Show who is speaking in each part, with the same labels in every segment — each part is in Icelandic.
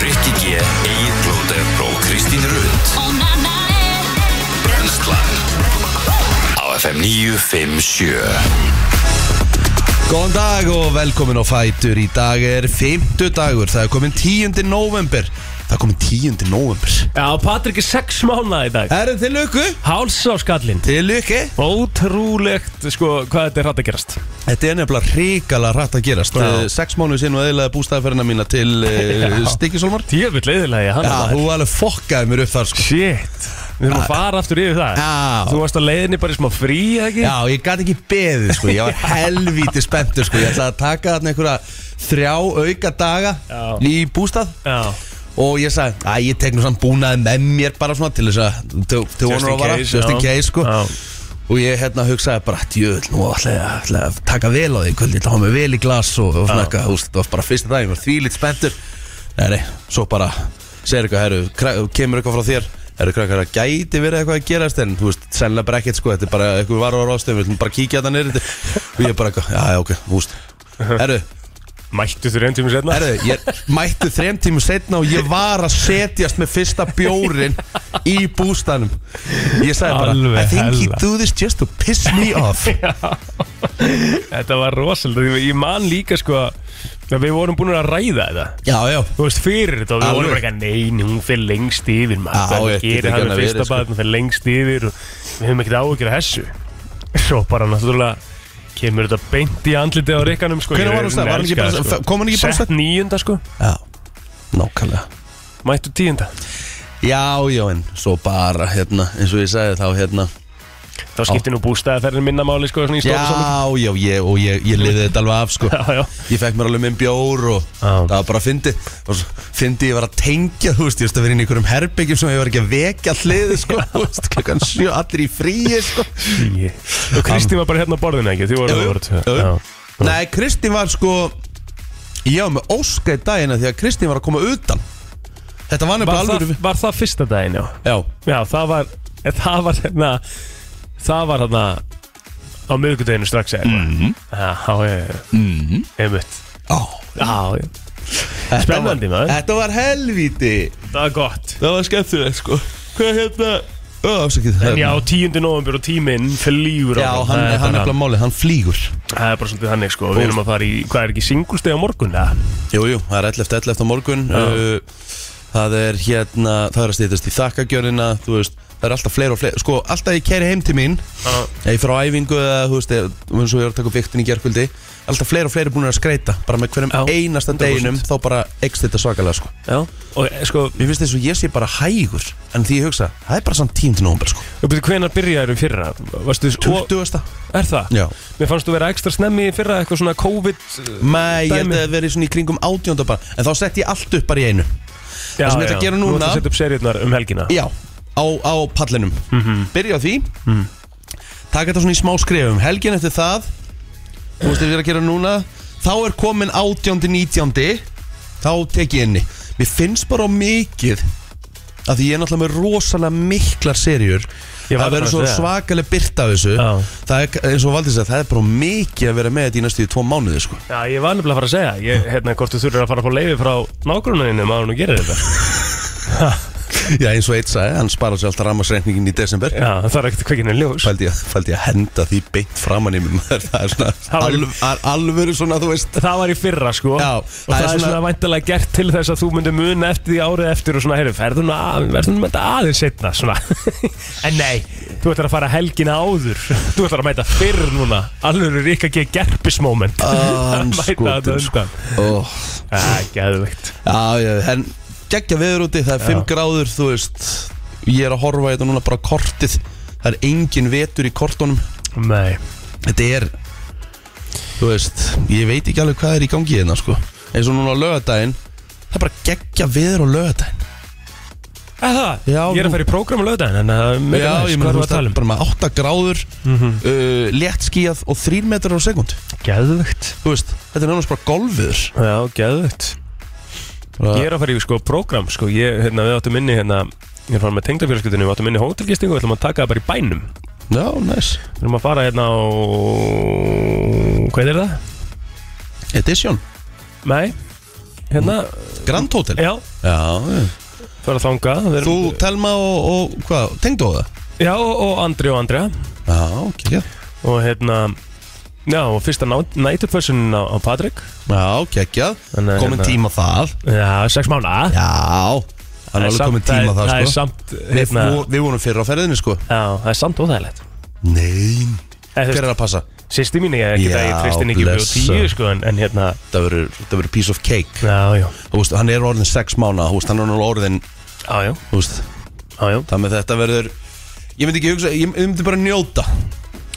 Speaker 1: Rikki G, Egil Blóter og Kristín Rund Brennskland Á FM 957
Speaker 2: Góðan dag og velkomin á Fætur Í dag er 50 dagur, það er komin 10. november Það er komin 10. november
Speaker 3: Já, Patrik er sex mánuða í dag
Speaker 2: Erum til lukku?
Speaker 3: Háls á skallin
Speaker 2: Til lukku
Speaker 3: Ótrúlegt, sko, hvað þetta er hrætt að gerast
Speaker 2: Þetta er nefnilega hrikalega rætt að gerast
Speaker 3: Já.
Speaker 2: Eh, Sex mánuð sinn og eðlaði bústæðaferðina mína til uh,
Speaker 3: Já.
Speaker 2: Stikisólmar
Speaker 3: Djöfull eðilega, hann
Speaker 2: Já,
Speaker 3: er
Speaker 2: þú alveg fokkaði mér upp þar sko Ah.
Speaker 3: Shit, við erum að fara aftur yfir það
Speaker 2: Já.
Speaker 3: Þú varst að leiðinni bara í smá frí, eða ekki?
Speaker 2: Já, ég gat ekki beðið sko, ég var helvíti spenntur sko Ég ætlaði að taka þarna einhverja þrjá auka daga
Speaker 3: Já.
Speaker 2: í bústað
Speaker 3: Já.
Speaker 2: Og ég sagði, að ég tek nú samt búnaði með mér bara svona til þess að til- Til
Speaker 3: Just
Speaker 2: honor
Speaker 3: in
Speaker 2: að vara,
Speaker 3: case,
Speaker 2: just in
Speaker 3: já.
Speaker 2: case sko
Speaker 3: Já.
Speaker 2: Og ég hérna hugsaði bara, djöðl, nú ætla ég ætla ég að taka vel á því í kvöld Ég ætla að hafa mig vel í glas og, og svona eitthvað, þú veist, þetta var bara fyrsta dag, ég var þvílít spenntur Nei, nei, svo bara, segir eitthvað, herru, kra- kemur eitthvað frá þér Herru krakkar, það gæti verið eitthvað að gerast en þú veist, sennilega bara ekkert sko, þetta er bara eitthvað varu á ráðstöðum, við ætlum bara að kíkja þetta neyri og ég bara, eitthvað, já, já, ok, þú veist Herru,
Speaker 3: Mættu þurr einn tími setna
Speaker 2: Herðu, ég mætti þrem tímum setna og ég var að setjast með fyrsta bjórin í bústanum Ég sagði bara
Speaker 3: Alveg
Speaker 2: I think he
Speaker 3: hella.
Speaker 2: do this just to piss me off
Speaker 3: Þetta var rosalega, ég man líka sko að við vorum búin að ræða þetta
Speaker 2: Já, já
Speaker 3: Þú veist, fyrir þetta og við
Speaker 2: Alveg.
Speaker 3: vorum bara eitthvað Nein, hún fyrir lengst yfir
Speaker 2: Já,
Speaker 3: maður Það
Speaker 2: ég get
Speaker 3: gerir
Speaker 2: ekki
Speaker 3: það
Speaker 2: annað
Speaker 3: með fyrsta
Speaker 2: verið, sko.
Speaker 3: bad, hún fyrir lengst yfir og við höfum ekkert áhyggjur af þessu Svo bara náttúrulega kemur þetta beint í andliti á rikkanum sko.
Speaker 2: Hvenær
Speaker 3: Ég
Speaker 2: var hún stað? Var hún ekki bara-
Speaker 3: elska það,
Speaker 2: kom hún ekki bara
Speaker 3: Sett
Speaker 2: stað?
Speaker 3: níunda sko,
Speaker 2: Já, nákvæmlega
Speaker 3: mættu tíunda
Speaker 2: Já, já, en svo bara, hérna, eins og ég sagði þá, hérna
Speaker 3: Þá skiptir nú bústæðaferðin minna máli sko, svona í stóru saman
Speaker 2: Já, já, ég, og ég, ég liði þetta alveg af, sko
Speaker 3: Já, já
Speaker 2: Ég fekk mér alveg minn bjór og
Speaker 3: Já.
Speaker 2: það var bara að fyndi og svo fyndi ég var að tengja, þú veist, ég veist að vera inn í einhverjum herbyggjum sem ég var ekki að vekja hliði, sko, þú veist, klukkan sjö, allir í fríi, sko
Speaker 3: Tíu. Og Kristi var bara hérna á borðinu ekki, því voru
Speaker 2: Jú, jú, jú.
Speaker 3: Já.
Speaker 2: Nei, Kristín var sko Ég var með óska í dagina því að Kristín var að koma utan Þetta var nefnilega
Speaker 3: Var
Speaker 2: alveg
Speaker 3: það, var það fyrsta daginn, já?
Speaker 2: Já,
Speaker 3: Já, það var Það var hérna Það var hérna Á miðvikudeginu strax eða mm. Já, já, já, já
Speaker 2: mm.
Speaker 3: einmitt
Speaker 2: Mhm. Ó,
Speaker 3: Já, já
Speaker 2: þetta
Speaker 3: Spennandi,
Speaker 2: var,
Speaker 3: maður.
Speaker 2: Þetta var helvíti
Speaker 3: Það var gott
Speaker 2: Það var skemmtilegt sko Hvað hérna Ó, afsakið hérna.
Speaker 3: En já, 10. november og tíminn flýgur
Speaker 2: Já,
Speaker 3: áfram. það
Speaker 2: hann,
Speaker 3: er
Speaker 2: hann
Speaker 3: bara-
Speaker 2: nefnilega máli, hann flýgur
Speaker 3: Það er bara svolítið þannig, sko Við erum að fara í Hvað er ekki singulsteg á morgun, eða?
Speaker 2: Jú, jú, það er 11. 11. á morgun uh, Það er hérna, það er að stýtast í þakkagjörnina Þú veist, það er alltaf fleira og fleira Sko, alltaf ég kæri heim til mín
Speaker 3: Já.
Speaker 2: Eða ég fer á æfingu eða, þú veist, eða- eins og ég var að taka upp viktin í gerkvöldi Alltaf fleira og fleira búin að skreita Bara með hverjum
Speaker 3: Já,
Speaker 2: einasta
Speaker 3: 100%.
Speaker 2: deginum Þá bara ekst þetta svakalega, sko
Speaker 3: Já Og eh, sko
Speaker 2: Mér finnst þess að ég sé bara hægur En því ég hugsa, það er bara samt tím til nómber, sko
Speaker 3: Uppið hvenar byrjaður í um fyrra? Varstu og-
Speaker 2: 20.
Speaker 3: Er það?
Speaker 2: Já.
Speaker 3: Mér fannst þú vera ekstra snemmi í fyrra Eitthvað svona COVID eh,
Speaker 2: Mæ, ég held
Speaker 3: Dæmi.
Speaker 2: að það verið svona í kringum átjónda bara En þá sett ég allt upp bara í einu
Speaker 3: Já,
Speaker 2: sem ég ætla að gera
Speaker 3: Nú
Speaker 2: núna-
Speaker 3: ætla að setja upp seriðnar um helgina
Speaker 2: Já, á, á pallinum Byrja á því
Speaker 4: Mm.
Speaker 2: Taka þetta svona í smá skrefum Helgin eftir það Þú veist þegar við erum að gera núna Þá er komin átjóndi, nítjóndi Þá tek ég inni Mér finnst bara á mikið að Því ég er náttúrulega með rosalega miklar serjur
Speaker 3: Ég var
Speaker 2: Það verður
Speaker 3: bara að
Speaker 2: svo
Speaker 3: segja.
Speaker 2: svakalega byrta af þessu
Speaker 3: Já.
Speaker 2: Það er eins og valdins að það er bara of mikið að vera með þetta í næstu tvo mánuði sko.
Speaker 3: Já, ég var nefnilega að fara að segja ég, hérna, hvort þú þurfir að fara að fá leiði frá nágrunninum að hún gerir þetta
Speaker 2: Já eins og eitt sagði, hann sparar sér alltaf rammarsreikningin í desember
Speaker 3: Já, það er ekkert kveikinu ljós
Speaker 2: Fældi ég, fældi ég að henda því beint framann í mér maður, það er svona
Speaker 3: Það var-
Speaker 2: alv, al, alvöru svona, þú veist
Speaker 3: Það var í fyrra, sko
Speaker 2: Já,
Speaker 3: og það, er svona, svona væntalega gert til þess að þú myndir muna eftir því árið eftir og svona, heyrðu, ferðu nú að, verður nú með þetta aðeins setna, svona En nei, þú ætlar að fara helgina áður Þú ætlar að mæta fyrr núna Alveg er ekki að gera gerpismoment
Speaker 2: Ah, Hann
Speaker 3: Mæta þetta
Speaker 2: skotur, sko.
Speaker 3: undan
Speaker 2: Ó,
Speaker 3: Já, geðveikt
Speaker 2: Já, já, en geggja veður úti, það er 5 gráður, þú veist Ég er að horfa í þetta núna bara á kortið Það er engin vetur í kortunum
Speaker 3: Nei
Speaker 2: Þetta er, þú veist, ég veit ekki alveg hvað er í gangi hérna, sko Eins og núna á lögadaginn, það er bara geggja veður á lögadaginn
Speaker 3: Er það?
Speaker 2: Já,
Speaker 3: ég er
Speaker 2: nú-
Speaker 3: að fara í prógram á löðan En það er meira
Speaker 2: Já,
Speaker 3: næs, hvað
Speaker 2: ég meina,
Speaker 3: erum við
Speaker 2: þú veist,
Speaker 3: að
Speaker 2: það
Speaker 3: tala
Speaker 2: er
Speaker 3: um? Mhm.
Speaker 2: bara með 8 gráður, uh, létt skíjað og 3 metrar á sekund
Speaker 3: Geðveikt
Speaker 2: þú veist, þetta er nánast bara golfur
Speaker 3: Já, geðvögt Ég er að fara í sko program sko. ég, hérna, Við áttum inni hérna Ég er farin með tengdafjörskutinu, við áttum inni hótelgistingu Við ætlum að taka það bara í bænum
Speaker 2: Já, næs
Speaker 3: Við erum að fara hérna á Hvað er það?
Speaker 2: Edition Mm.
Speaker 3: Nei, hérna
Speaker 2: Grand Hotel
Speaker 3: Já,
Speaker 2: já, já.
Speaker 3: fyrir að þanga
Speaker 2: Þú, Telma og, og hvað, tengdu á það?
Speaker 3: Já, og, og Andri og Andrea
Speaker 2: Já, ok, já
Speaker 3: Og hérna Já, og fyrsta nætupössun á, á Patrik
Speaker 2: Já, geggjað,
Speaker 3: Þannig að
Speaker 2: komin
Speaker 3: hérna-
Speaker 2: tíma það
Speaker 3: Já, sex mánuða
Speaker 2: Já, það er alveg komin tíma það,
Speaker 3: Það er
Speaker 2: sko
Speaker 3: samt,
Speaker 2: Við,
Speaker 3: hérna
Speaker 2: fó- við vorum fyrir á ferðinni, sko
Speaker 3: Já, það er samt óþægilegt
Speaker 2: Nei,
Speaker 3: Eh, þú
Speaker 2: hver
Speaker 3: veist,
Speaker 2: er að passa?
Speaker 3: Sýsti mín, ég er ekki
Speaker 2: Já,
Speaker 3: það, ég tristin ekki mjög
Speaker 2: blessa.
Speaker 3: tíu, sko, en, en hérna
Speaker 2: Það verður það verður piece of cake
Speaker 3: Já, já,
Speaker 2: Þú veist, hann er orðin sex mánu, þú veist, hann er alveg orðin
Speaker 3: já, já,
Speaker 2: Þú veist,
Speaker 3: já, já.
Speaker 2: það með þetta verður Ég myndi ekki hugsa, ég, ég myndi bara njóta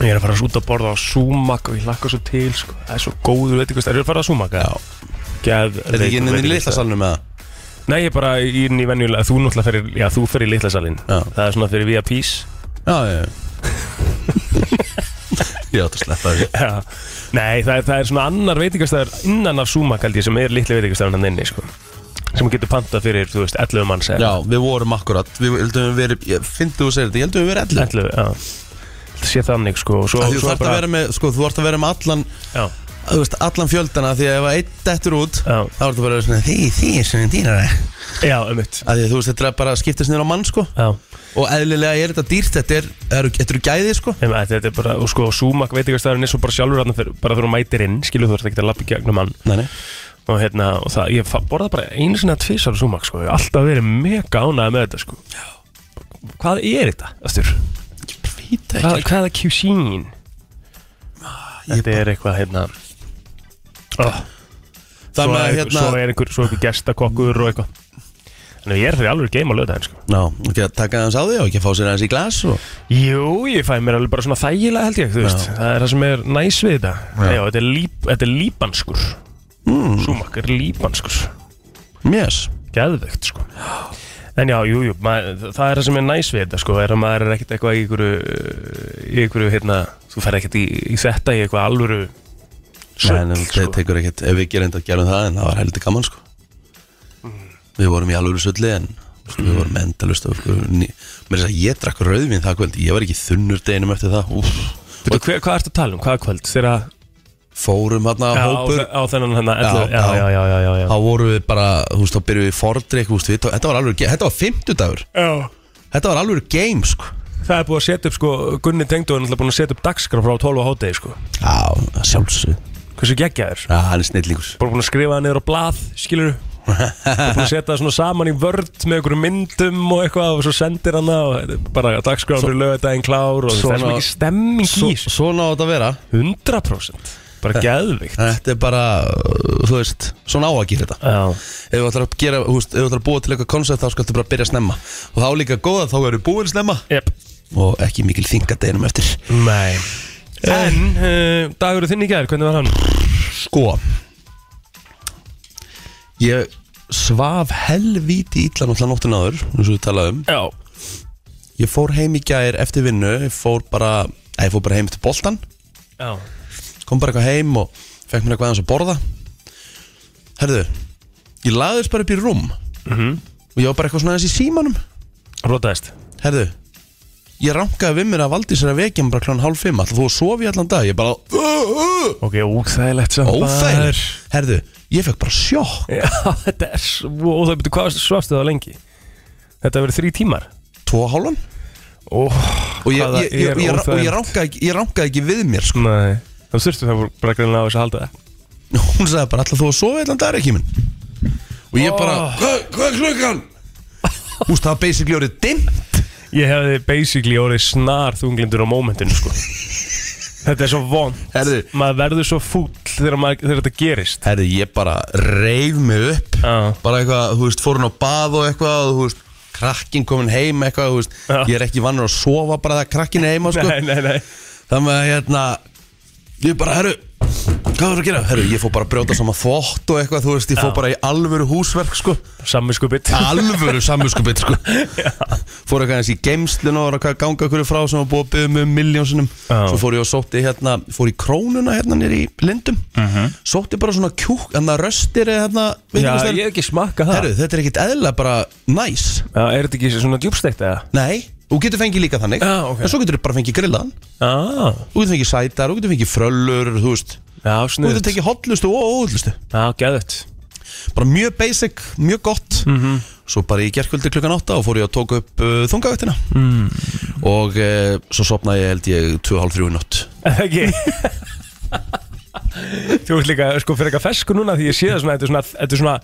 Speaker 3: Ég er að fara út að borða á súmak og ég lakka svo til, sko. Það er svo góður veitingast. Er það að fara á súmak?
Speaker 2: Já,
Speaker 3: Gæð,
Speaker 2: er þetta ekki inn í litla salnum með það?
Speaker 3: Nei, ég er bara í inn í venjulega, þú náttúrulega fyrir, já, þú fyrir í litla salin.
Speaker 2: Já.
Speaker 3: Það er svona fyrir VIPs.
Speaker 2: Já, já, já Ég átt að sleppa þessu
Speaker 3: Já. Nei, það er, það er svona annar veitingastæður innan af súmak, held ég, sem er litli veitingastæður hann inni, sko. Sem getur pantað fyrir, þú veist, 11 manns
Speaker 2: Já,
Speaker 3: eða.
Speaker 2: við vorum akkurat, við heldum við verið, ég finnst þú að segja þetta, ég heldum við verið 11
Speaker 3: 11, já. Það sé þannig, sko. og Svo,
Speaker 2: Af því Þú
Speaker 3: svo
Speaker 2: þarft að vera með, sko, þú þarft að vera með allan
Speaker 3: Já,
Speaker 2: þú veist, allan fjöldana því að ef að einn dettur út
Speaker 3: Já.
Speaker 2: þá er þetta bara svona því, því, svona dýrari að
Speaker 3: já, ömmit.
Speaker 2: því að þú veist, þetta er bara að skiptast niður á mann sko
Speaker 3: Já.
Speaker 2: og eðlilega er þetta dýrt, þetta er, er, er, er gæði sko
Speaker 3: Nei, maður, Þetta er bara, og sko, súmak veitingastæðurinn er svo bara sjálfur hann bara þú mætir inn, skilu þú ert ekki að lappa gegnum hann
Speaker 2: Nei, nei
Speaker 3: og hérna, og það, ég fa- borða bara einu sinna tvisar súmak, sko, ég hef alltaf verið mega ánægð með þetta, sko Já. Hvað er þetta, Astur?
Speaker 2: Vít
Speaker 3: Hvað, hvað er cuisine?
Speaker 2: ég
Speaker 3: Þetta er eitthvað, hérna oh,
Speaker 2: Það
Speaker 3: svo, er,
Speaker 2: með að
Speaker 3: hérna... svo
Speaker 2: hérna
Speaker 3: er einhver, svo er einhver gestakokkur og eitthvað Þannig að ég er fyrir alveg game á löðaðin, sko
Speaker 2: Ná, ekki að taka aðeins á því og ekki að fá sér aðeins í glas og
Speaker 3: Jú, ég fæ mér alveg bara svona þægilega held ég, þú veist Það er það sem er næs við þetta Já, þetta er, líp, þetta er líbanskur
Speaker 2: Hmm.
Speaker 3: mm. Súmak er líbanskur
Speaker 2: Mjöss
Speaker 3: Geðvegt, sko En já, jú, jú, mað, það er það sem er næs við þetta, sko Er að maður er ekkert eitthvað í ykkur Í ykkur, hérna, þú fer ekkert í, í þetta Í eitthvað alvöru
Speaker 2: Nei,
Speaker 3: söll,
Speaker 2: en
Speaker 3: sko.
Speaker 2: þetta tekur ekkert, ef við gerum þetta gerum það en það var heldur gaman sko
Speaker 3: Mm.
Speaker 2: Við vorum í alveg söllu en sko, við vorum endalust og sko, ný- mér er að segja, ég drakk rauðvin það kvöld ég var ekki þunnur deginum eftir það Úf.
Speaker 3: Veitu, hver, Hvað ertu að tala um, hvaða kvöld? Þegar að
Speaker 2: fórum hérna
Speaker 3: Já, á,
Speaker 2: hópur
Speaker 3: þe- á þennan hérna
Speaker 2: Já,
Speaker 3: ellefu- já,
Speaker 2: já.
Speaker 3: já, já, já, já, já.
Speaker 2: þá vorum við bara, þú veist, þá byrjuðum við í fordrykk, þú veist, við, tók- þetta var alveg, þetta var fimmtudagur, þetta var alveg game, sko.
Speaker 3: Það er búið að setja upp sko Gunni Tengdóð er náttúrulega búin að setja upp dagskrá frá 12 á hátegi sko
Speaker 2: Já, að sjálfsög.
Speaker 3: Hversu geggjaður
Speaker 2: Já, hann er snillingur.
Speaker 3: bara búin að skrifa það niður á blað, skilur bara búin að setja það svona saman í vörd með einhverjum myndum og eitthvað og svo sendir hann það og þetta er bara dagskráðan fyrir lögadaginn klár og það
Speaker 2: Svona-
Speaker 3: er svona ekki stemming
Speaker 2: Svo,
Speaker 3: í þessu
Speaker 2: svona á þetta að vera.
Speaker 3: 100% bara geðvikt
Speaker 2: Þetta er bara, uh, þú veist, svona á að gera þetta.
Speaker 3: já,
Speaker 2: Ef þú ætlar að gera, þú veist, ef þú ætlar að búa til eitthvað koncept, þá skaltu bara byrja snemma. Og þá líka góða, þá eru búin snemma.
Speaker 3: yep.
Speaker 2: Og ekki mikil þinga deginum eftir.
Speaker 3: nei en uh, dagur þinn í gær, hvernig var hann?
Speaker 2: Sko, ég svaf helvíti illa náttúrulega nóttin áður, eins og við talaðum.
Speaker 3: já,
Speaker 2: Ég fór heim í gær eftir vinnu Ég fór bara, eða ég fór bara heim til boltan
Speaker 3: já,
Speaker 2: Kom bara eitthvað heim og fekk mér eitthvað aðeins að borða Herðu Ég lagðist bara upp í rúm
Speaker 3: Mhm.
Speaker 2: Og ég var bara eitthvað svona aðeins í símanum
Speaker 3: rótaðist
Speaker 2: Herðu Ég rankaði við mér að valdi sér að vekja mig bara klán hálf fimm Alltaf þú að sofi allan dag Ég bara uh, uh,
Speaker 3: ok, óþægilegt samt
Speaker 2: Óþægir
Speaker 3: maður.
Speaker 2: Herðu, ég fekk bara sjokk
Speaker 3: já, þetta er svo óþægilegt hvað svafstu það lengi? þetta verið þrý tímar
Speaker 2: Tvo og hálfan
Speaker 3: oh,
Speaker 2: Og ég, ég, ég, ég, ég, og ég, rankaði, ekki- ég rankaði ekki við mér sko.
Speaker 3: Nei, þá þurftu það bara greinlega á þessu að halda það
Speaker 2: Hún sagði bara alltaf þú að sofi allan dag ekki minn Og ég bara Hvað hvað er klukkan? Þú veist það var basically orðið dimmt
Speaker 3: Ég hefði basically orðið snar þunglindur á mómentinu sko Þetta er svo vond
Speaker 2: Herðu.
Speaker 3: Maður verður svo fúll þegar, maður, þegar þetta gerist
Speaker 2: Herði ég bara reyf mig upp
Speaker 3: Já.
Speaker 2: Bara eitthvað, þú veist, fór hún á bað og eitthvað og, Þú veist, krakkin komin heim eitthvað Þú veist,
Speaker 3: Já.
Speaker 2: ég er ekki vannur að sofa bara það krakkin er heima sko.
Speaker 3: Nei, nei, nei
Speaker 2: Þannig að hérna Ég bara, herru, hvað er að gera? Herru, ég fór bara að brjóta saman þvott og eitthvað Þú veist, ég
Speaker 3: Já.
Speaker 2: fór bara í alvöru húsverk sko.
Speaker 3: Sammiskupið
Speaker 2: Alvöru samvinskupið sko. Fór eitthvað eins í geimslun og var að ganga okkur frá sem var búið að byggja mig um miljónsinnum
Speaker 3: Já.
Speaker 2: Svo fór ég og sótti hérna Fór í krónuna hérna nýri í lindum Sótti bara svona kjúk, hérna röstir eða hérna,
Speaker 3: Mhm. Já,
Speaker 2: veitingastaðar.
Speaker 3: ég hef ekki smakka það
Speaker 2: Herru, þetta er ekkit eðla bara næs
Speaker 3: Já, er þetta ekki svona djúbsteikt eða?
Speaker 2: Nei, þú getur fengið líka þannig
Speaker 3: Já, ok.
Speaker 2: En svo getur þú bara fengið grillaðan
Speaker 3: Já,
Speaker 2: Þú getur fengið sætar, þú getur fengið fröllur, þú veist
Speaker 3: já,
Speaker 2: Þú getur
Speaker 3: snuðt
Speaker 2: tekið hotlustu og óhullustu
Speaker 3: Já, geðut
Speaker 2: bara mjög basic, mjög gott
Speaker 3: Mhm.
Speaker 2: svo bara í gerkvöldi klukkan 8 og fór ég að tóka upp uh, þungavöktina
Speaker 3: Mm.
Speaker 2: og uh, svo sopnaði ég held ég 2.30 nátt
Speaker 3: ekki Þú ert líka sko fyrir eitthvað fesku núna því ég sé það svona, þetta er svona, þetta er svona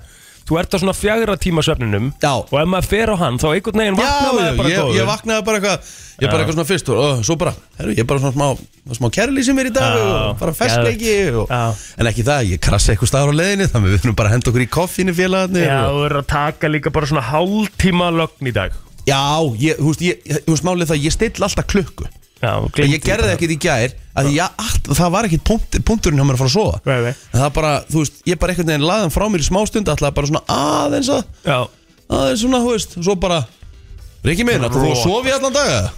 Speaker 3: þú ert á svona fjagra tíma svefninum
Speaker 2: Já.
Speaker 3: og ef maður fer á hann þá einhvern veginn vaknar maður bara
Speaker 2: ég,
Speaker 3: góður
Speaker 2: ég vaknaði bara eitthvað ég bara
Speaker 3: Já.
Speaker 2: eitthvað svona fyrst og, og svo bara, herru, ég er bara svona smá, smá kærli sem er í dag
Speaker 3: Já,
Speaker 2: og bara festleiki og,
Speaker 3: Já.
Speaker 2: en ekki það, ég krassi eitthvað staðar á leiðinni þannig við finnum bara að henda okkur í koffinu félagarnir
Speaker 3: Já,
Speaker 2: og,
Speaker 3: þú er að taka líka bara svona hálftíma lögn í dag
Speaker 2: já ég, þú veist, ég, þú veist málið það, ég still alltaf klukku
Speaker 3: Já,
Speaker 2: en ég gerði það ekkert í gær að því ég, all, það var ekkert punkt, punkturinn hjá mér að fara að sofa
Speaker 3: Nei, nei.
Speaker 2: en það bara, þú veist, ég bara einhvern veginn laðan frá mér í smástund, alltaf bara svona aðeins að
Speaker 3: Já,
Speaker 2: aðeins svona, þú veist, og svo bara Rikki minn, ætlar þú að
Speaker 3: Rot.
Speaker 2: sofa í allan dag eða?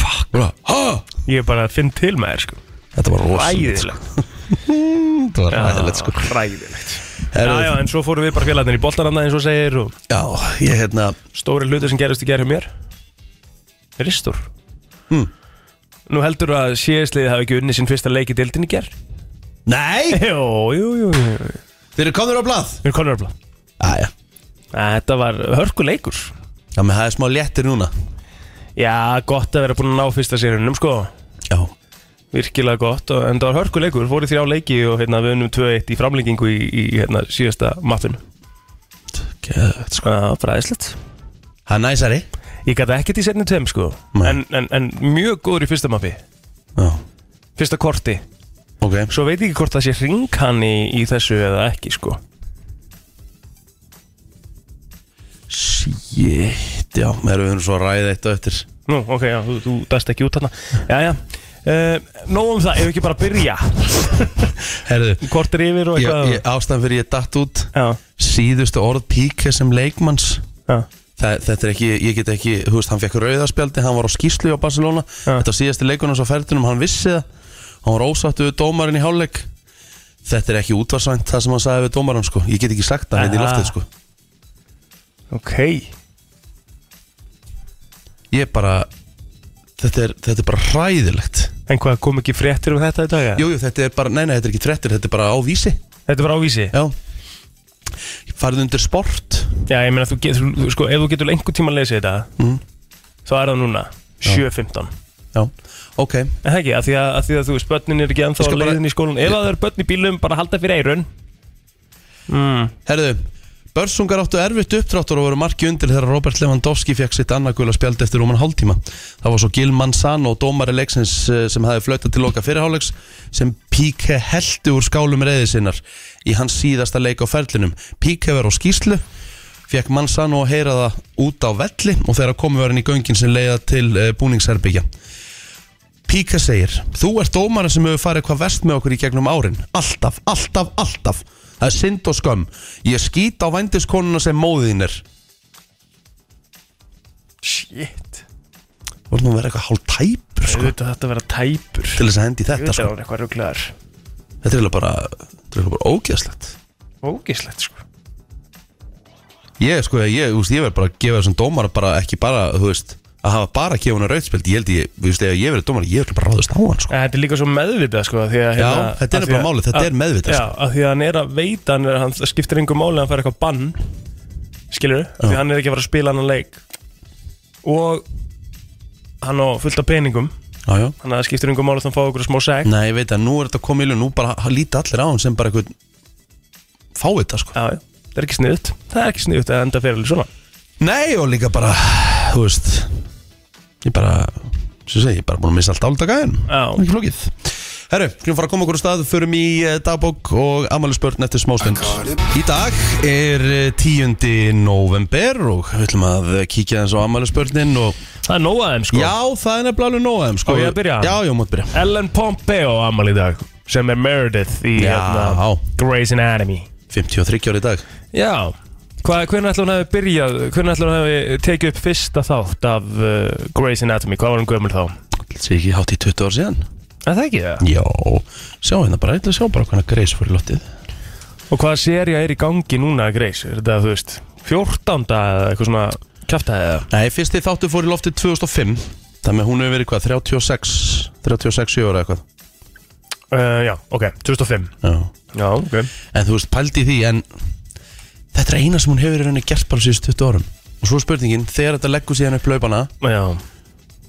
Speaker 2: Fuck, bara, ha?
Speaker 3: ég bara finn til með þér sko
Speaker 2: Þetta var rosalegt sko.
Speaker 3: Æðilegt
Speaker 2: Þetta var ræðilegt sko
Speaker 3: Ræðilegt Já,
Speaker 2: Herðu-
Speaker 3: já, en svo fórum við bara félagarnir í boltaranna eins og segir og
Speaker 2: Já, ég hérna
Speaker 3: stóri hluti sem gerist í gerð hjá mér Ristur
Speaker 2: Hmm.
Speaker 3: Nú heldur að síðastliðið hafi ekki unnið sinn fyrsta leik í deildin í gerð
Speaker 2: Nei,
Speaker 3: Jú, jú, jú, jú
Speaker 2: þeir eru komnir á blað
Speaker 3: Við erum konur öfla
Speaker 2: Æja,
Speaker 3: Þetta var hörkuleikur
Speaker 2: já, menn það er smá léttir núna
Speaker 3: Já, gott að vera búin að ná fyrsta sérunum sko
Speaker 2: Já,
Speaker 3: Virkilega gott, og, en það var hörkuleikur Fóru þrjá leiki og hérna, við unnum 2-1 í framlengingu í, í hérna, síðasta mappinu
Speaker 2: geðvægt sko
Speaker 3: Það var fræðislegt
Speaker 2: Það er næsari
Speaker 3: Ég gæti ekkert í setni tveim sko
Speaker 2: Nei.
Speaker 3: en, en, en mjög góður í fyrsta mappi
Speaker 2: Já,
Speaker 3: Fyrsta korti
Speaker 2: ok
Speaker 3: Svo veit ég ekki hvort það sé ring hann í, í þessu eða ekki sko
Speaker 2: Shit, já, við erum svo að ræða eitt og eftir
Speaker 3: Nú, ok, já, þú, þú dast ekki út þarna Jæja, uh, nóg um það, ef við ekki bara byrja
Speaker 2: Herðu,
Speaker 3: Hvort er yfir og
Speaker 2: ég,
Speaker 3: eitthvað
Speaker 2: ég, ástæðan fyrir ég datt út
Speaker 3: Já,
Speaker 2: Síðustu orð píka sem leikmanns
Speaker 3: já,
Speaker 2: Þa, þetta er ekki, ég get ekki, þú veist, hann fekk rauðaspjaldi, hann var á skýslu á Barcelona
Speaker 3: Já.
Speaker 2: Þetta var síðasti leikunum svo ferðinum, hann vissi það Hann var ósattu við dómarinn í hálfleik Þetta er ekki útvarsvænt það sem hann sagði við dómarinn, sko Ég get ekki sagt það, hérna í
Speaker 3: Aha.
Speaker 2: loftið, sko
Speaker 3: ok
Speaker 2: Ég bara, þetta er, þetta er bara hræðilegt
Speaker 3: En hvað, kom ekki fréttir um þetta í dag? eða?
Speaker 2: Jújú, jú, þetta er bara, nei, nei, þetta er ekki trettir, þetta er bara á vísi
Speaker 3: Þetta var ávísi
Speaker 2: Já Farðu undir sport
Speaker 3: Já, ég meina, þú getur, þú- sko, ef þú getur einhver tíma að lesa þetta
Speaker 2: Mm.
Speaker 3: Þá er það núna, 7.15
Speaker 2: Já, ok,
Speaker 3: En það ekki, af því að, að, því að þú veist, börnin er ekki ennþá á
Speaker 2: Ég skal bara-
Speaker 3: leiðin í skólan Ef það eru börn í bílum, bara halda fyrir eirun mm.
Speaker 2: Herðu, börsungar áttu erfitt uppdráttur og voru marki undir þegar Robert Lewandowski fekk sitt annarkvöla spjald eftir rúman hálftíma. Það var svo Gil Manzano, dómari leiksins eh, sem hafði flautað til loka fyrirháleiks sem Píke heldi úr skálum reyði sinnar í hans síðasta leik á ferlinum. Píke var á skýslu, fekk Manzano að heyra það út á velli og þegar komið var hann í göngin sem leiða til eh, búningsherbyggja. Píka segir, þú ert dómara sem hefur farið hvað vest með okkur í gegnum árin Alltaf, alltaf, alltaf Það er synd og skömm Ég skýt á vændiskonuna sem móðin er
Speaker 3: Shit
Speaker 2: Þú ert nú að vera eitthvað hálf tæpur sko,
Speaker 3: Auðvitað þetta vera tæpur
Speaker 2: Til þess að hendi í þetta
Speaker 3: Auðvitað
Speaker 2: sko.
Speaker 3: var eitthvað rugglegar
Speaker 2: Þetta er eiginlega bara, þetta er eiginlega bara ógeðslegt
Speaker 3: Ógislegt sko
Speaker 2: Ég sko, ég, ég, úst, ég verð bara að gefa þessum dómara bara ekki bara, þú veist að hafa bara að gefa hana rautspild Ég held ég, þú veist, ef ég verið dómara, ég verð bara að ráðast á hann sko.
Speaker 3: En þetta er líka svo meðvitað sko því að,
Speaker 2: Já,
Speaker 3: hérna,
Speaker 2: þetta er
Speaker 3: af því að-
Speaker 2: nefnilega málið, þetta
Speaker 3: að-
Speaker 2: er meðvitað, sko.
Speaker 3: Já, af því að hann er að veita, hann, er, hann það skiptir yngur máli að hann fær eitthvað bann Skilur við? Því að hann er ekki að fara að spila hann leik Og hann á fullt af peningum
Speaker 2: Já, já
Speaker 3: Þannig að það skiptir yngur máli að hann fá okkur smá seg
Speaker 2: Nei, ég veit að nú er þetta komið í ljón, nú bara ha- líta allir á hann sem bara eitthvað fáið þetta sko
Speaker 3: Já, já, það er ekki sniðut Það er ekki sniðut að enda fyrir alveg svona
Speaker 2: Nei og líka bara Þú veist Ég bara Svo segi ég bara búin að missa allt áldaga en
Speaker 3: Já.
Speaker 2: Ekki flókið Herru, skulum fara að koma okkur á stað Förum í eh, dagbók og amalisbörn eftir smástund Í dag er eh, 10. november Og við ætlum að eh, kíkja aðeins á amalisbörnin og
Speaker 3: Það er nóg aðeim sko
Speaker 2: Já, það er nefnilega alveg nóg aðeim
Speaker 3: Á
Speaker 2: sko
Speaker 3: ég að byrja?
Speaker 2: Já, já, mátt byrja
Speaker 3: Ellen Pompeo á amal í dag sem er Meredith í
Speaker 2: Já.
Speaker 3: hérna, Grey's Anatomy
Speaker 2: 53 ári í dag
Speaker 3: Já Hvað, hvernig ætlum hann hafi byrjað, hvernig ætlum hann hafi tekið upp fyrsta þátt af uh, Grey's Anatomy, hvað var hann gömul þá?
Speaker 2: Sér ekki hátt í 20 ár síðan
Speaker 3: Er það ekki það?
Speaker 2: Já, sjá hérna bara Þetta sjá bara hvernig greis fyrir lottið
Speaker 3: Og hvaða seria er í gangi núna Grey's? Er þetta, þú veist, 14. eða eitthvað svona kjaftaði eða?
Speaker 2: Nei, fyrsti þáttu fór í loftið 2005 Þannig að hún hefur verið hvað, 36 36 sjöra eitthvað
Speaker 3: Uh, já, ok, 2005
Speaker 2: Já.
Speaker 3: Já, ok
Speaker 2: En þú veist, pældi því en þetta er eina sem hún hefur í rauninni gert bara síðust 20 árum og svo er spurningin, þegar þetta leggur síðan upp laupana
Speaker 3: Já,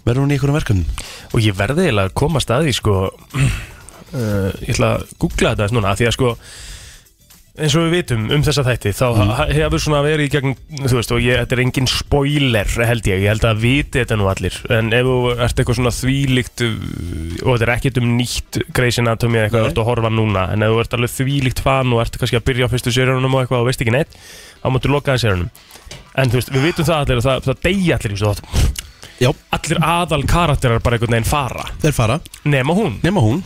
Speaker 2: verður hún í einhverjum verkefnum
Speaker 3: og ég verði eiginlega að komast að því sko uh, ég ætla að googla þetta aðeins núna af því að sko eins og við vitum um þessa þætti þá mm. hefur svona verið í gegn þú veist og ég, þetta er engin spoiler held ég, ég held að viti þetta nú allir en ef þú ert eitthvað svona þvílíkt uh, og þetta er ekkert um nýtt Grey's Anatomy eða eitthvað
Speaker 2: Nei.
Speaker 3: þú ert að horfa núna en ef þú ert alveg þvílíkt fan og ert kannski að byrja á fyrstu sérjónum og eitthvað og veist ekki neitt þá máttu loka það sérjónum en þú veist, við vitum það allir að það, það deyja allir í þessu þáttum
Speaker 2: já,
Speaker 3: allir aðal karakterar bara einhvern veginn fara
Speaker 2: þeir fara,
Speaker 3: nema hún
Speaker 2: nema hún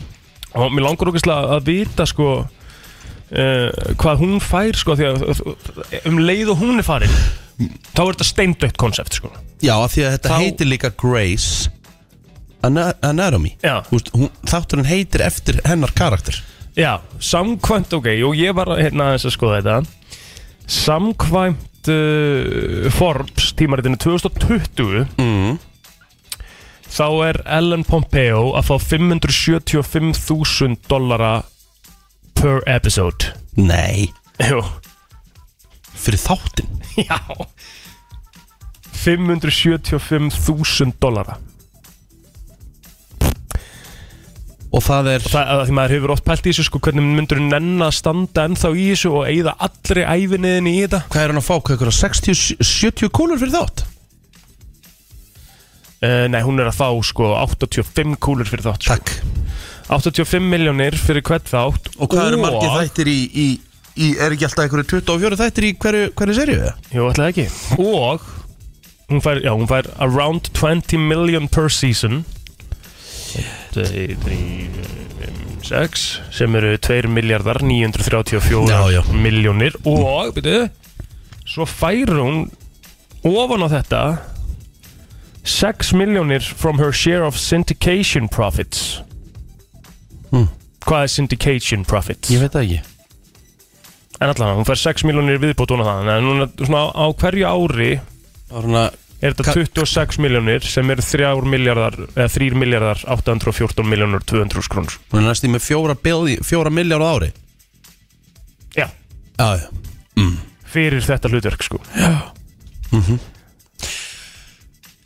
Speaker 3: og mér langar ógeðslega að vita sko uh, hvað hún fær sko því að um leið og hún er farin þá er þetta steindögt konsept sko
Speaker 2: já, af því að þetta
Speaker 3: Þá-
Speaker 2: heitir líka Grace Ana Anatomy
Speaker 3: Já.
Speaker 2: Þú veist, hún, þátturinn heitir eftir hennar karakter
Speaker 3: já, samkvæmt, ok, og ég var að- hérna aðeins að skoða þetta samkvæmt uh, Forbes tímaritinu 2020
Speaker 2: mm.
Speaker 3: þá er Ellen Pompeo að fá 575.000 dollara per episode
Speaker 2: nei,
Speaker 3: jú
Speaker 2: fyrir þáttin
Speaker 3: Já 575.000 dollara
Speaker 2: og það er,
Speaker 3: og það að því maður hefur oft pælt í þessu sko hvernig myndur nenn að standa ennþá í þessu og eigða allri æfinniðin í þetta
Speaker 2: hvað er hann að fá, hvað er 60-70 kúlur fyrir þátt
Speaker 3: uh, Nei, hún er að fá sko 85 kúlur fyrir þátt sko.
Speaker 2: takk,
Speaker 3: 85 miljónir fyrir hvern þátt
Speaker 2: og hvað eru margir þættir í, í, í er ekki alltaf einhverju 24 þættir í hverju, hverju serið það?
Speaker 3: Jú, ætlaði ekki Og hún fær, já, hún fær around 20 million per season 2, 3, 6 sem eru 2 miljardar 934
Speaker 2: Já, já.
Speaker 3: miljónir og, byrju svo fær hún ofan á þetta 6 miljónir from her share of syndication profits
Speaker 2: Hmm.
Speaker 3: Hvað er syndication profits?
Speaker 2: Ég veit það ekki
Speaker 3: En allavega, hún fær 6 miljónir viðbót hún á það En hún er svona á hverju ári
Speaker 2: Árna,
Speaker 3: er þetta
Speaker 2: Ka-
Speaker 3: 26 miljónir sem eru 3 miljardar eða 3 miljardar 814 miljónur 200 krónur
Speaker 2: hún er næst í með fjóra, billi- fjóra milljár á ári
Speaker 3: Já,
Speaker 2: Já, já Mm.
Speaker 3: fyrir þetta hlutverk sko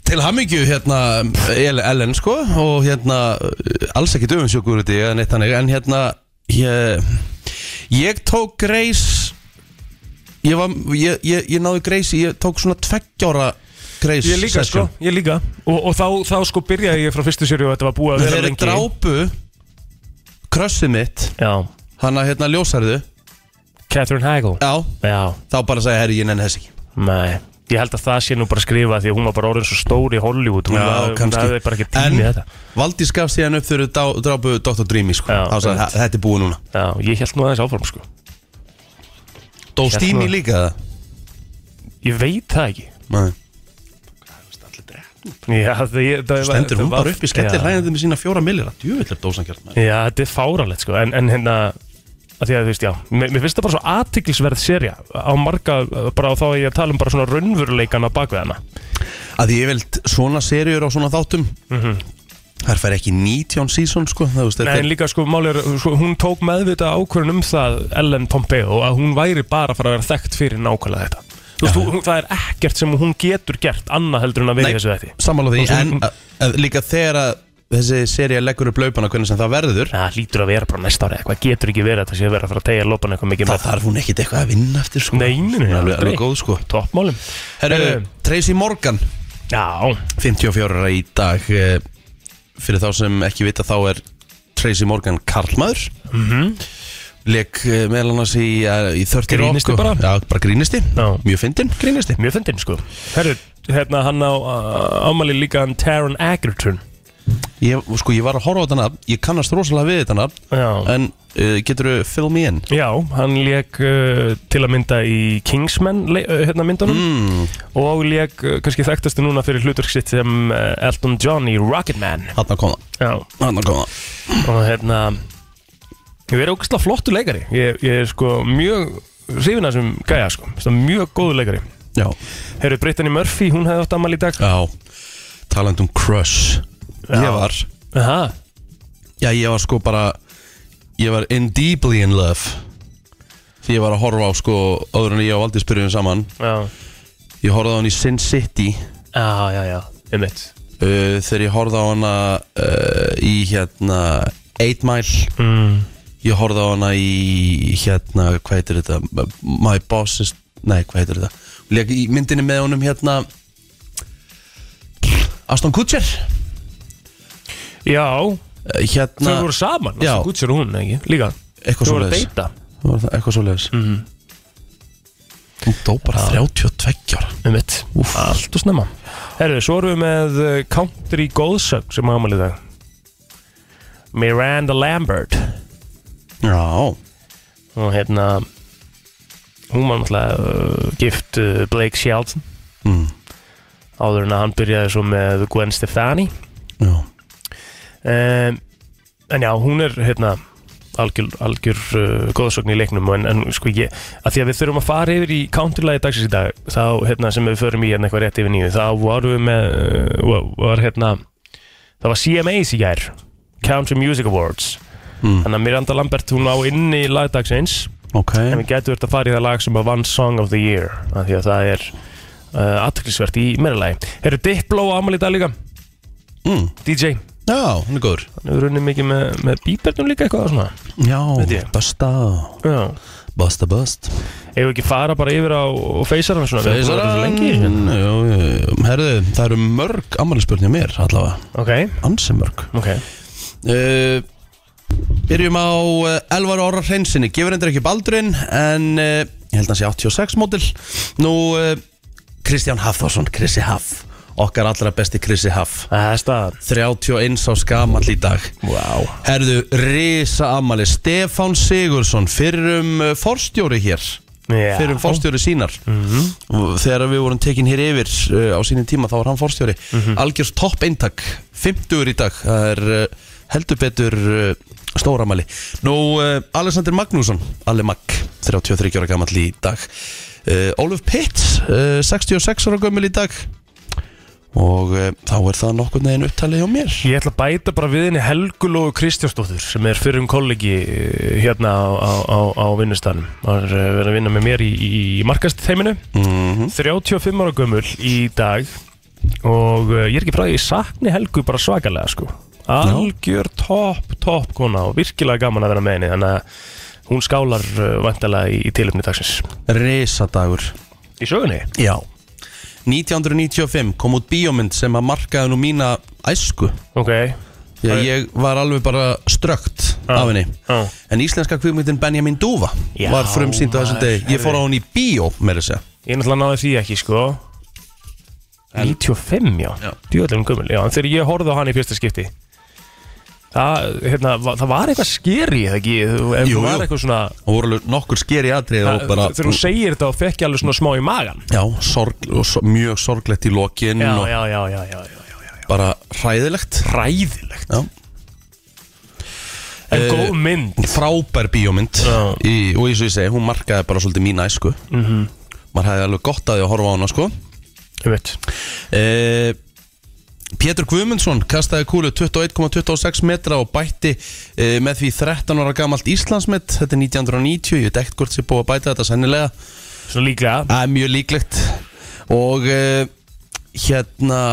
Speaker 2: Til hamingju hérna El- Ellen sko og hérna eh, alls ekki döfinsjókur út í eða neitt þannig en hérna ég, ég tók Grace ég, var, ég, ég, ég náði Grace ég tók svona tveggjára Grace
Speaker 3: Ég líka sko,
Speaker 2: session.
Speaker 3: ég líka Og, og þá, þá sko byrjaði ég frá fyrstu sérju og þetta var búið að vera
Speaker 2: Þeir eru
Speaker 3: lengi
Speaker 2: drápu krössið mitt
Speaker 3: Já,
Speaker 2: hana hérna ljósarðu
Speaker 3: Catherine Hagel
Speaker 2: Já,
Speaker 3: Já,
Speaker 2: þá bara sagði herri ég nenni þess ekki
Speaker 3: nei Ég held að það sé nú bara að skrifa því að hún var bara orðin svo stór í Hollywood Hún
Speaker 2: Já,
Speaker 3: hafði- hún
Speaker 2: kannski.
Speaker 3: hafði bara ekki
Speaker 2: En-
Speaker 3: tími í þetta
Speaker 2: Valdís gaf síðan upp þegar þau drá- drápu Dr. Dreamy sko
Speaker 3: Já,
Speaker 2: þá sagði
Speaker 3: einmitt.
Speaker 2: "Þa- þetta er búið núna
Speaker 3: Já, ég held nú aðeins áfram sko
Speaker 2: Dó
Speaker 3: Hérna.
Speaker 2: Stími líka það
Speaker 3: Ég veit það ekki
Speaker 2: Nei.
Speaker 3: Já, það, ég, það,
Speaker 2: stendur hún
Speaker 3: það var-
Speaker 2: bara upp í skellir
Speaker 3: Já.
Speaker 2: hræðandi með sína fjóra millir djúvillar dósankjart maður
Speaker 3: Já, þetta er fáralegt sko En, en hérna að Því að þú veist, já Mér, mér finnst það bara svo athyglisverð serja Á marga, bara á þá að ég tala um bara svona raunveruleikana bak við hana
Speaker 2: að því ég veld svona seriur á svona þáttum
Speaker 3: Mhm.
Speaker 2: þar fær ekki 19 season sko það veist þetta
Speaker 3: En líka sko, máli er sko, Hún tók meðvita ákvörun um það Ellen Pompeo Að hún væri bara að fara að vera þekkt fyrir nákvæmlega þetta Þú veist, hún, það er ekkert sem hún getur gert Annað heldur en að vera
Speaker 2: Nei.
Speaker 3: í þessu þetta
Speaker 2: sammála því
Speaker 3: Og svo-
Speaker 2: en að, að líka þegar að þessi seria leggur upp laupana hvernig sem það verður
Speaker 3: Það lítur að vera bara næsta ári Eitthvað getur ekki verið að þetta sé að vera að fara að tegja lopan eitthvað mikið
Speaker 2: það
Speaker 3: með
Speaker 2: þarf hún ekkit eitthvað að vinna eftir sko
Speaker 3: Nei, nei, nei,
Speaker 2: Hún er alveg,
Speaker 3: aldrei.
Speaker 2: alveg góð sko
Speaker 3: toppmálum
Speaker 2: Herru,
Speaker 3: Herru.
Speaker 2: Tracy Morgan
Speaker 3: Já,
Speaker 2: 54 ára í dag eh, fyrir þá sem ekki vita þá er Tracy Morgan karlmaður mm
Speaker 3: Mhm.
Speaker 2: -hmm. leik meðal annars í, eh, í 30
Speaker 3: Grínisti bara.
Speaker 2: já, bara grínisti,
Speaker 3: Já.
Speaker 2: mjög fyndin grínisti
Speaker 3: mjög fyndin sko Herru, hérna hann á uh, ámæli líka hann Taron Egerton
Speaker 2: ég, sko, ég var að horfa á þetta nafn, ég kannast rosalega við þetta nafn
Speaker 3: Já,
Speaker 2: en uh, getur þú fill me in
Speaker 3: já hann leik uh, til að mynda í Kingsman le- uh, hérna myndunum
Speaker 2: mm,
Speaker 3: og leik uh, kannski þekktastu núna fyrir hlutverk sitt sem uh, Elton John í Rocketman
Speaker 2: hann kom það
Speaker 3: Já,
Speaker 2: hann kom það
Speaker 3: og hérna ég verið ógæslega flottu leikari ég, ég er sko mjög hrifin að þessum gæja sko, Finnst hann mjög góðu leikari
Speaker 2: já,
Speaker 3: Herru, Brittany Murphy, hún hefði átt ammæli í dag
Speaker 2: já. talandi um crush
Speaker 3: Já.
Speaker 2: ég var
Speaker 3: Aha,
Speaker 2: já, ég var sko bara ég var in deeply in love því ég var að horfa á sko öðrun ég og Valdís byrjum saman
Speaker 3: Já,
Speaker 2: ég horfði á hann í Sin City
Speaker 3: já, já, já, um mitt
Speaker 2: uh, þegar ég horfði á hana uh, í hérna 8 Mile
Speaker 3: mm.
Speaker 2: ég horfði á hana í hérna, hvað heitir þetta My Boss is, nei hvað heitir þetta Hún lék í myndinni með honum hérna Aston Kutcher
Speaker 3: Já,
Speaker 2: Eh,
Speaker 3: þau
Speaker 2: hérna,
Speaker 3: voru saman
Speaker 2: Já.
Speaker 3: Gutsir og hún, ekki? Líka
Speaker 2: eitthvað
Speaker 3: Þau voru að
Speaker 2: svoleiðis
Speaker 3: deyta
Speaker 2: Það var það- eitthvað svoleiðis
Speaker 3: mm.
Speaker 2: hún dó bara 32 ára
Speaker 3: Um mitt,
Speaker 2: Úff.
Speaker 3: allt og snemma Herru, svo erum við með uh, Country Góðsögn sem hafa málið það Miranda Lambert
Speaker 2: já,
Speaker 3: og hérna hún var náttúrulega uh, gift uh, Blake Shelton
Speaker 2: mm.
Speaker 3: áður en að hann byrjaði svo með Gwen Stefani
Speaker 2: já.
Speaker 3: um, en já, hún er hérna algjör, algjör uh, góðsögn í leiknum en, en sko ég, að því að við þurfum að fara yfir í counterlægi dagsins í dag, þá hérna sem við förum í hérna eitthvað rétt yfir nýju, þá varum við með uh, var hérna það var CMAs í gær Country Music Awards
Speaker 2: Mm.
Speaker 3: þannig að Miranda Lambert hún á inni í lagdagsins
Speaker 2: ok
Speaker 3: En við getum verið að fara í það lag sem að One Song of the Year af Því að það er uh, aðtöklisvert í meira lagi Eru Diplo á amal í dag líka?
Speaker 2: mm.
Speaker 3: DJ
Speaker 2: já, hún er góður
Speaker 3: Hann hefur runnið mikið með, með bíbernum líka eitthvað og svona Veit
Speaker 2: já,
Speaker 3: ég.
Speaker 2: basta,
Speaker 3: Já
Speaker 2: basta, bast
Speaker 3: Ef ekki fara bara yfir á feysaran svona Við erum búin að vera
Speaker 2: Feisarann,
Speaker 3: svo lengi.
Speaker 2: já, já, herðu, það eru mörg ammælisbörnja mér allavega,
Speaker 3: Ok,
Speaker 2: ansi mörg
Speaker 3: ok
Speaker 2: uh, Byrjum á uh, Elvar Orra Hreinsinni Gefur hendur ekki baldurinn En uh, ég held að hann sé 86 mótil Nú uh, Kristján Hafþórsson, Krissi Haff Okkar allra besti Krissi Haff
Speaker 3: Það er staðan
Speaker 2: 31 á skamall í dag
Speaker 3: Wow
Speaker 2: Herðu, risa ammali Stefán Sigursson Fyrrum uh, forstjóri hér
Speaker 3: Já. Mhm.
Speaker 2: Fyrrum forstjóri sínar Og Þegar við vorum tekin hér yfir uh, Á sínum tíma þá var hann forstjóri mm -hmm. Algjör topp eintak, 50 í dag Það er uh, heldur betur uh, Stóramæli Nú, uh, Alexander Magnússon, Alli Mag 33 ára gamall í dag uh, Óluf Pitt, uh, 66 ára gömul í dag Og uh, þá er það nokkurn veginn upptalið hjá mér
Speaker 3: Ég ætla að bæta bara við henni Helgulóu Kristjánsdóttur sem er fyrrum kollegi eh, hérna á, á, á, á vinnustanum og er eh, verið að vinna með mér í, í markast þeiminu
Speaker 2: mm
Speaker 3: 35 ára gömul í dag og uh, ég er ekki frá því, ég sakni Helgu bara svakalega sko algjör topp, topp kona og virkilega gaman að vera með henni þannig að hún skálar uh, vantalega í, í tilöfni dagsins
Speaker 2: Risadagur
Speaker 3: Í sögunni?
Speaker 2: Já 1995 kom út bíómynd sem að markaði nú mína æsku
Speaker 3: Ok
Speaker 2: Þegar
Speaker 3: Æ.
Speaker 2: ég var alveg bara strökt
Speaker 3: Já.
Speaker 2: af henni
Speaker 3: Já.
Speaker 2: En íslenska kvikmyndin Benjamin Dúfa
Speaker 3: Já,
Speaker 2: var frumsýnd á þessum
Speaker 3: maður,
Speaker 2: degi Ég fór á hún í bíó með þessi
Speaker 3: Ég náttúrulega náði því ekki sko 95 já,
Speaker 2: Já.
Speaker 3: djúðlega gömul já, en þegar ég horfði á hann í fyrsta skipti það, hérna, va- það var eitthvað skeri eða ekki, Þú- ef
Speaker 2: Jú,
Speaker 3: það var
Speaker 2: jú.
Speaker 3: eitthvað svona
Speaker 2: Og voru alveg nokkur skeri atrið og bara
Speaker 3: þegar þú segir þetta og fekk ég alveg svona smá í magan
Speaker 2: Já, sorg, og so, mjög sorglegt í lokin
Speaker 3: já,
Speaker 2: og
Speaker 3: já, já, já, já, já, já, já.
Speaker 2: bara hræðilegt
Speaker 3: ræðilegt
Speaker 2: Já
Speaker 3: en
Speaker 2: Eh,
Speaker 3: góð mynd
Speaker 2: frábær bíómynd
Speaker 3: Já. Mhm.
Speaker 2: í, og eins og ég segi, hún markaði bara svolítið mína æsku mm -hmm. maður hefði alveg gott að því að horfa á hana sko
Speaker 3: um veit
Speaker 2: Eh, Pétur Guðmundsson kastaði kúlu 21,26 metra og bætti eh, með því 13 ára gamalt Íslandsmet þetta er 1990, ég veit ekkert hvort sér búið að bæta þetta sennilega,
Speaker 3: svona líklega
Speaker 2: það er mjög líklegt og eh, hérna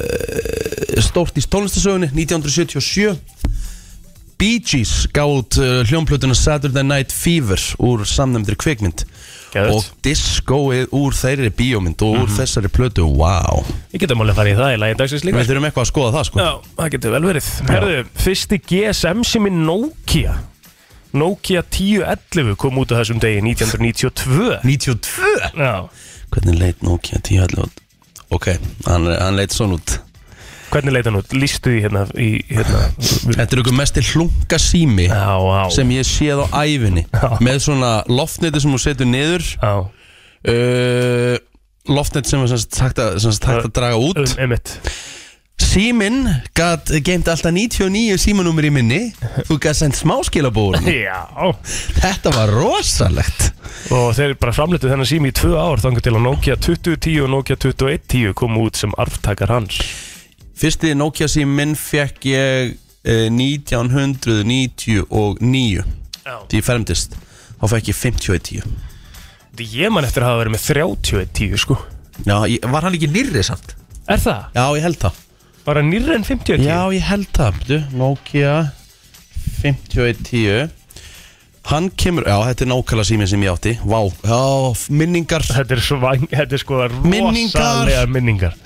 Speaker 2: eh, stórt í tónlistasögunni 1977 Bee Gees gáð uh, hljómplötuna Saturday Night Fever úr samnefndri kvikmynd
Speaker 3: Geðveikt. Mhm.
Speaker 2: og diskóið úr þeirri bíómynd og úr þessari plötu, wow
Speaker 3: við getum alveg að fara í það í lagi dagsins líka
Speaker 2: Við þurfum eitthvað að skoða það sko
Speaker 3: já, það getur vel verið herðu fyrsti GSM sem er Nokia Nokia 1011 kom út á þessum degi 1992
Speaker 2: 92
Speaker 3: já
Speaker 2: Hvernig leit Nokia 1011 út? Ok, hann, hann leit svona út
Speaker 3: hvernig leit hann út lístu því hérna í hérna já,
Speaker 2: Þetta er ykkur mest hlunga sími
Speaker 3: já
Speaker 2: sem ég séð á æfinni með svona loftneti sem hún setur niður
Speaker 3: já
Speaker 2: uh, loftnet sem er sem sagt hægt að, sem sagt hægt að draga út
Speaker 3: um emitt
Speaker 2: Símin gat geimt alltaf 99 símanúmer í minni þú gat sendt smáskilabúrun
Speaker 3: já
Speaker 2: Þetta var rosalegt
Speaker 3: og þeir bara framleitu þennan sími í tvö ár þangar til að Nokia 2010 og Nokia 2110 kom út sem arftakar hans
Speaker 2: Fyrsti Nokia síminn fekk ég uh, 1999
Speaker 3: já
Speaker 2: því ég fermdist þá fekk ég 50 í 10
Speaker 3: Þetta ég man eftir að hafa verið með 30 í 10 sko
Speaker 2: Já, ég, var hann ekki nýrri samt?
Speaker 3: Er það?
Speaker 2: Já, ég held það
Speaker 3: Bara nýrri en 50 í 10?
Speaker 2: Já, ég held það, byrju, Nokia 5110 Hann kemur, já, þetta er nákvæmlega síminn sem ég átti Vá, já, f- minningar
Speaker 3: Þetta er, svang, þetta er sko
Speaker 2: Minningar.
Speaker 3: rosalega minningar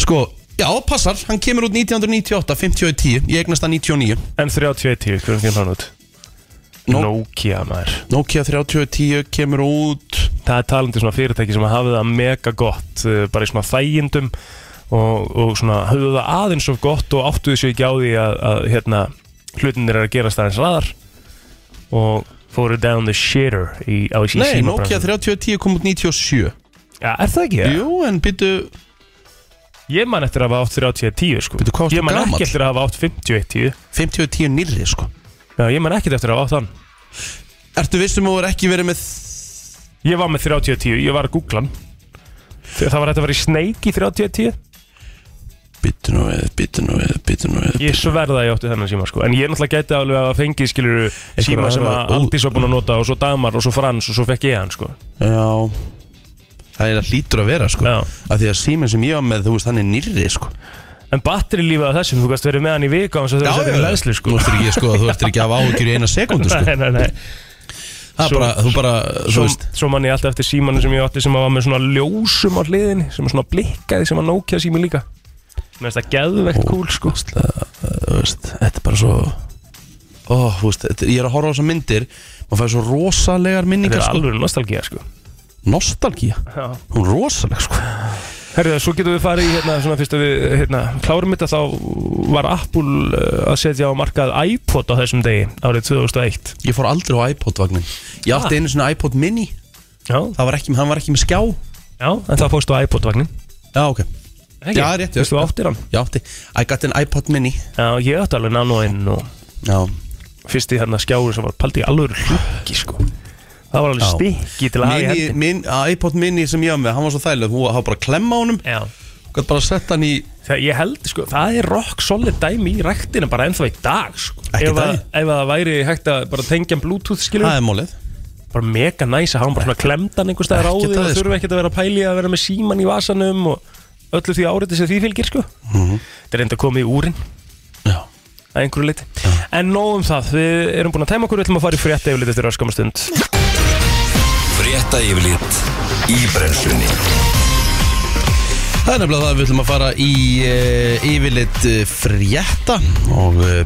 Speaker 2: Sko, já, passar, hann kemur út 1998, 5110 Ég eignast það 99
Speaker 3: En 30 í 10, hvernig kemur hann út?
Speaker 2: Nó-
Speaker 3: Nokia maður
Speaker 2: Nokia 3010 kemur út
Speaker 3: það er talandi svona fyrirtæki sem hafa það mega gott eh, bara í svona þægindum og, og svona höfðu það aðeins of gott og áttuðu sig ekki á því að, að hérna, hlutinir er að gerast aðeins raðar og fóru down the shitter í, á í
Speaker 2: Nei,
Speaker 3: símabransanum.
Speaker 2: Nokia 3010 kom út 97
Speaker 3: Já, er það ekki?
Speaker 2: Jú, en byrju,
Speaker 3: Ég man eftir að hafa átt 30 10 sko.
Speaker 2: Bíddu, hvað varstu
Speaker 3: Ég man
Speaker 2: gamall?
Speaker 3: ekki eftir að hafa átt 51 10
Speaker 2: 5010 nýrri, sko
Speaker 3: Já, ég man ekki eftir að hafa átt þann
Speaker 2: Ertu vissum að þú er ekki verið með
Speaker 3: Ég var með 30 10, ég var að googla hann Það var þetta að vera í Snake í 30 10
Speaker 2: Byrju nú við, byrju nú við, byrju nú við
Speaker 3: Ég sverða að ég átti þennan síma sko En ég náttúrulega gæti alveg að fengi skiluru síma sem að
Speaker 2: aðra-
Speaker 3: Aldís var búin að nota og svo Damar og svo Frans og svo fekk ég hann sko
Speaker 2: Já Það er að hlýtur að vera sko
Speaker 3: Já.
Speaker 2: Af því að síminn sem ég var með, þú veist, hann er nýrri sko
Speaker 3: En batteri lífa þessum, þú gæst verið með hann í viku á þess að þau setja í leðslu sko
Speaker 2: Þú ert ekki, sko, þú ert ekki að hafa áhugjur í eina sekundu sko
Speaker 3: Nei, nei, nei
Speaker 2: Það er
Speaker 3: Svo-
Speaker 2: bara, þú bara, þú
Speaker 3: Svo,
Speaker 2: veist
Speaker 3: svo mann ég alltaf eftir símanu sem ég átti sem að var með svona ljósum á hliðinni sem var svona blikkaði sem að Nokia sími líka Mér finnst það geðvegt kúl sko
Speaker 2: ógeðslega, Þú veist, þetta er bara svo Ó, þú veist, þetta, ég er að horfa á þessar myndir Maður fær svo rosalegar
Speaker 3: Þetta
Speaker 2: minningar
Speaker 3: er
Speaker 2: sko
Speaker 3: alveg nostalgía sko
Speaker 2: Nostalgía,
Speaker 3: Já
Speaker 2: hún er rosaleg sko
Speaker 3: Herðu, svo getum við farið í hérna, svona fyrst að við hérna, klárum þetta þá var Apple uh, að setja á markað iPod á þessum degi árið 2001
Speaker 2: Ég fór aldrei á iPod-vagnin Ég
Speaker 3: Ah.
Speaker 2: átti einu svona iPod mini
Speaker 3: Já,
Speaker 2: Það var ekki, hann var ekki með skjá
Speaker 3: já en það fórstu á iPod-vagnin
Speaker 2: Já, ok
Speaker 3: Ekki?
Speaker 2: Já, rétt, já.
Speaker 3: Þú áttir hann
Speaker 2: Ég átti, I got an iPod mini
Speaker 3: Já, ég átti alveg nanoinn og
Speaker 2: Já,
Speaker 3: fyrst í hérna skjáru sem var paldi í alvöru hluki sko Það var alveg
Speaker 2: Já.
Speaker 3: stikki til að hafa í
Speaker 2: mini,
Speaker 3: hendi
Speaker 2: min, að iPod mini sem ég hafði með, hann var svo þægileg þú hafði bara að klemma á honum,
Speaker 3: Já
Speaker 2: gæti bara að setja hann í
Speaker 3: Þegar ég held, sko, það er rock solid dæmi í ræktina bara ennþá í dag, sko
Speaker 2: Ekki
Speaker 3: ef, að,
Speaker 2: daginn.
Speaker 3: ef að það væri hægt að bara tengja um bluetooth, skilur
Speaker 2: það er mólið
Speaker 3: bara mega næs að hafa hann bara svona klemdan einhver staðar á
Speaker 2: Ekkert
Speaker 3: því
Speaker 2: aðeins,
Speaker 3: og
Speaker 2: sko.
Speaker 3: þurfa ekkert að vera að pæli að vera með síman í vasanum og öllu því áriði sem því fylgir sko
Speaker 2: Mhm.
Speaker 3: þetta er enda komið í úrin
Speaker 2: Já,
Speaker 3: að einhverju liti en nóg um það, við erum búin að tæma okkur við ætlum að fara í frétta yfirlit eftir öskamastund
Speaker 1: Frétta yfirlit í brennslunni
Speaker 2: það er nefnilega það við ætlum að fara í uh, yfirleitt uh, frétta og uh,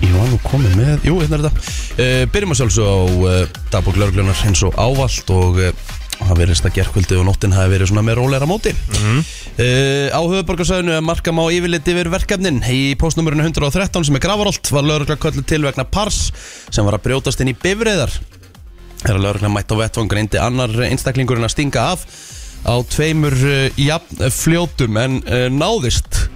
Speaker 2: ég var nú komið með jú, hérna er þetta, uh, byrjum að sjálfsög á uh, dagbúk lörglunar eins og ávallt og uh, það verðist að gerkvöldi og nóttin hafi verið svona með róleira móti Uh, á höfuborgarsöðinu er markam á yfirlit yfir verkefnin í postnumurinu 113 sem er grafarolt var lögregla köllu til vegna pars sem var að brjótast inn í bifriðar þegar lögregla mætt á vettvang reyndi annar einstaklingurinn að stinga af á tveimur uh, jafn, fljótum en uh, náðist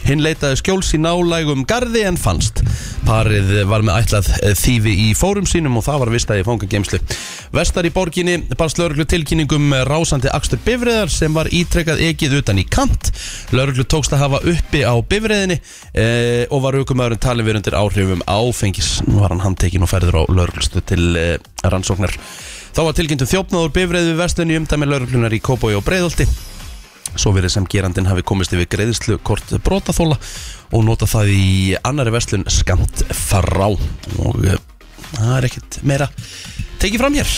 Speaker 2: Hinn leitaði skjóls í nálægum garði en fannst. Parið var með ætlað eh, þýfi í fórum sínum og það var vistað í fangagemslu. Vestar í borginni barst lauruglu tilkynningum eh, rásandi akstur bifriðar sem var ítrekkað ekið utan í kant. Lauruglu tókst að hafa uppi á bifriðinni eh, og var aukumæðurinn talin verið undir áhrifum áfengis. Nú var hann handtekinn og ferður á lauruglustu til eh, rannsóknar. Þá var tilkynntum þjófnáður bifrið við vestlunni umdæmi lauruglunar í Kóbói og Breiðolti. Svo verið sem gerandin hafi komist yfir greiðslu kort brotaþóla og nota það í annari verslun skamt frá og eh, það er ekkert meira tekið fram hér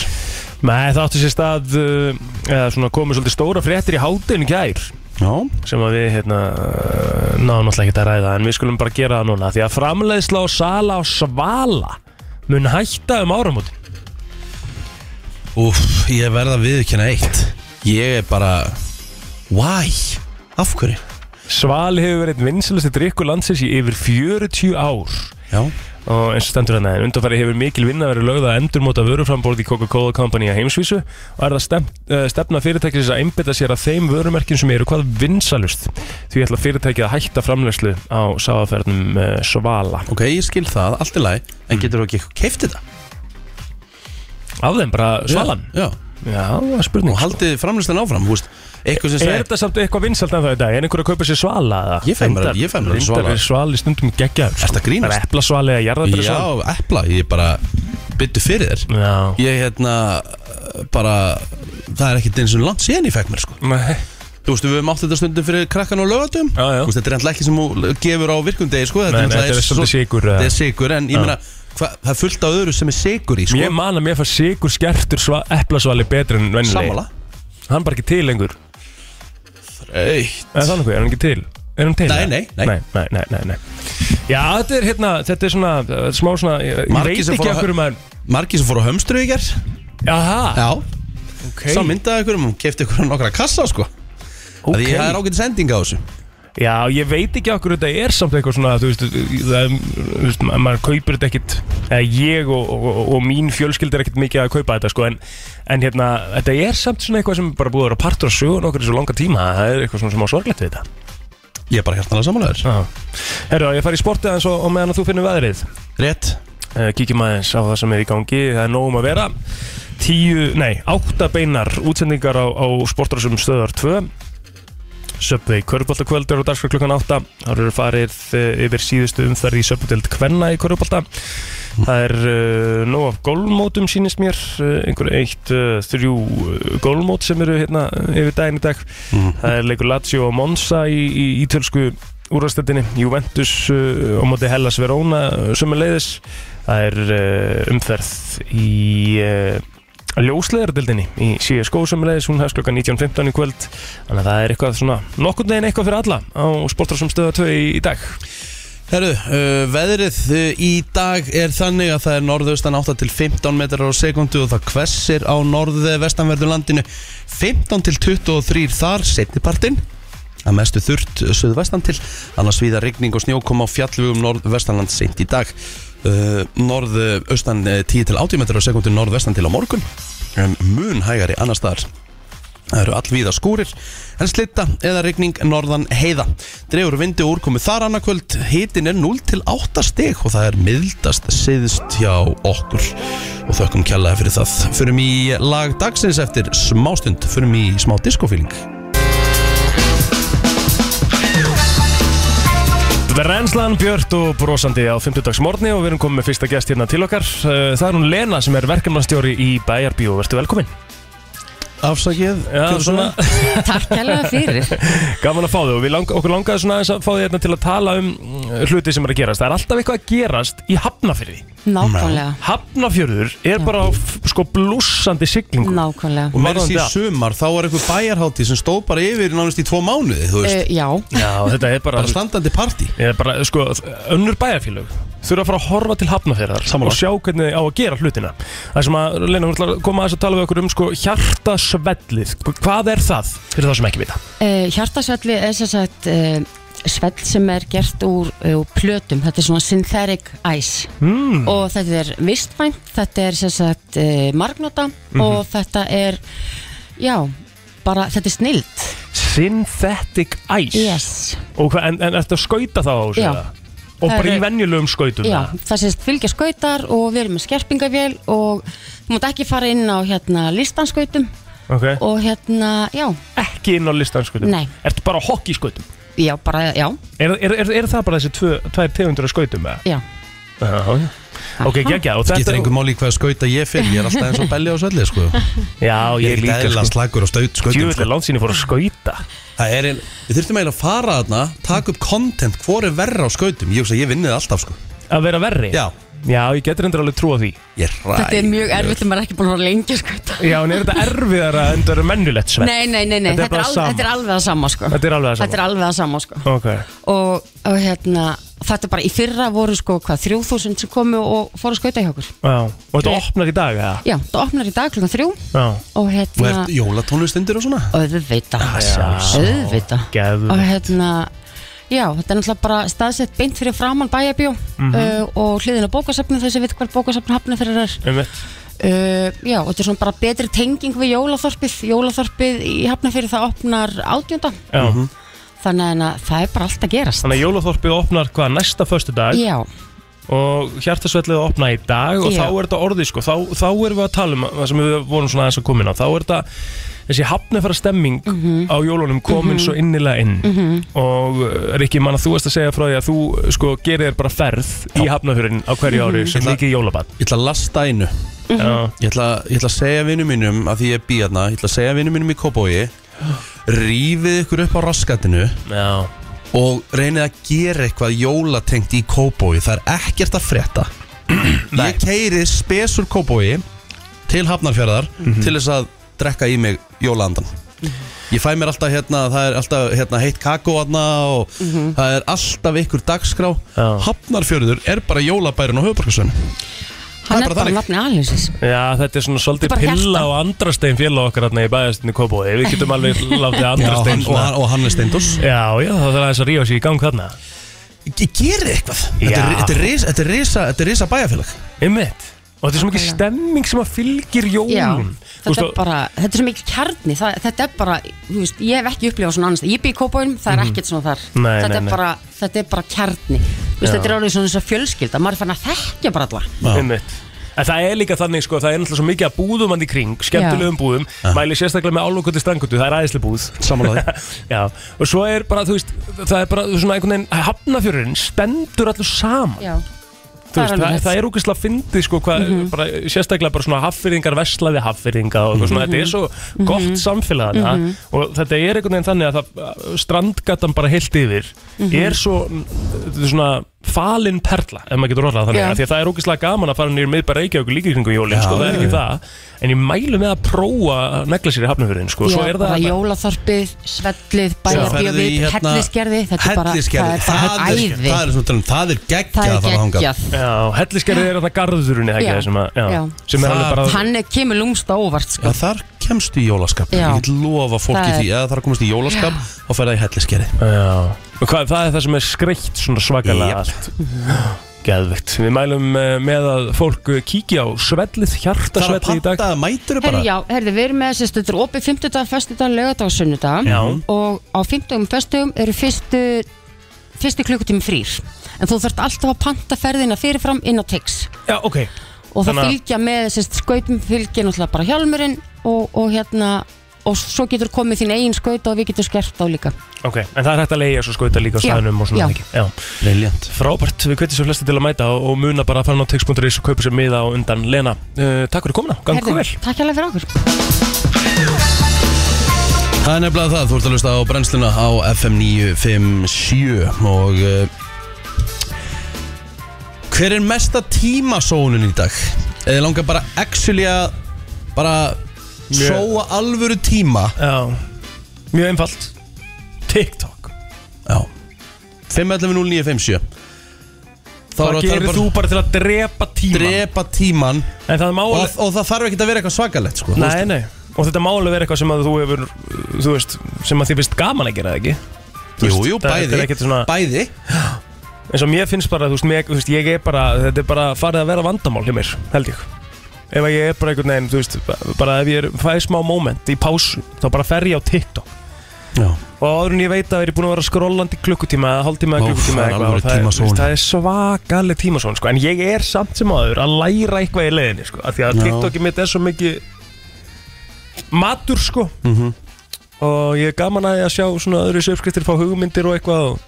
Speaker 3: Nei, það átti sér stað uh, eða svona komið svolítið stóra fréttir í hátinn gær
Speaker 2: Já,
Speaker 3: sem að við hérna uh, náðum náttúrulega ekki að ræða en við skulum bara gera það núna því að framleiðsla og sala og svala mun hætta um áramótin
Speaker 2: úf, ég verða viðkjöna eitt Ég er bara, why? Af hverju?
Speaker 3: Sval hefur verið vinsalasti drikkur landsins í yfir 40 ár
Speaker 2: Já,
Speaker 3: og eins og stendur hérna en undanfæri hefur mikil vinna verið lögð að endurmóta vöruframborð í Coca-Cola Company á heimsvísu og er það stef, uh, stefna fyrirtækisins að einbytta sér að þeim vörumerkjum sem eru hvað vinsalust því ætla fyrirtækið að hætta framlegslu á sáfafernum uh, Svala Mm.
Speaker 2: ok, ég skil það, allt í lagi En getur þú ekki keift þetta?
Speaker 3: af þeim bara Svalan
Speaker 2: Já,
Speaker 3: Já, það er spurning sko.
Speaker 2: og haldið framlistan áfram, þú veist Eitthvað sem
Speaker 3: Er
Speaker 2: segir
Speaker 3: þetta samt eitthvað vinsalt en það í dag? Er einhver að kaupa sér svala? eða?
Speaker 2: Ég fæ mér-
Speaker 3: Reyndar-
Speaker 2: ég fæ mér alveg svala.
Speaker 3: Reyndar er svali stundum geggjaður sko.
Speaker 2: Ertu að grínast?
Speaker 3: Það er eplasvali eða jarðabæri
Speaker 2: Já, epla, ég bara byttu fyrir þér
Speaker 3: Já
Speaker 2: Ég hérna bara Það er ekkert eins og langt síðan ég fekk mér sko
Speaker 3: Nei
Speaker 2: Þú veist, við höfum átt þetta stundum fyrir krakkan og lögatum
Speaker 3: Já, já.
Speaker 2: Þú veist, þetta er alltaf ekki sem þú gefur á virkundegi sko
Speaker 3: Nei, nei,
Speaker 2: náttúrulega
Speaker 3: þetta er
Speaker 2: svo-
Speaker 3: svolítið sykur,
Speaker 2: Þetta er
Speaker 3: eða?
Speaker 2: sigur, en
Speaker 3: Já.
Speaker 2: ég meina hva, Það er fullt af öðru sem er sigur í sko
Speaker 3: Ég man að mér fannst sigur skertur sva, eplasvali betri en vennileg
Speaker 2: Sammála
Speaker 3: Hann er bara ekki til lengur
Speaker 2: Eitt
Speaker 3: Er það nokkuð? Er hann ekki til? Er hann til?
Speaker 2: Nei,
Speaker 3: eða?
Speaker 2: nei, nei.
Speaker 3: nei, nei, nei, nei, nei. Já, þetta er hérna, þetta er svona uh, smá svona, ég, ég
Speaker 2: Margir
Speaker 3: veit
Speaker 2: sem
Speaker 3: ekki
Speaker 2: fóru
Speaker 3: af
Speaker 2: að-
Speaker 3: hverju maður
Speaker 2: Margi sem fór á hömstru í gerð
Speaker 3: Jaha,
Speaker 2: Já,
Speaker 3: ok
Speaker 2: hey. sá myndaði ykkur um Hún kefti ykkur nokkra kassa sko okay. Því það er ágætt sending á þessu
Speaker 3: Já, ég veit ekki okkur þetta er samt eitthvað svona, þú veist, það, er- þú veist ma- maður kaupir þetta ekkit, eða ég og, og, og mín fjölskyld er ekkit mikið að kaupa þetta, sko, en, en hérna, þetta er samt svona eitthvað sem er bara búið að vera partur af sögun okkur í svo langa tíma, það er eitthvað svona sem á sorglegt við þetta.
Speaker 2: Ég er bara hjartanlega samanlegaður
Speaker 3: Já. Herra, ég fari í sportið aðeins og, og meðan að þú finnum veðrið.
Speaker 2: Rétt
Speaker 3: Eh, Kíkjum aðeins á það sem er í gangi, það er nógum að vera. Tíu, nei, átta beinar útsendingar á, á sportrásum stöðar 2. Söpvei Köruboltakvöld er á dagskar klukkan 8 Það eru farið eh, yfir síðustu umferð í Söpvudeld Kvenna í Körubolta Það er uh, nóg af gólmótum sýnist mér uh, einhver eitt, uh, þrjú uh, gólmót sem eru hérna eh, yfir daginn í dag
Speaker 2: Mhm.
Speaker 3: Það er leikur Lazio og Monza í, í ítölsku úrvastöldinni Juventus uh, á móti Hellas Verona sem er leiðis Það er uh, umferð í uh, ljósleðardildinni í CSGO sem er leiðis hún hefst klukkan 19.15 í kvöld Þannig að það er eitthvað svona nokkurn veginn eitthvað fyrir alla á Sportarsum stöða 2 í, í dag
Speaker 2: Herru, uh, veðrið uh, í dag er þannig að það er norðaustan 8 til 15 metrar á sekundu og það hvessir á norðvestanverðu landinu 15 til 23 þar setnipartin að mestu þurrt söðvestan til annars viða rigning og snjókom á fjallvugum norðvestanland seint í dag uh, norðaustan eh, 10 til 80 metrar á sekundu norðvestan til á morgun en mun hægari annars staðar Það eru allvíða skúrir, en slitta eða rigning norðan heiða. Drefur vindu og úrkomi þar annarkvöld, hitin er 0 til 8 stig og það er mildast siðst hjá okkur. Og þökkum kjallaði fyrir það. Förum í lag dagsins eftir smástund, förum í smá diskofíling.
Speaker 3: Renslan Björt og brosandi á 50 dags morgni og við erum komið með fyrsta gest hérna til okkar Eh, Það er hún Lena sem er verkefnastjóri í Bæjarbíó, vertu velkomin
Speaker 2: Afsakið, Kjörsóna.
Speaker 5: Takk hella fyrir
Speaker 3: Gaman að fá þig og við lang, okkur langaði svona aðeins að fá þig hérna til að tala um mm, hluti sem er að gerast Það er alltaf eitthvað að gerast í Hafnafyrði
Speaker 5: Nákvæmlega,
Speaker 3: Hafnafjörður er bara á f- sko blúsandi siglingu
Speaker 5: nákvæmlega
Speaker 2: Og með þessi í
Speaker 3: Varðandi
Speaker 2: sumar, þá var eitthvað bæjarhátti sem stóð bara yfir nánast í tvo mánuði, þú veist.
Speaker 5: uh, Já,
Speaker 3: Já, þetta er bara
Speaker 2: bara standandi partí.
Speaker 3: Ég er bara, sko, önnur bæjarfélög þurfa að fara að horfa til hafnafjörðar og sjá hvernig þið á að gera hlutina það sem að, Lena, hún ætlar að koma aðeins að tala við okkur um sko, hjartasvellið, hvað er það fyrir þá sem ekki vita?
Speaker 5: uh, hjartasvelli er sem sagt uh, svell sem er gert úr, uh, úr plötum, þetta er svona synthetic ice
Speaker 3: Mm.
Speaker 5: og þetta er vistvænt, þetta er sem sagt uh, margnóta
Speaker 3: Mhm.
Speaker 5: og þetta er, já, bara þetta er snild
Speaker 3: Synthetic ice
Speaker 5: Yes,
Speaker 3: og hva, en, en ertu að skauta þá á þessu?
Speaker 5: Já.
Speaker 3: eða? og
Speaker 5: Það
Speaker 3: bara
Speaker 5: er-
Speaker 3: í venjulegum skautum
Speaker 5: já,
Speaker 3: eða?
Speaker 5: það sést fylgja skautar og við erum með skerpingavél og þú mátt ekki fara inn á hérna listanskautum
Speaker 3: okay.
Speaker 5: og hérna, já,
Speaker 3: ekki inn á listan skautum
Speaker 5: Nei.
Speaker 3: ertu bara á hockeyskautum?
Speaker 5: já, bara, já,
Speaker 3: Er, er, er, er það bara þessi tvö, tvær tegundur af skautum? eða?
Speaker 5: já
Speaker 3: Já, já. ok, geggja og
Speaker 2: Getur
Speaker 3: þetta
Speaker 2: einhver máli hvað skauta ég finn, ég er alltaf eins og belli á svelli, sko.
Speaker 3: já, ég,
Speaker 2: Ég er
Speaker 3: ég
Speaker 2: líka,
Speaker 3: líka
Speaker 2: eðla
Speaker 3: sko.
Speaker 2: slagur og staut skautum,
Speaker 3: Djúvill er langt sín ég fór að skauta
Speaker 2: Það er einn, við þurftum eiginlega að fara þarna, taka upp content, hvor er verra á skautum? Ég hugsa, ég vinni það alltaf, sko.
Speaker 3: Að vera verri?
Speaker 2: Já,
Speaker 3: Já, ég getur endur alveg trúa því
Speaker 2: ég er ræð.
Speaker 5: Þetta er mjög erfitt um- þegar maður er ekki búin að vera lengi sko.
Speaker 3: Já, en er þetta erfiðara en þetta er mennulegt svett?
Speaker 5: Nei, nei, nei, nei.
Speaker 3: Þetta er
Speaker 5: Þetta,
Speaker 3: bara
Speaker 5: er
Speaker 3: sama.
Speaker 5: alveg, þetta er alveg að sama sko.
Speaker 3: Þetta er alveg það
Speaker 5: Þetta er
Speaker 3: sama
Speaker 5: alveg að sama sko.
Speaker 3: Ok,
Speaker 5: og, og hérna þetta bara í fyrra voru sko hvað 3000 sem komu og fóru að skauta hjá okkur
Speaker 3: já Og þetta
Speaker 5: Ég-
Speaker 3: opnar í dag, eða?
Speaker 5: Já, það opnar í dag klukkan þrjú
Speaker 3: Já
Speaker 5: og
Speaker 2: Og
Speaker 5: hérna
Speaker 2: er jólatónlist undir og svona?
Speaker 5: auðvita
Speaker 3: Ah,
Speaker 5: auðvita
Speaker 3: Geðvegt.
Speaker 5: og hérna Já, þetta er náttúrulega bara staðsett beint fyrir framann bæjabjó
Speaker 3: Mhm.
Speaker 5: uh, og hliðin á bókasafni þessi veit hvað bókasafn hafna fyrir þær
Speaker 3: Um mitt
Speaker 5: Uh, já, og þetta er svona bara betri tenging við Jólaþorpið Jólaþorpið í Hafnafyrir það opnar átjönda
Speaker 3: Já
Speaker 2: Mhm.
Speaker 5: Þannig að það er bara allt að gerast
Speaker 3: Þannig að jólaþorpið opnar hvað næsta föstu dag
Speaker 5: Já,
Speaker 3: Og hjartasvellið opna í dag Og
Speaker 5: Já.
Speaker 3: þá er þetta orðið, sko Þá, þá erum við að tala um það sem við vorum svona aðeins að komin á Þá er þetta þessi hafnafara stemming
Speaker 5: Mhm.
Speaker 3: á jólunum komin svo innilega inn og uh, Rikki, manna þú varst að segja frá því að þú sko gerir þér bara ferð í hafnafjörðin á hverju ári sem
Speaker 2: Ég ætla-
Speaker 3: mikið jólabann
Speaker 2: Ég ætla að lasta einu
Speaker 3: Já,
Speaker 2: Ég ætla, ég ætla að segja vinnum mínum að því ég er bíðarna Ég ætla að segja vinnum mínum í kópói Rífið ykkur upp á raskatinu
Speaker 3: já,
Speaker 2: Og reynið að gera eitthvað jólatengt í kópói Það er ekkert að frétta Ég keiri spesur kópói Til Hafnarfjörðar
Speaker 3: Mhm.
Speaker 2: Til þess að drekka í mig jólaandan Ég fæ mér alltaf hérna Það er alltaf hérna, heitt kakó hérna Og það er alltaf ykkur dagskrá
Speaker 3: Já.
Speaker 2: Hafnarfjörður er bara jólabærin á höfubarkasönu
Speaker 5: Hann
Speaker 2: er
Speaker 5: er
Speaker 2: bara
Speaker 5: bara
Speaker 2: þannig.
Speaker 5: nafni alheimsins
Speaker 3: já, þetta er svona svolítið
Speaker 5: Þetta er bara
Speaker 3: pilla
Speaker 5: hjarta.
Speaker 3: og andrastein félag okkar hérna í bæðastinni Kópói, við getum alveg látið andrastein
Speaker 2: hann, og, hann, og hann er steindurs
Speaker 3: Já, já, þá þarf aðeins að rífa sér í gang þarna
Speaker 2: Gerið eitthvað þetta er,
Speaker 3: Já.
Speaker 2: þetta, er risa, þetta, er risa, þetta er risa bæjarfélag
Speaker 3: Einmitt Og þetta er svo mikið
Speaker 5: Já.
Speaker 3: stemming sem að fylgir
Speaker 5: Já,
Speaker 3: jólun
Speaker 5: þetta er bara, þetta er svo mikið kjarni það, þetta er bara, þú veist, ég hef ekki upplifað svona annars, ég bý í kópáinum, það er ekkert svona þar
Speaker 3: Mhm. Nei,
Speaker 5: þetta,
Speaker 3: nei,
Speaker 5: er
Speaker 3: nei.
Speaker 5: Bara, þetta er bara kjarni Þú veist,
Speaker 3: Já.
Speaker 5: þetta er alveg svona eins og fjölskylda maður er fann að þekkja bara alla
Speaker 3: Einmitt En það er líka þannig sko, það er náttúrulega svo mikið að búðum hann í kring, skemmtilegum búðum, mæli sérstaklega með álokvöldi strangutu, það er æðislega búð.
Speaker 2: Sammála því.
Speaker 3: Já, og svo er bara, þú veist, það er bara svona einhvern veginn, hafnafjörurinn stendur allur saman.
Speaker 5: Já, það er
Speaker 3: Þú veist,
Speaker 5: alveg
Speaker 3: það,
Speaker 5: rétt.
Speaker 3: það er ógeðslega fyndið sko, hvað,
Speaker 5: Mhm.
Speaker 3: bara, sérstaklega bara svona haffyrðingar veslaði haffyrðinga og eitthvað svona, þetta
Speaker 5: Mhm.
Speaker 3: er svo gott samfélag þarna og þetta er einhvern veginn þannig að það, strandgatan bara heilt yfir
Speaker 5: Mhm.
Speaker 3: er svo þetta er svona falin perla, ef maður getur orðað það þannig
Speaker 5: Já.
Speaker 3: yeah. því að það er ógeðslega gaman að fara nýr miðbæra Reykjavík líka í kringum jólin, sko, það er ekki það en ég mælu með að prófa að negla sér í hafnafjörðin, sko, svo
Speaker 5: Já,
Speaker 3: er
Speaker 5: bara
Speaker 3: það
Speaker 5: jólaþorpið, svellið, bæjarbíu
Speaker 2: Ferðu í,
Speaker 5: við,
Speaker 2: hérna,
Speaker 5: hellisgerði þetta er bara, það
Speaker 2: Hellisgerði,
Speaker 5: er bara
Speaker 2: það er-
Speaker 5: æði
Speaker 2: það er svona talum, það er
Speaker 5: það
Speaker 2: geggjað að fara
Speaker 5: er
Speaker 2: þangað
Speaker 5: geggjað
Speaker 3: Já, helliskerðið er þarna garðurinn eða ekki
Speaker 5: Já.
Speaker 3: það sem að,
Speaker 5: Já.
Speaker 3: já, sem er
Speaker 2: Það-
Speaker 3: alveg bara
Speaker 5: hann er, kemur lúmst á óvart
Speaker 2: Já,
Speaker 5: sko.
Speaker 2: þar kemstu í jólaskap
Speaker 5: Já.
Speaker 2: Ég get lofa fólki
Speaker 5: Það er-
Speaker 2: því Eða þar komast í jólaskap og ferða í helliskerði
Speaker 3: Já, og hvað, það er það sem er skreitt svona svakalega
Speaker 2: Jep.
Speaker 3: allt Geðvikt, við mælum eh, með að fólk eh, kíki á svellið,
Speaker 2: Það er að
Speaker 3: hjartasvellið í dag
Speaker 2: panta, mætur
Speaker 5: Herri,
Speaker 2: bara
Speaker 5: já, herri, við erum með þessi stöður opið 50 dag, 50 dag, lögadag og sunnudag
Speaker 3: Já.
Speaker 5: og á 50 og 50 eru fyrstu fyrstu klukkutími frýr en þú þarft alltaf að panta ferðina fyrirfram inn á Tix
Speaker 3: Já, ok
Speaker 5: og það
Speaker 3: Þannig að-
Speaker 5: fylgja með sérst, skautum fylgja náttúrulega bara hjálmurinn og, og hérna og svo getur komið þín eigin skaut og við getum skert á líka
Speaker 3: Ok, en það er hægt að leiða svo skauta líka á
Speaker 5: Já,
Speaker 3: staðnum og
Speaker 5: já.
Speaker 3: svona ekki Já,
Speaker 2: Briljant
Speaker 3: frábært, við kveitið svo flesti til að mæta og, og muna bara að fara inn á tix.is og kaupa sér miða á undan Lena uh, Takk fyrir komuna, gangi
Speaker 5: Herðu,
Speaker 3: ykkur vel
Speaker 5: Takk hérlega fyrir okkur
Speaker 2: Það er nefnilega það, þú ert að lusta á brennsluna á FM 957 og uh, hver er mesta tímasónun í dag? Eða langar bara actually að bara
Speaker 3: Mjög-
Speaker 2: sóa alvöru tíma
Speaker 3: Já, mjög einfalt TikTok
Speaker 2: Já 511957
Speaker 3: Hvað
Speaker 2: Þá erum við að tala
Speaker 3: gerir
Speaker 2: bara
Speaker 3: þú bara til að drepa tíman?
Speaker 2: drepa tíman
Speaker 3: En það er máli
Speaker 2: og, og það þarf ekki að vera eitthvað svakalegt sko
Speaker 3: Nei, nei Og þetta má alveg vera eitthvað sem að þú hefur Þú veist, sem að þið finnst gaman að gera það ekki Þú
Speaker 2: Jú,
Speaker 3: veist,
Speaker 2: jú,
Speaker 3: það- þetta er
Speaker 2: bæði,
Speaker 3: ekkert svona-
Speaker 2: bæði
Speaker 3: eins og mér finnst bara, þú veist, mér, þú veist, ég er bara þetta er bara farið að vera vandamál hjá mér, held ég ef að ég er bara einhvern veginn, þú veist ba- bara ef ég er, fæ smá moment í pásu þá bara fer ég á TikTok
Speaker 2: Já.
Speaker 3: og áður en ég veit að er ég búin að vera skrollandi klukkutíma eða hálftíma eða
Speaker 2: Óf,
Speaker 3: klukkutíma
Speaker 2: það er
Speaker 3: eða
Speaker 2: alveg
Speaker 3: og það, er, þú
Speaker 2: tímasóun.
Speaker 3: veist, það er svakaleg tímasón sko. en ég er samt sem áður að læra eitthvað í leiðinni sko. af því að
Speaker 2: Já.
Speaker 3: TikTokið mitt er svo mikið matur sko og ég er gaman að, því að sjá svona öðru uppskriftir fá hugmyndir og eitthvað og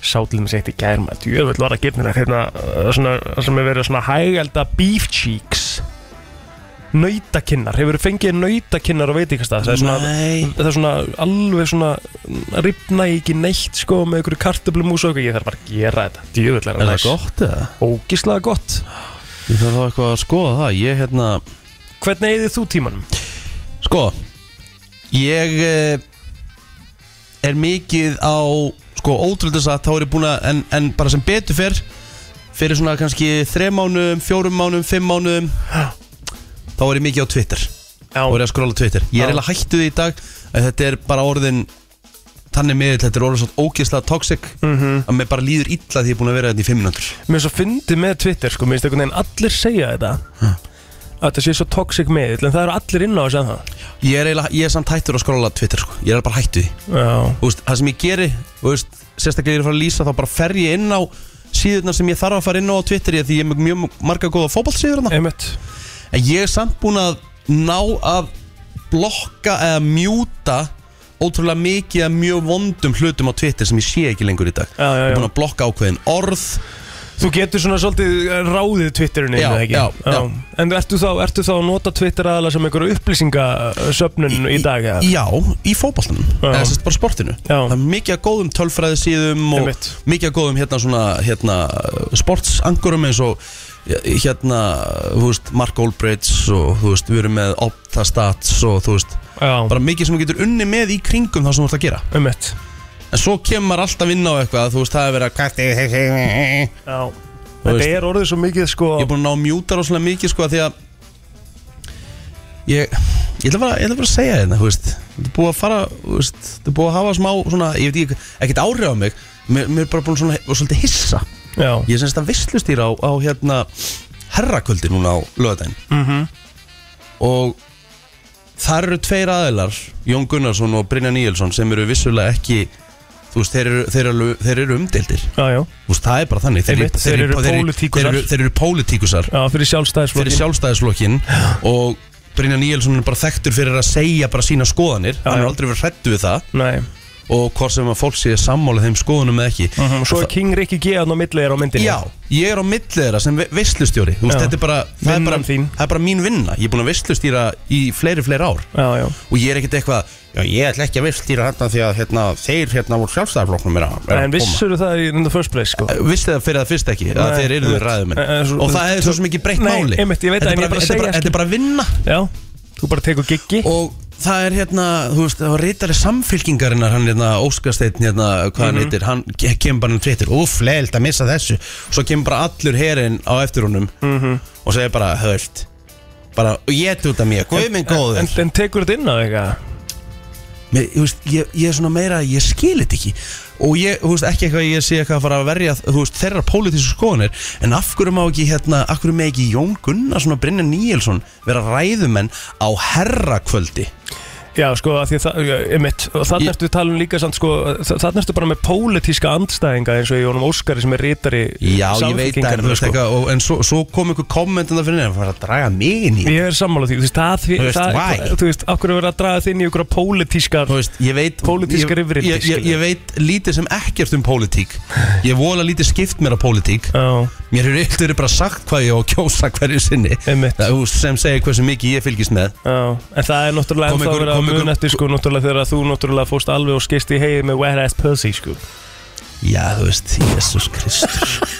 Speaker 3: sátlum sétt í gærum að djöðvöld var að gefnir hérna, uh, svona, sem er verið svona hægelda beef cheeks nautakinnar, hefur fengið nautakinnar og veit ekki hvað það er svona
Speaker 2: Nei.
Speaker 3: það er svona alveg svona mm, rifna ég ekki neitt sko með einhverju kartöflumús og eitthvað, ég þarf bara að gera þetta djöðvöld er það
Speaker 2: Er það gott eða?
Speaker 3: ógislega gott
Speaker 2: Ég þarf þá eitthvað að skoða það Ég hérna
Speaker 3: hvernig eigið þú tímanum?
Speaker 2: Sko Ég eh, er mikið á Sko ótrúlega satt Þá er ég búin að En, en bara sem betur fyrr Fyrir svona kannski Þrem mánum, fjórum mánum, fimm mánum Þá er ég mikið á Twitter
Speaker 3: Já,
Speaker 2: Þá er ég að skrolla Twitter Ég
Speaker 3: Já.
Speaker 2: er eiginlega hættu því í dag að Þetta er bara orðin Þannig miðið Þetta er orðin svona ógeðslega toxic
Speaker 3: Mhm.
Speaker 2: -hmm. Að mér bara líður illa því ég er búin að vera þetta í fimm minútur
Speaker 3: mér er svo fyndið með Twitter sko, mér finnst einhvern veginn allir segja þetta að þetta sé svo toxic með en það eru allir inn á þess að það
Speaker 2: Ég er, eiginlega- ég er samt hættur að skrolla Twitter sko. Ég er bara hættu því
Speaker 3: Já,
Speaker 2: Þú veist, það sem ég geri þú veist, sérstaklega ég er að fara að lýsa þá bara fer ég inn á síðurnar sem ég þarf að fara inn á á Twitter ég, því ég er með mjög marga góða fótballsíður en
Speaker 3: einmitt
Speaker 2: ég er samt búin að ná að blokka eða mjúta ótrúlega mikið af mjög vondum hlutum á Twitter sem ég sé ekki lengur í dag
Speaker 3: Já, já,
Speaker 2: Ég
Speaker 3: já.
Speaker 2: er búin að blokka ákveðin orð
Speaker 3: Þú getur svona svolítið eh, ráðið Twitterinu
Speaker 2: Já,
Speaker 3: eða ekki?
Speaker 2: já, já.
Speaker 3: En ertu þá, ertu þá að nota Twitter aðalega sem einhverju upplýsingasöfnun í dag? eða?
Speaker 2: Já, í fótballtunum
Speaker 3: Já.
Speaker 2: Eða sérst bara sportinu
Speaker 3: Já.
Speaker 2: Það er mikið af góðum tölfræðisíðum og
Speaker 3: Einmitt.
Speaker 2: mikið af góðum hérna svona hérna, sportsangurum eins og hérna, þú veist, Mark Olbreits og þú veist, við erum með Optastats og þú veist,
Speaker 3: Já,
Speaker 2: bara mikið sem þú getur unni með í kringum það sem þú ert að gera
Speaker 3: um mitt
Speaker 2: En svo kemur maður alltaf inn á eitthvað Þú veist, það er verið að Ég
Speaker 3: Já Þetta
Speaker 2: veist-
Speaker 3: er orðið svo mikið sko
Speaker 2: er búin að ná mjútar rosalega mikið sko Því að Ég, ég ætla bara, ég ætla bara að segja þetta, þú veist Þetta er búið að fara, þú veist Þetta er búið að hafa smá, svona, ég veit ekki Ekkert áhrif á mig Mér, mér er bara búin svona, og svolítið hissa
Speaker 3: Já,
Speaker 2: Ég er semst að vislustýra á, á hérna Herrakvöldi núna á lögadaginn
Speaker 3: mhm
Speaker 2: Og þar eru tveir aðilar Jón Gunnarsson og Brynja Níelsson Sem eru vissulega ekki Þú veist, þeir eru, þeir eru, þeir eru umdeildir
Speaker 3: Já, já,
Speaker 2: Þú veist, það er bara þannig
Speaker 3: Einmitt, þeir eru pólitíkusar.
Speaker 2: þeir eru, þeir eru pólitíkusar
Speaker 3: já, fyrir
Speaker 2: fyrir
Speaker 3: sjálfstæðisflokkin
Speaker 2: sjálfstæðisflokkin og Brynja Níelsson er bara þekktur fyrir að segja bara sína skoðanir
Speaker 3: Já,
Speaker 2: hann
Speaker 3: já.
Speaker 2: er aldrei verið hrættu við það
Speaker 3: Nei,
Speaker 2: og hvort sem að fólk sé sammála þeim skoðunum eða ekki
Speaker 3: og Mm, svo er King Rikki G aðna á milli er á myndinni
Speaker 2: Já, ég er á milli þeirra sem ve- veislustjóri Þú veist,
Speaker 3: Já.
Speaker 2: þetta er bara, það er
Speaker 3: Vinnan
Speaker 2: bara,
Speaker 3: þín.
Speaker 2: það er bara mín vinna Ég er búin að veislustýra í fleiri, fleiri ár
Speaker 3: já, já,
Speaker 2: Og ég er ekkert eitthvað Já, ég ætla ekki að veislustýra hérna því að hérna, þeir hérna voru sjálfstæðarflokknum er að, er að
Speaker 3: En
Speaker 2: koma."
Speaker 3: vissur það í the first place sko
Speaker 2: vissi það fyrir það fyrst ekki að
Speaker 3: Nei,
Speaker 2: þeir eru
Speaker 3: einmitt.
Speaker 2: ræðumenn
Speaker 3: En- en svo-
Speaker 2: og það er svo sem ekki breytt
Speaker 3: Nei,
Speaker 2: máli
Speaker 3: einmitt, ég veit það,
Speaker 2: þetta
Speaker 3: en
Speaker 2: er
Speaker 3: ég er bara
Speaker 2: bara,
Speaker 3: að
Speaker 2: þetta er
Speaker 3: segja,
Speaker 2: bara, þetta er bara vinna
Speaker 3: Já, þú bara tekur giggi
Speaker 2: og það er hérna, þú veist, það var reytari samfylkingarinnar hann hérna, Óskarsteinn hérna, hvað
Speaker 3: Mhm.
Speaker 2: hann heitir, hann ke- kemur bara hann fréttir, úf, leilt að missa þessu svo kemur bara allur herinn á eftir honum
Speaker 3: Mhm.
Speaker 2: og segir bara, höflt bara, og ég ert út af mér, guð minn góður
Speaker 3: en, en tekur þetta inn á eitthvað
Speaker 2: Mér, þú veist, ég, ég er svona meira, ég skil þetta ekki og ég, þú veist, ekki eitthvað að ég sé eitthvað að fara að verja, þú veist, þeirra pólitísku skoðanir en af hverju má ekki, hérna, af hverju má ekki Jón Gunnarsson og Brynja Níelsson vera ræðumenn á herrakvöldi
Speaker 3: Já, sko, af því að það, emitt Og þannig
Speaker 2: Ég-
Speaker 3: ertu talum líka samt, sko Þannig ertu bara með pólitíska andstæðinga eins og í honum Óskari sem er sko. rítari
Speaker 2: Já, ég veit það, en þú veist, eitthvað og, en svo, svo kom einhver komment en það fyrir nefn að fara að draga mig inn í
Speaker 3: Ég er sammála því, þú veist, það,
Speaker 2: Þú veist,
Speaker 3: það
Speaker 2: why?
Speaker 3: Þú veist, af hverju verður að draga þinn í ykkur pólitíska
Speaker 2: Þú veist, ég veit
Speaker 3: Pólitískar
Speaker 2: ég-
Speaker 3: yfirrétti,
Speaker 2: ég, ég,
Speaker 3: skilur.
Speaker 2: ég veit lítið sem ekkert um pólitík Ég vola lítið skipt mér á pólitík
Speaker 3: Já,
Speaker 2: Mér hefur eitt verið bara sagt hvað ég á að kjósa hverju sinni
Speaker 3: Einmitt.
Speaker 2: Það, þú veist, sem segir hversu mikið ég fylgist með
Speaker 3: Já, en það er náttúrulega
Speaker 2: Kom
Speaker 3: ennþá
Speaker 2: ykkur-
Speaker 3: verið að
Speaker 2: kom ykkur-
Speaker 3: mun eftir sko náttúrulega þegar þú náttúrulega fóst alveg og skist í heið með wet ass pussy sko
Speaker 2: Já, þú veist, Jésús Kristur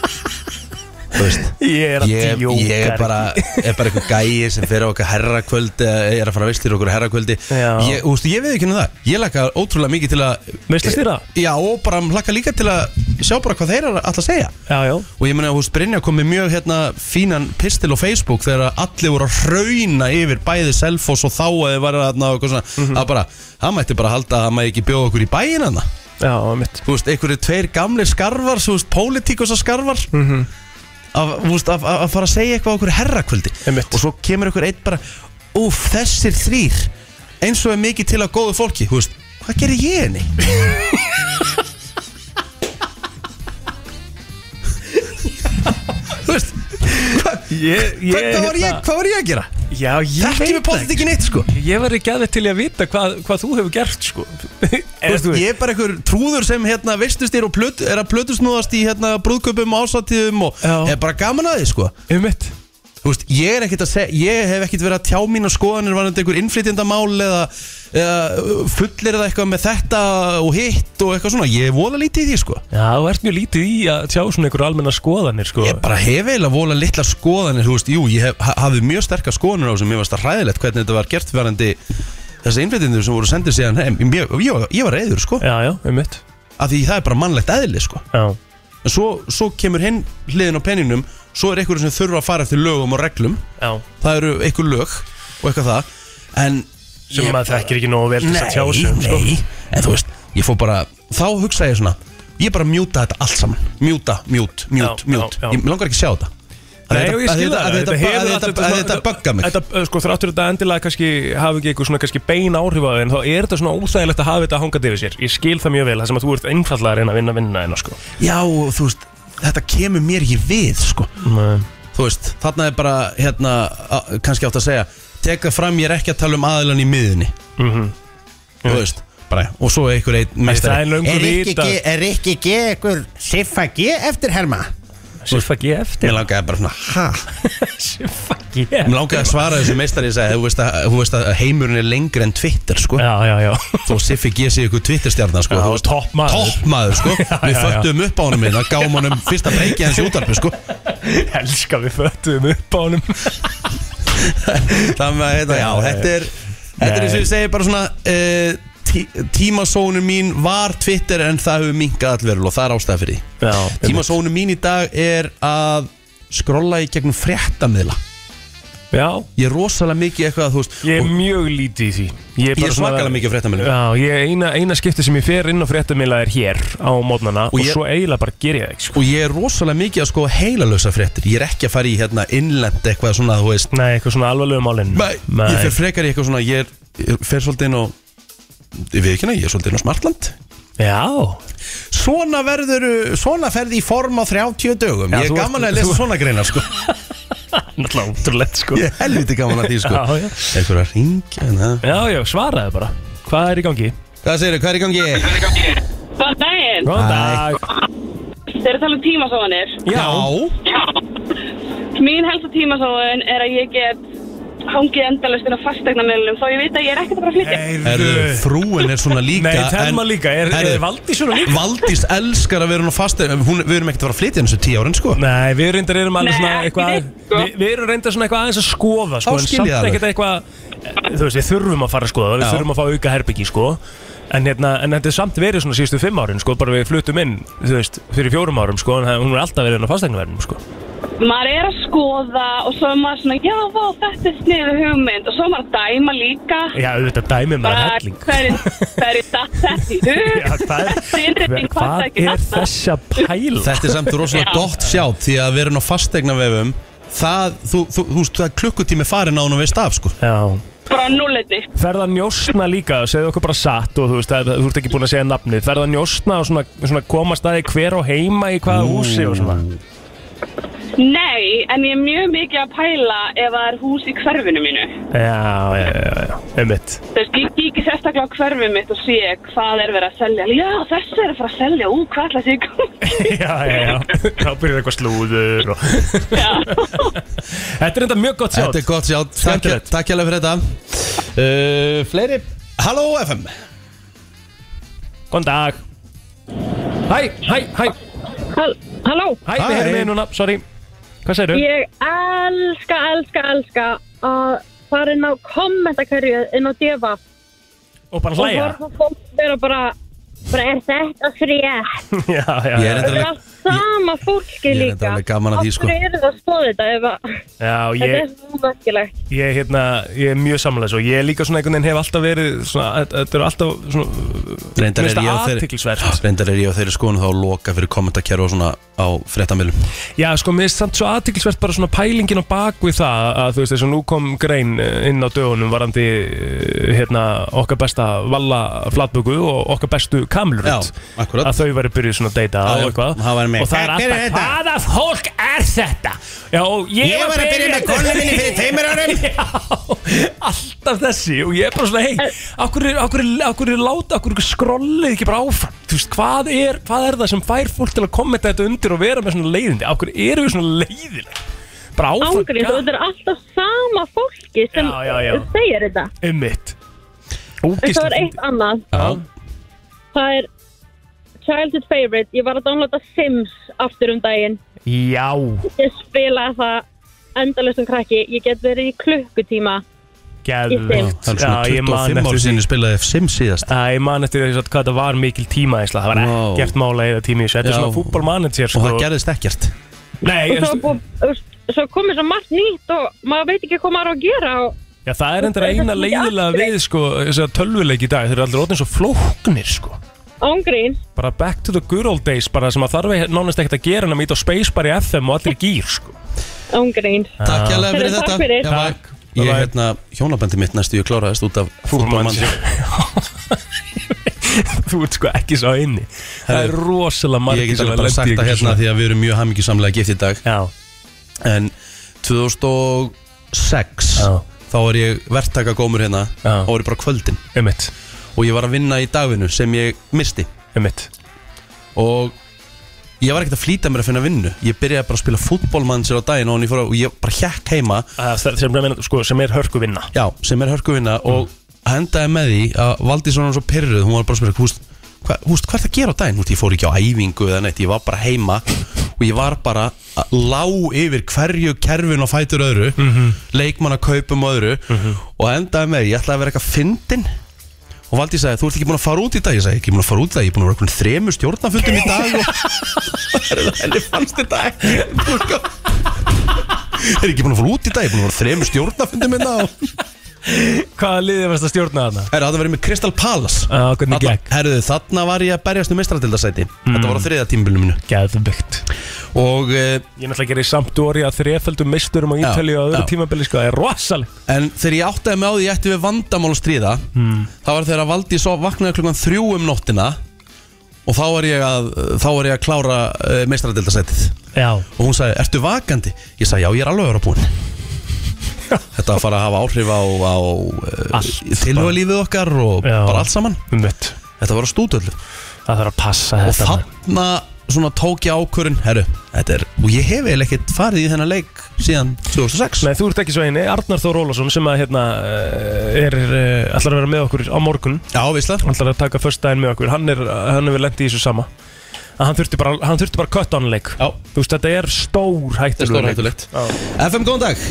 Speaker 2: Þú veist
Speaker 3: Ég er að
Speaker 2: Ég,
Speaker 3: djóka
Speaker 2: ég er bara, er bara eitthvað gæi sem fer á okkar herrakvöldi eða er að fara að veistir okkur herrakvöldi
Speaker 3: Já.
Speaker 2: ég, úst, ég veið ekki henni það, ég laka ótrúlega mikið til að
Speaker 3: Veistlustýra?
Speaker 2: Já, og bara laka líka til að sjá bara hvað þeir eru alltaf að segja
Speaker 3: Já, já,
Speaker 2: Og ég meina, húst, Brynja kom með mjög hérna fínan pistil á Facebook þegar allir voru að hrauna yfir bæði Selfoss og þá að þið var að og eitthvað svona
Speaker 3: Mhm.
Speaker 2: Það bara, það mætti bara halda að það mætti ekki bjóða okkur í bæin hana
Speaker 3: já, mitt
Speaker 2: Þú veist, einhverju tveir gamlir skarvar, þú veist, pólitíkosa skarvar mm
Speaker 3: Mhm.
Speaker 2: -hmm. að, þú veist, að, að að fara að segja eitthvað á okkur herrakvöldi
Speaker 3: Einmitt.
Speaker 2: Og svo kemur einhver eitt bara, úf, þessir þrýr, eins og er mikið til að góðu fólki Þú veist, hvað gerir ég henni? Þú veist,
Speaker 3: Ég, hérna-
Speaker 2: hvað, hvað, var ég, hvað var ég að gera?
Speaker 3: Já, ég
Speaker 2: Þekki
Speaker 3: veit
Speaker 2: við pólitíkin ekki neitt, sko
Speaker 3: Ég var ekki aðeins til í að vita hvað, hvað þú hefur gert sko
Speaker 2: Þú
Speaker 3: Eða
Speaker 2: veist,
Speaker 3: þú
Speaker 2: ég er bara einhver trúður sem hérna veistust er og plöt, er að plötusnúðast í hérna brúðköpum ásatíðum og
Speaker 3: Já.
Speaker 2: er bara gaman að því sko
Speaker 3: Um mitt
Speaker 2: Þú veist, ég er ekkert að segja, ég hef ekkert verið að tjá mína skoðanir varandi einhver innflytjandamál eða, eða fullir eða eitthvað með þetta og hitt og eitthvað svona, ég er vola lítið í því sko
Speaker 3: Já, þú ert mjög lítið í að tjá svona einhver almenna skoðanir sko
Speaker 2: Ég bara hef eiginlega vola litla skoðanir, þú veist, jú, ég hef, ha- hafði mjög sterkar skoðanir á þessum, mér varst það hræðilegt hvernig þetta var gert varandi þessi innflytjandur sem voru sendir síðan heim, ég, ég, ég var reyður sko,
Speaker 3: Já, já, um mitt
Speaker 2: af því það er bara mannlegt eðli sko
Speaker 3: Já,
Speaker 2: En svo, svo kemur hinn hliðin á penninum Svo er einhverjum sem þurfa að fara eftir lögum og reglum
Speaker 3: já
Speaker 2: Það eru einhver lög og eitthvað það En
Speaker 3: Sem
Speaker 2: Ég-
Speaker 3: maður þekkir ekki nógu vel til þess að tjá sig um,
Speaker 2: Nei,
Speaker 3: sko.
Speaker 2: nei En þú veist, ég fór bara Þá hugsa ég svona Ég bara mjúta þetta allt saman Mjúta, mjút, mjút,
Speaker 3: Já,
Speaker 2: mjút
Speaker 3: já, já.
Speaker 2: Ég mig langar ekki að sjá þetta Að
Speaker 3: Nei, og
Speaker 2: þetta-
Speaker 3: ég
Speaker 2: að
Speaker 3: skil
Speaker 2: þetta-
Speaker 3: það
Speaker 2: að þetta-
Speaker 3: hefur
Speaker 2: að
Speaker 3: allt
Speaker 2: þetta- Að þetta
Speaker 3: svona-
Speaker 2: bugga mig
Speaker 3: Þetta, sko, þráttur þetta endilega kannski hafi ekki eitthvað svona kannski bein áhrif á þig En þá er þetta svona óþægilegt að hafa þetta hangandi yfir sér Ég skil það mjög vel, það sem að þú ert einfallega að reyna að vinna vinna hérna, sko
Speaker 2: Já, og þú veist Þetta kemur mér ekki við, sko Þú veist, þarna er bara, hérna, a- kannski átt að segja teka fram ég er ekki að tala um aðilan í miðunni Þú veist bara, og svo einhver einn
Speaker 3: Mhm. Það
Speaker 2: meistari
Speaker 3: er löngu
Speaker 4: Er ekki,
Speaker 3: vita
Speaker 4: ge- er ekki G ykkur Siffa G eftir herma?
Speaker 3: Siffa G eftir
Speaker 2: Mér langaði bara svona, ha?
Speaker 3: Siffa G
Speaker 2: Mér langaði að svara þessu meistari ég sagði, þú veist, að, þú veist að heimurinn er lengri en Twitter, sko
Speaker 3: Já, já, já
Speaker 2: Þó Siffi G sé ykkur Twitter-stjarnar, sko
Speaker 3: Já,
Speaker 2: Þú veist,
Speaker 3: toppmaður.
Speaker 2: Toppmaður, sko
Speaker 3: já,
Speaker 2: Við
Speaker 3: já.
Speaker 2: föttum upp á honum minna, gáum honum um fyrsta breyki hans í útarpi, sko
Speaker 3: Elskar við föttuðum upp á honum
Speaker 2: Þannig að, hérna, já, þetta er Þetta
Speaker 3: Nei.
Speaker 2: er eins og ég segi bara svona uh, tí, Tímasónu mín var Twitter en það hefur minkað allverul og það er ástæða fyrir því
Speaker 3: Já
Speaker 2: Tímasónu mín í dag er að skrolla í gegnum fréttamiðla
Speaker 3: Já,
Speaker 2: Ég er rosalega mikið eitthvað að þú veist
Speaker 3: ég er
Speaker 2: og
Speaker 3: mjög lítið í því Ég
Speaker 2: Ég er svakalega mikið á fréttamiðlum
Speaker 3: Já, ég, eina, eina skipti sem ég fer inn á fréttamila er hér á mótnana og,
Speaker 2: Og ég-
Speaker 3: svo eiginlega bara ger ég það ekki sko.
Speaker 2: Og ég er rosalega mikið að sko heilalösa fréttir Ég er ekki að fara í hérna innlend eitthvað svona þú veist
Speaker 3: Nei, eitthvað svona alvarlegu málinn
Speaker 2: Nei, Ég fer frekar í eitthvað svona Ég, er, ég fer svolítið inn á Ég veit ekki hana, ég er svolítið inn á Smartland
Speaker 3: Já,
Speaker 2: Svona verður, svona ferði í form á 30 dögum
Speaker 3: Já,
Speaker 2: Ég
Speaker 3: þú
Speaker 2: er
Speaker 3: ert-
Speaker 2: gaman að lesa
Speaker 3: þú-
Speaker 2: svona greinar sko
Speaker 3: náttúrulega útrúlegt sko
Speaker 2: Ég er helviti gaman að því sko
Speaker 3: Já, já.
Speaker 2: Einhver að ringja
Speaker 3: Já, já, svaraði bara Hvað er í gangi?
Speaker 2: Hvað segirðu, hvað er í gangi?
Speaker 6: Góðan daginn,
Speaker 3: Góðan dag
Speaker 6: þeir eru að tala um tímasóðanir.
Speaker 2: Já
Speaker 6: Mín helsta tímasóðan er að ég get hangið endalust inn á fastegnamölunum þó ég veit að ég er ekkert að bara flytja.
Speaker 2: Erðu, frúin er svona líka
Speaker 3: Nei, Telma
Speaker 2: en-
Speaker 3: líka, er, er,
Speaker 2: Herðu,
Speaker 3: er Valdi svona líka?
Speaker 2: Valdís elskar að vera hún á fasta hún, Við erum ekkert að fara að flytja henni þessu tíu árin sko
Speaker 3: Nei, við reyndar erum alveg
Speaker 6: Nei,
Speaker 3: svona
Speaker 6: ekki
Speaker 3: eitthvað
Speaker 6: neitt, sko.
Speaker 3: við, við erum reyndar svona eitthvað aðeins að skoða sko,
Speaker 2: Þá
Speaker 3: En
Speaker 2: skil ég
Speaker 3: samt
Speaker 2: alveg.
Speaker 3: ekkert eitthvað Þú veist, við þurfum að fara að skoða Við
Speaker 2: Já.
Speaker 3: þurfum að fá auka herbyggi, sko En, hérna, en þetta er samt verið svona síðustu fimm árin sko, bara við flutum inn, þú veist, fyrir fjórum árum sko, en það- hún er alltaf verið inn á fastegnaverðinum sko.
Speaker 6: Maður er að skoða og svo er maður svona, já, vá, þetta er sniðu hugmynd og svo er maður að dæma líka.
Speaker 3: Já, auðvitað dæmið maður
Speaker 6: Bara,
Speaker 3: helling
Speaker 6: hverju, hverju datt þetta í hug?
Speaker 3: Já, það er,
Speaker 6: Þessi innrétting
Speaker 3: hvað
Speaker 6: passa ekki
Speaker 3: er
Speaker 6: þarna.
Speaker 3: þessa pæla?
Speaker 2: Þetta er samt rosalega gott sjátt Því að vera hún á fastegna vefum Það, þú, þú, þú veist, það er klukkutími farin á hún og veist af sko
Speaker 3: Já,
Speaker 6: Bara núleitni.
Speaker 3: ferða að njóstna líka segðu okkur bara satt og þú veist að, þú ert ekki búin að segja nafnið, ferða að njóstna og svona, svona koma staði hver og heima í hvaða húsi og svona
Speaker 6: Nei, en ég er mjög mikið að pæla ef það er hús í hverfinu mínu.
Speaker 3: já, já, já, já, einmitt
Speaker 6: Þú veist, ég kíkir sérstaklega á hverfið mitt og sé hvað er verið að selja. Já, þessi er að fara að selja, ú, hvað ætla þessi í gangi?
Speaker 3: já, já, já, þá byrjar eitthvað slúður og...
Speaker 6: Já.
Speaker 3: þetta er enda mjög gott sjátt
Speaker 2: Þetta er gott sjátt, takk,
Speaker 3: Skemmtilegt.
Speaker 2: takk hérlega fyrir þetta uh, Fleiri Halló FM
Speaker 3: góðan dag hæ, hæ, hæ,
Speaker 6: Halló,
Speaker 3: hæ, við
Speaker 2: Hæ.
Speaker 3: erum með núna, sorry hvað segirðu?
Speaker 6: ég elska, elska, elska að fara inn á kommentakörju inn á Deva
Speaker 3: og bara hlæja
Speaker 6: og horfa á fólk vera bara, bara er þetta frétt?
Speaker 3: já, já,
Speaker 2: Ég
Speaker 3: já,
Speaker 2: er
Speaker 6: Það er
Speaker 2: endalega
Speaker 6: allt sama
Speaker 2: Ég
Speaker 6: fólki
Speaker 2: er
Speaker 6: líka.
Speaker 2: reyndar alveg gaman að því, sko.
Speaker 6: Af hverju eru það að skoða þetta ef að
Speaker 3: já
Speaker 6: þetta
Speaker 3: ég,
Speaker 6: er svo merkilegt?
Speaker 3: Ég, hérna, ég er mjög samlega og ég er líka svona einhvern veginn hef alltaf verið svona, þetta er alltaf svona,
Speaker 2: Reyndar
Speaker 3: Mér finnst
Speaker 2: er ég
Speaker 3: það
Speaker 2: og þeir
Speaker 3: athyglisvert.
Speaker 2: Reyndar er ég og þeir skoðum þá að loka fyrir kommentarkerfi og svona á fréttamilum
Speaker 3: Já, sko, mér er samt svo aðtiklisvert bara svona pælingin á bak við það að þú veist þess að nú kom grein eh, inn á dögunum varandi eh, hérna okkar besta valla flatböku og okkar bestu kamlurut
Speaker 2: Já, akkúrat.
Speaker 3: að þau væri byrjuð svona að deyta
Speaker 2: Já,
Speaker 3: og eitthvað
Speaker 2: það var mig.
Speaker 3: og það er
Speaker 4: Hver er
Speaker 3: alltaf,
Speaker 4: þetta?
Speaker 3: hvaða fólk er þetta? Já, og ég,
Speaker 4: Ég var að byrja með konu minni fyrir tveimur árum
Speaker 3: Já, alltaf þessi og ég er bara svona, hei, okkur er, okkur er, okkur er láta, okkur er skrollið ekki bara áfram þú veist, hvað er, hvað er það sem fær fólk til að kommenta þetta undir og vera með svona leiðindi okkur eru við svona leiðileg bara áfram,
Speaker 6: Ángríns og þetta er alltaf sama fólki sem
Speaker 3: Já, já, já.
Speaker 6: segir þetta.
Speaker 3: um mitt
Speaker 6: En það var eitt annað. Það er Childhood Favorite. Ég var að downloada Sims aftur um daginn.
Speaker 3: já,
Speaker 6: Ég spilaði það endalust um krakki. Ég get verið í klukkutíma.
Speaker 3: geðvögt
Speaker 2: Það er svona 25 ár sinni spilaði F-Sim síðast
Speaker 3: Það ég man eftir þess að hvað það var mikil tíma Það var
Speaker 2: Vá.
Speaker 3: ekkert mála eða tími í þessu. Þetta er
Speaker 2: Já.
Speaker 3: svona fútbolmanager
Speaker 2: Og
Speaker 3: sko.
Speaker 2: það gerðist ekkert
Speaker 3: Nei,
Speaker 6: Og
Speaker 3: en,
Speaker 6: svo, búið, þú veist, svo komið svo margt nýtt og maður veit ekki hvað maður á að gera. Og
Speaker 3: Já, það er endur
Speaker 6: Það er
Speaker 3: eina
Speaker 6: kannski ekki
Speaker 3: leiðilega við sko, þess að tölvuleik í dag, þeir eru allir orðin svo flóknir sko.
Speaker 6: ángríns.
Speaker 3: Bara back to the good old days bara sem að þarf ekki- nánast ekkert að gera en að mýta á spacebar í FM og allir í gýr sko.
Speaker 6: Ángríns.
Speaker 2: Takk hérlega fyrir
Speaker 6: Heyrðu, takk
Speaker 2: þetta
Speaker 6: fyrir.
Speaker 2: Já,
Speaker 3: Takk.
Speaker 2: bye. Ég
Speaker 3: Bye bye.
Speaker 2: hérna, hjónabandi mitt næstu ég kláraðist út af
Speaker 3: Fútbolmann.
Speaker 2: fútbolmann
Speaker 3: Þú ert sko ekki svo inni Það er rosalega margir
Speaker 2: Ég get
Speaker 3: sem
Speaker 2: alveg
Speaker 3: að
Speaker 2: bara
Speaker 3: lendi í
Speaker 2: sagt það
Speaker 3: einhverju
Speaker 2: hérna
Speaker 3: svona.
Speaker 2: því að við erum mjög hammingisamlega gift í dag
Speaker 3: Já,
Speaker 2: En 2006
Speaker 3: Já.
Speaker 2: þá var ég verktaka gómur hérna
Speaker 3: Já.
Speaker 2: og var ég bara á kvöldin
Speaker 3: Ummitt,
Speaker 2: og ég var að vinna í dagvinnu sem ég misti
Speaker 3: ummitt
Speaker 2: og ég var ekkert að flýta mér að finna vinnu ég byrjaði bara að spila fútbolmann sér á daginn og ég, fór að, og ég bara hjekk heima
Speaker 3: sem, er- sko, sem er hörku vinna
Speaker 2: já, sem er hörkuvinna og hendaði með því að valdi svona svo pyrruð hún var bara að spyrja húst, hva, húst, hvað er það að gera á daginn húst, ég fór ekki á æfingu eða neitt, ég var bara heima og ég var bara að lá yfir hverju kerfin og fætur öðru mm
Speaker 3: Mhm.
Speaker 2: -hmm. leikmanna kaupum öðru og endaði með því, ég ætlaði að vera eitthvað fyndin og Valdi sagði, þú ert ekki búin að fara út í dag ég sagði, ekki búin að fara út í dag, ég er búin að vera okkur þremur stjórnafundum í dag og henni fannst þetta ekki Þú veist hvað? er ekki búin að fara út í dag, ég er búin að vera á þremur stjórnafundum minna og
Speaker 3: Hvaða liðið varst að stjórna þarna?
Speaker 2: Herru, það var verið með Crystal Palace
Speaker 3: Já, hvernig
Speaker 2: Þarna-
Speaker 3: gekk? Mm.
Speaker 2: Herru, þarna var ég að berjast um mistratildasæti Þetta var á þriða tímbilinu mínu
Speaker 3: Gæðvögt
Speaker 2: Og, eh,
Speaker 3: Ég náttúrulega gerir samt dóri að þreföldum meisturum á
Speaker 2: Já,
Speaker 3: Ítali og öðru
Speaker 2: já.
Speaker 3: tímabili sko, það er rosalegt
Speaker 2: En þegar ég áttaði með á því ég ætti við vandamál að stríða
Speaker 3: Hmm.
Speaker 2: Það var þegar að valdi svo vaknaði klukkan þrjú um nóttina Og þá var ég að, þá var ég að klára uh, mistratildasætið
Speaker 3: Já
Speaker 2: Og hún sagði, ertu vakandi? Ég sagði, já, ég er alveg að vera búin Þetta að fara að hafa áhrif á, á
Speaker 3: Allt,
Speaker 2: uh, tilhugalífið okkar og
Speaker 3: Já.
Speaker 2: bara allt saman
Speaker 3: Ummitt,
Speaker 2: Þetta var á stúdöldu
Speaker 3: það þarf að passa
Speaker 2: og
Speaker 3: þetta
Speaker 2: þarna svona tók ég ákvörun herru, þetta er, og ég hef eiginlega ekkert farið í þennan leik síðan 2006
Speaker 3: Nei, þú ert ekki svo eini, Arnar Þór Ólafsson sem að hérna eh, er, eh, ætlar að vera með okkur á morgun
Speaker 2: já, veist það,
Speaker 3: Hann ætlar að taka först daginn með okkur Hann er, hann er lendið í þessu sama að hann þurfti bara, hann þurfti bara cut on leik
Speaker 2: Já.
Speaker 3: Þú veist, þetta er stór
Speaker 2: þetta er
Speaker 3: hættulegur leik.
Speaker 2: stórhættulegt FM, góðan dag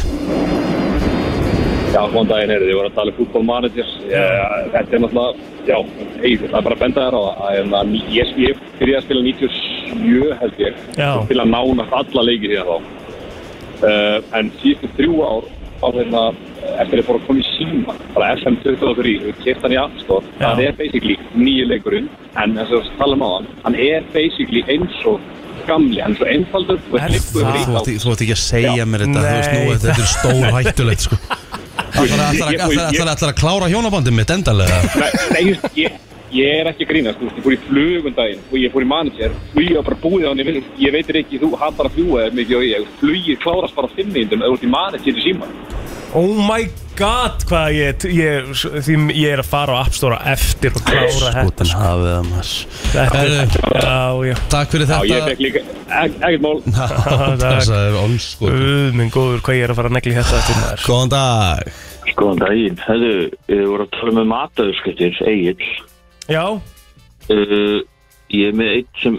Speaker 7: Já, góðan daginn er þið, ég var að tala um fútból manager Eh, Þetta er náttúrulega, já, ey, það er bara að benda þér á það að, hérna, ný- Ég ég byrjaði að spila 97 held ég
Speaker 3: Já.
Speaker 7: og spila nánast alla leiki því þá uh, En síðustu þrjú ár, á, hérna, eftir ég fór að koma í síma bara FM23, við kert hann í aftur
Speaker 3: Já.
Speaker 7: það er basically nýju leikurinn en þess að tala um á hann, hann er basically eins og gamli, hann er svo einfaldur og
Speaker 3: Er
Speaker 7: liggur
Speaker 3: það?
Speaker 7: í
Speaker 2: þú
Speaker 7: þá.
Speaker 2: átt þú átt ekki að segja mér þetta þú veist,
Speaker 3: Nei.
Speaker 2: nú, þetta er stórhættulegt sko. ætlar að- ætlar að- ætlar að- ætlar að- ætlar að klára hjónabandið mitt endalega
Speaker 7: Nei, nei ég, ég, ég er ekki að grínast, þú veist, ég fór í flugundaginn og ég fór í manager og ég var bara búið á henni, ég, ég veitir ekki, þú hattar að fljúa eða mikið og ég, flugið klárast bara á fimm minnum eða út í manager í síma.
Speaker 3: Oh my god, hvað ég, ég, því, ég er að fara á App Store á eftir og klára þetta sko.
Speaker 2: skotin hafið það maður
Speaker 3: Þetta er,
Speaker 2: Herru.
Speaker 3: já, já,
Speaker 2: takk fyrir
Speaker 7: Já, ég
Speaker 2: þetta
Speaker 7: fekk líka, ek- ekkert mál.
Speaker 2: þess að er ónskot
Speaker 3: Guð minn góður, hvað ég er að fara að negli þetta til maður
Speaker 2: góðan dag
Speaker 8: Góðan Sko, um daginn, hefðu, við vorum að tala með mataðurskettir, Egil.
Speaker 3: Já,
Speaker 8: Uh, ég er með eitt sem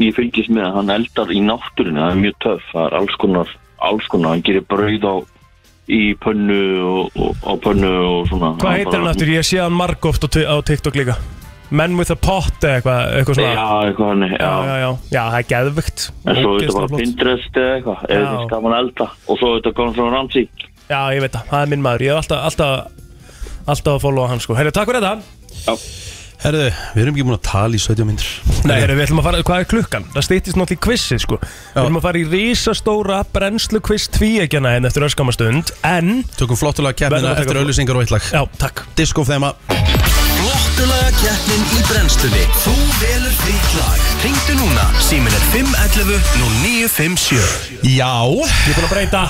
Speaker 8: ég fylgist með að hann eldar í náttúrinu, það er mjög töff, það er alls konar, alls konar, hann gerir brauð á, í pönnu og, og á pönnu og svona.
Speaker 3: hvað heitir hann aftur? Ég sé hann margóft á, á TikTok líka Men with a pot eða eitthvað, eitthvað
Speaker 8: Já,
Speaker 3: svona
Speaker 8: eitthvað hann, já.
Speaker 3: já, já, já, það er geðvögt
Speaker 8: En svo er þetta bara Pinterest eða eitthvað,
Speaker 3: Já.
Speaker 8: eða þetta gaman elda og svo er þetta komið frá Ramsey.
Speaker 3: Já, ég veit það, það er minn maður, ég hef alltaf, alltaf, alltaf að followa hann sko Herru, takk fyrir þetta
Speaker 2: herru, við erum ekki búin að tala í 70 myndir
Speaker 3: Nei, herru, við ætlum að fara, hvað er klukkan? Það stýttist náttúrulega í quizið sko Við ætlum að fara í risastóra brennslu quiz tvíegjana en eftir öskamastund En,
Speaker 2: tökum flottulega
Speaker 3: Verðum
Speaker 2: keppina
Speaker 3: að taka
Speaker 2: eftir
Speaker 3: flott-
Speaker 2: auðlýsingar og eitt lag
Speaker 3: já, takk
Speaker 2: disco þema
Speaker 1: Flottulaga keppnin í brennstunni Þú velur þitt lag Ringdu núna, símin er 511 0957
Speaker 2: já,
Speaker 3: Ég er búin að breyta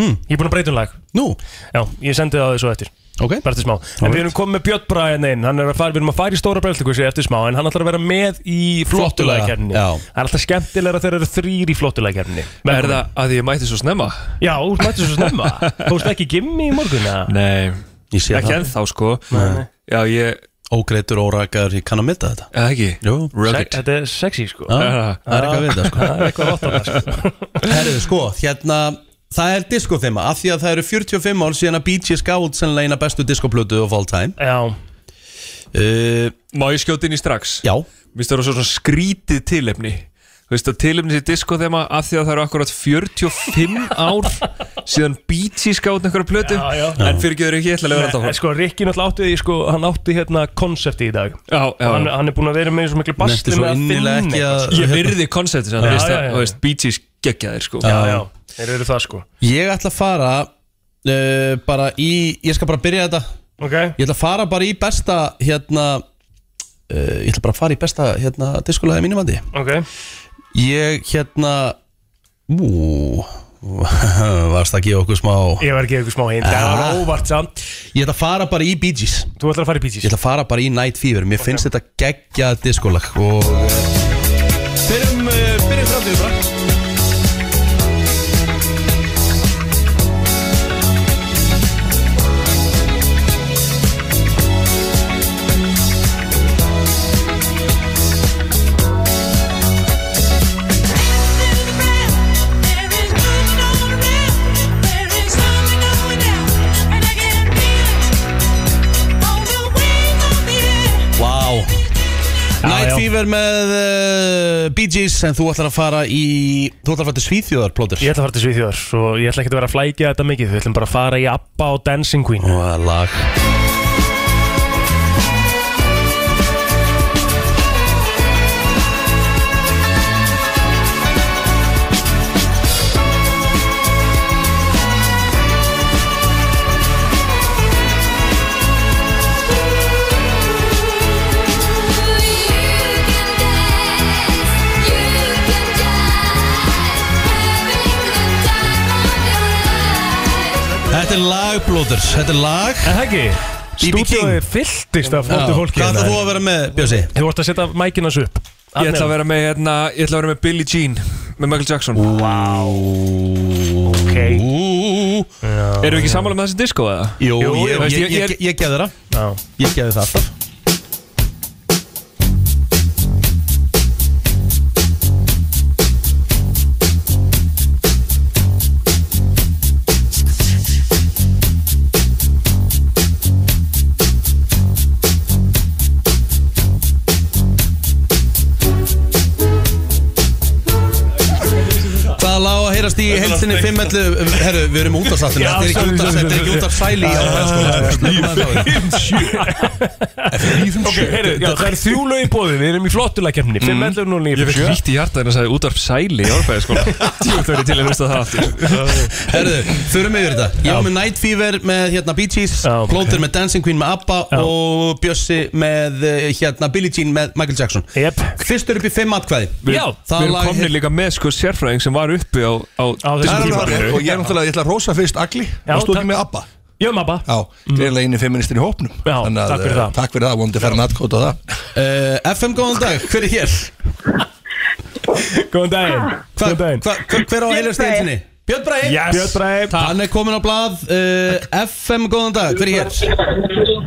Speaker 3: hmm. Ég er búin að breyta um lag
Speaker 2: nú,
Speaker 3: Já, ég sendi það á því svo eftir
Speaker 2: ok
Speaker 3: Bara eftir smá En við erum komið með Björn Bræðin einn Hann er að fara Við erum að fara í stóra breyldingu eftir smá En hann ætlar að vera með í
Speaker 2: Flottulega,
Speaker 3: flottulækjarni
Speaker 2: já.
Speaker 3: Það er alltaf skemmtilega þegar eru þrýr í flottulækjarni
Speaker 9: Er það að ég mætti svo snemma?
Speaker 3: Já, þú ert mættu svo snemma Fórst ekki gimmi í morgun eða?
Speaker 9: Nei,
Speaker 2: Ég sé
Speaker 9: ekki
Speaker 2: það,
Speaker 9: ennþá sko Nei. Já, ég,
Speaker 2: ógreitur, órækar, ég kann að mynda þetta
Speaker 9: eða ekki
Speaker 2: Jú,
Speaker 3: Se-
Speaker 9: Rugged
Speaker 3: Þetta er sexy sko
Speaker 2: Já,
Speaker 9: Já.
Speaker 2: það er eitthvað að vita sko
Speaker 3: Það er eitthvað gott á það sko
Speaker 2: Herðu, sko, hérna Það er disco þema, af því að það eru 45 ár síðan að BG Scout sennilega eina bestu discoplötu of all time
Speaker 3: Já,
Speaker 2: uh,
Speaker 9: Má ég skjóti inn í strax?
Speaker 2: Já,
Speaker 9: Mér stöður svona skrítið tilefni Þú veist að tilefni sér disko þeim af því að það eru akkurat 45 ár síðan BT skáðin einhverja plötu
Speaker 3: Já, já.
Speaker 9: En fyrir getur ekki, ég ætla að vera alltaf
Speaker 3: en sko Rikki náttúrulega átti því sko Hann átti hérna konsepti í dag
Speaker 9: Já, já,
Speaker 3: hann, hann er búin að vera með svo miklu
Speaker 2: nefndi
Speaker 3: bastli
Speaker 2: svo
Speaker 3: með að
Speaker 2: innilega
Speaker 3: finna
Speaker 2: ekki
Speaker 3: eitthvað.
Speaker 2: að
Speaker 9: Ég virði konseptið sem
Speaker 3: Já,
Speaker 9: þú veist
Speaker 3: já,
Speaker 9: að,
Speaker 3: já.
Speaker 9: þú veist, BT geggjaðir sko
Speaker 3: Já, já, þeir eru það sko
Speaker 2: Ég ætla að fara uh, bara í, ég skal bara byrja þetta
Speaker 3: Ok
Speaker 2: Ég ætla að fara bara í besta hérna uh, Ég ætla bara að fara í besta hérna discolaði mínumandi
Speaker 3: Ok,
Speaker 2: Ég hérna Ú, Varst að gefa okkur smá
Speaker 3: Ég var ekki eitthvað smá hinn Það
Speaker 2: Ah.
Speaker 3: var óvart samt
Speaker 2: Ég ætla að fara bara í Bee Gees
Speaker 3: Þú ætlar að fara í Bee
Speaker 2: Ég
Speaker 3: Gees
Speaker 2: ætla að fara bara í Night Fever Mér finnst þetta geggjað diskolag Og
Speaker 3: Byrjum, uh, byrjum framtíðu bara
Speaker 2: Wow Night
Speaker 3: já.
Speaker 2: Fever með uh, Bee Gees En þú ætlar að fara í Þú ætlar að fara til Svíþjóðar, plóður
Speaker 3: Ég ætla að fara til Svíþjóðar og ég ætla ekki að vera að flækja þetta mikið Við ætlum bara að fara í Abba og Dancing Queen
Speaker 2: Og það er lag Þetta er lag, plóður Þetta er lag
Speaker 3: En það ekki,
Speaker 2: BB King.
Speaker 3: stúdíóið fylltist af flottu
Speaker 2: Já.
Speaker 3: fólki
Speaker 2: Hvað ætlar þú að vera með, Bjössi?
Speaker 3: Þú vart að setja mækinn hans upp
Speaker 9: Ég ætla að vera með, hérna, ég ætla að vera með Billie Jean með Michael Jackson
Speaker 3: Ok
Speaker 2: Ú,
Speaker 9: Eru ekki sammála með þessi disco eða?
Speaker 2: Jú,
Speaker 3: Jú,
Speaker 2: ég,
Speaker 9: veist,
Speaker 2: ég,
Speaker 9: ég-
Speaker 2: ég, ég geði það
Speaker 3: Já.
Speaker 2: Ég geði það alltaf Það lág að heyrast í heilsinni 511 Herru, við erum útastáttin
Speaker 3: Já,
Speaker 2: Þetta er ekki
Speaker 3: sorry,
Speaker 2: útastáttin,
Speaker 3: sorry,
Speaker 2: þetta er ekki
Speaker 3: sorry.
Speaker 2: útastfæli í sko. ábæðaskóla
Speaker 3: Ok, heyrðu, já, Mm. það er þrjú lög í bóði, við erum í flottulækjafni 5, 11, 0, 9,
Speaker 9: Ég fekk
Speaker 3: 7
Speaker 9: hlýtt í hjarta en að sagði útvarp sæli í orðbæði sko Ég þurfi til að hlusta það aftur
Speaker 2: Herru, þurfum yfir þetta Ég var með Night Fever með hérna Bee Gees
Speaker 3: Já, ok.
Speaker 2: Plóter með Dancing Queen með ABBA
Speaker 3: Já.
Speaker 2: Og Bjössi með eh, hérna Billie Jean með Michael Jackson
Speaker 3: Jep,
Speaker 2: Fyrstur upp í 5 atkvæði
Speaker 9: Við-
Speaker 3: Já,
Speaker 2: það
Speaker 9: Við erum
Speaker 2: lag-
Speaker 9: komnir líka með sko sérfræðing sem var uppi á, á,
Speaker 3: á
Speaker 9: disco
Speaker 3: þessum tíma
Speaker 9: tímanum.
Speaker 10: Og ég er náttúrulega, ég ætla að rosa fyrst Agli
Speaker 3: Já,
Speaker 10: Varst þú
Speaker 3: takk.
Speaker 10: ekki með Abba?
Speaker 3: Ég er mabba
Speaker 10: Já, greiðlega eini feministin í hópnum
Speaker 3: Já,
Speaker 10: Þannig
Speaker 3: takk fyrir
Speaker 10: eh,
Speaker 3: það.
Speaker 10: Takk fyrir það, vondi að fara nattkóta það
Speaker 2: uh, FM góðan dag, hver er hér?
Speaker 3: Góðan daginn,
Speaker 2: Hva,
Speaker 3: góðan daginn
Speaker 2: hva, hva, hver á að heyrast í heilsinni? Björn Bræði
Speaker 3: Björn Bræði
Speaker 2: Hann er komin á blað uh, FM góðan dag, hver er hér?